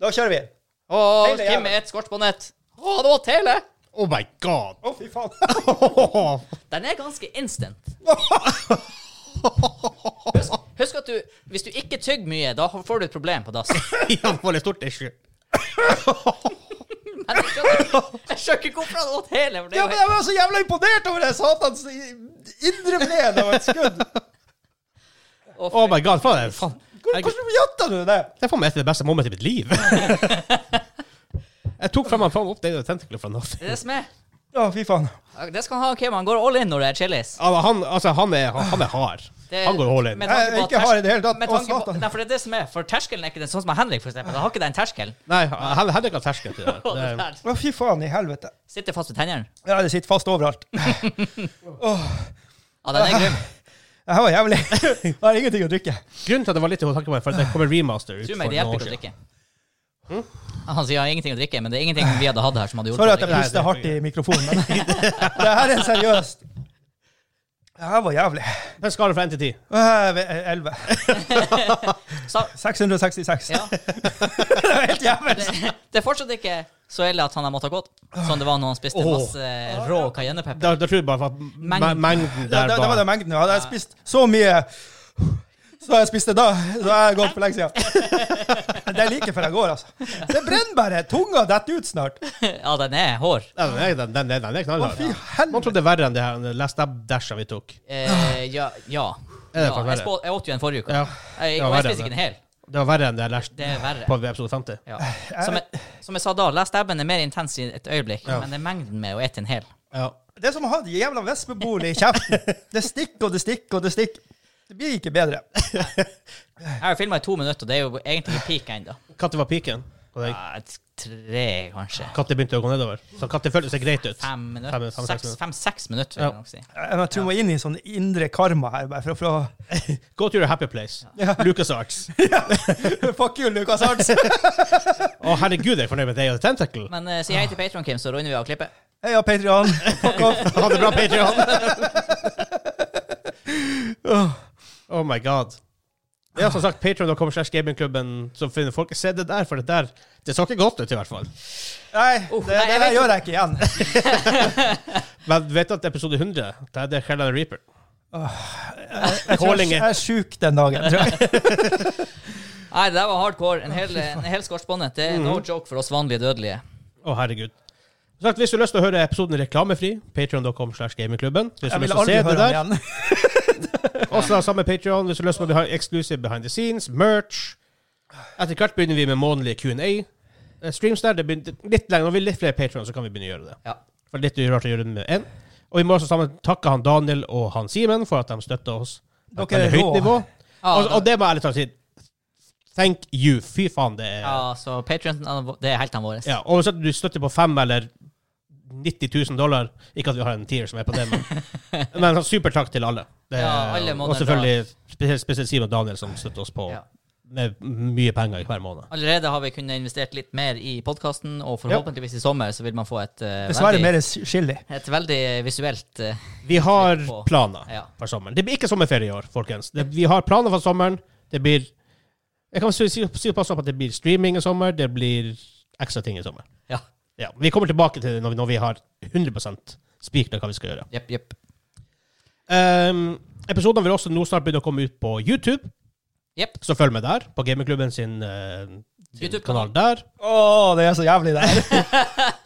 S3: Da kjører vi.
S2: Å,
S3: Hele
S2: Kim
S3: jævla.
S2: med et skorpbåndet. Å, det åt hele.
S1: Oh my god!
S3: Å, fy faen.
S2: Den er ganske instant. Husk, husk at du Hvis du ikke tygger mye, da får du et problem på dass.
S1: Ja, for et stort issue.
S2: Men Jeg skjønner jeg skjønner ikke hvorfor han åt hele. For det
S3: Ja,
S2: er
S3: men
S2: jo
S3: jeg var så jævla imponert over det satans indre ben av et skudd.
S2: helt Å,
S1: Oh my god, for det faen.
S3: Hvor-
S1: Jeg-
S3: Hvordan gjetta du det?
S1: Det er for meg et av de beste momentene i mitt liv. jeg tok frem han faen opp det tentaklet fra nothing.
S2: Det er det som er.
S3: Å, fy faen.
S2: Det skal han ha, Kim. Han går all in når det er chilis.
S1: Altså, han, altså, han, er, han er hard.
S2: Det-
S1: han går all in.
S2: med
S3: Jeg
S2: tanke på
S3: er
S2: at
S3: ikke hard i det hele
S2: tersk-
S3: tatt.
S2: med
S3: Å,
S2: tanke på-
S3: satan.
S2: Nei, for det er det som er. For terskelen er ikke den sånn som Henrik, for eksempel. Han har ikke den terskelen.
S1: Nei, han hadde ikke hatt terskel til det.
S2: Og det
S1: det.
S2: der
S3: Å, fy faen i helvete.
S2: Sitter fast ved tennene.
S3: Ja, det sitter fast overalt.
S2: Ja, den er grum.
S3: Det her var jævlig. Jeg har ingenting å drikke.
S1: Grunnen til at det var litt i tanken på meg, for at det kommer remaster ut
S2: Tro
S1: for
S2: meg, det
S1: noen
S2: hjelper
S1: år
S2: ikke å
S1: siden.
S2: drikke. Han sier jeg har ingenting å drikke, men det er ingenting vi hadde hatt her som hadde
S3: Hm? Sorry at
S2: gjort det.
S3: jeg
S1: Nei, det
S3: puster
S1: er
S3: hardt i mikrofonen, men det her er seriøst. Det her var jævlig.
S1: Men skala fra 1 til 10.
S3: Øh, ved- eh, 11.
S2: Så-
S3: 666.
S2: Ja.
S3: Det var helt jævlig.
S2: Det, det er fortsatt ikke så ille at han har måttet gått, som det var når han spiste
S1: Åh.
S2: masse rå cayennepepper.
S1: Da, da tror jeg bare at me- mengden
S3: Det,
S1: der
S3: det, det var
S1: var
S3: den mengden. Hadde jeg spist så mye så jeg spiste da, så har jeg gått for lenge siden. Det er like før jeg går, altså. Det brenner bare. Tunga detter ut snart.
S2: Ja, den er hår.
S1: Ja, Den er, den, den, den, den er knallhard.
S3: Fy
S1: Man
S3: helvete.
S1: trodde det var verre enn det her den Last Dab-dashene vi tok.
S2: Eh, ja. ja.
S1: Ah. Er det
S2: ja
S1: faktisk
S2: jeg,
S1: verre?
S2: spå, jeg åt jo en forrige uke.
S1: Ja,
S2: Jeg,
S1: det var
S2: og jeg
S1: verre
S2: spiser ikke
S1: enn
S2: en hel.
S1: Det var verre enn det Last
S2: Det er verre.
S1: på Eh, episode 50.
S2: Ja. Som, jeg, som jeg sa da, last dabben er mer intens i et øyeblikk, men det er mengden med å ete en hel.
S1: Ja.
S3: Det er som å ha en jævla vespebol i kjeften. Det stikker og det stikker og det stikker. Det blir ikke bedre.
S2: Jeg har filma i to minutter, og det er jo egentlig ikke peak ennå.
S1: Når var piken? på deg?
S2: Ja, et- Tre, kanskje.
S1: Når begynte å gå nedover? Så når føltes det greit ut?
S2: Fem
S1: Fem-
S2: minutter.
S1: fem, seks
S2: Seks-
S1: minutter.
S2: Fem-seks minutter, vil jeg nok si.
S3: Jeg tror vi må inn i sånn indre karma her, bare for å få
S1: Go to your happy place.
S3: Ja.
S1: Lucas Arts.
S3: Fuck you, Lucas Arts.
S1: Å, herregud, jeg er fornøyd med deg og Tentacle.
S2: Men eh, si hei til Patron, Kim, så runder vi av klippet.
S3: Heia, Patrion. Fuck off.
S1: Ha det bra, Patreon.
S3: Åh.
S1: Oh my god. Det er som sagt patreon.com slash gamingklubben, så finner folk se det der, for det der Det så ikke godt ut, i hvert fall.
S3: Nei, det,
S2: Oh,
S3: det,
S2: nei, jeg
S3: der
S2: vet
S3: gjør jeg ikke igjen.
S1: Men vet du at episode 100, det er det Helland Reaper.
S3: Jeg, tror jeg,
S1: Calling it.
S3: jeg er sjuk den dagen. Tror jeg.
S2: Nei, det der var hardcore. En hel, en hel skortsbåndet. Det
S1: Mm.
S2: er no joke for oss vanlige dødelige.
S1: Å, herregud. Som sagt, hvis du har lyst til å høre episoden reklamefri, patreon.com slash gamingklubben. Hvis du har lyst
S3: jeg vil
S1: til å
S3: aldri
S1: se det
S3: høre
S1: der,
S3: den igjen.
S1: også har samme Patreon Hvis du har lyst til å bli exclusive behind the scenes, merch Etter hvert begynner vi med månedlige Q&A. Eh, Streams der, det begynner litt lenger. Når vi er litt flere Patreons, så kan vi begynne å gjøre det.
S2: Ja.
S1: For det er litt rart å gjøre det med én. Og vi må også sammen takke han Daniel og han Simen for at de støtter oss på et
S3: Dere er
S1: veldig høyt
S3: rå.
S1: nivå.
S2: Ja,
S1: Altså, og, og det må jeg ærlig talt si. Thank you. Fy faen, det er
S2: ja, så Patrion, det er heltene våre.
S1: ja, og hvis at du støtter på fem eller 90 000 dollar Ikke at vi har en tier som er på det, men, men sånn supertakk til alle. Det,
S2: Ja, alle må
S1: og
S2: det
S1: selvfølgelig spesielt, spesielt Simen og Daniel, som støtter oss på
S2: Ja.
S1: med mye penger i hver måned.
S2: Allerede har vi kunnet investert litt mer i podkasten, og forhåpentligvis i sommer så vil man få et, eh,
S3: Dessverre
S2: veldig,
S3: mer chili.
S2: et veldig visuelt eh,
S1: Vi har
S2: På-
S1: planer
S2: Ja.
S1: for sommeren. Det blir ikke sommerferie i år, folkens. Det, vi har planer for sommeren. Det blir Jeg kan si, si, si pass opp at det blir streaming i sommer. Det blir ekstra ting i sommer.
S2: Ja.
S1: Ja, vi kommer tilbake til det når vi, når vi har 100 spikra hva vi skal gjøre.
S2: Jepp, jepp.
S1: Um, episoden vil også nå snart begynne å komme ut på YouTube,
S2: Jepp.
S1: så følg med der. På Gamingklubben sin, eh, sin
S2: YouTube-kanal.
S1: kanal der.
S3: Å, det er så jævlig der.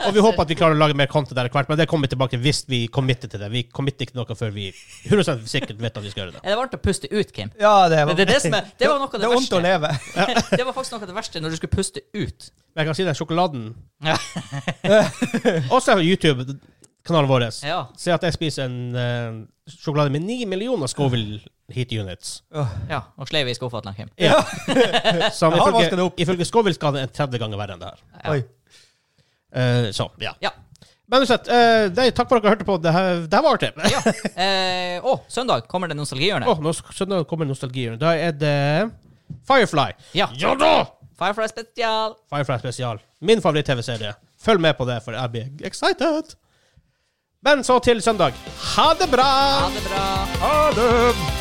S1: Og vi håper at vi klarer å lage mer content der hvert, men det kommer vi tilbake til hvis vi committer til det. Vi committer ikke noe før vi 100 sikkert vet at vi skal gjøre det.
S2: Er det varmt å puste ut, Kim?
S3: Ja, det,
S2: Det,
S3: var,
S2: det, er det, som er, det var noe av
S3: det
S2: det
S3: er vondt å
S2: verste.
S3: leve.
S2: Det var faktisk noe av det verste, når du skulle puste ut.
S1: Men jeg kan si den sjokoladen
S2: Ja.
S1: Også på YouTube-kanalen vår.
S2: Ja.
S1: Se at jeg spiser en eh, sjokolade med 9 millioner Scoville heat units.
S2: ja. Og sleiv i skuffa til han, Kim.
S1: Ja. Som
S3: Jeg har vasket det
S1: ifølge,
S3: opp.
S1: ifølge Scoville skal det en 30 ganger verre enn det her.
S2: Ja.
S3: Oi.
S1: Eh, så, ja.
S2: Ja.
S1: Men uansett, eh, det- takk for at dere hørte på. Det her, det her var artig.
S2: ja. Eh, å, søndag kommer det nostalgihjørne.
S1: Åh, nå skjønner jeg kommer nostalgien. Da er det Firefly.
S2: Ja.
S1: Ja da!
S2: Firefly spesial.
S1: Firefly spesial. Min favoritt-TV-serie. Følg med på det, for jeg blir excited. Men så til søndag. Ha det bra!
S2: Ha det bra.
S1: Ha det!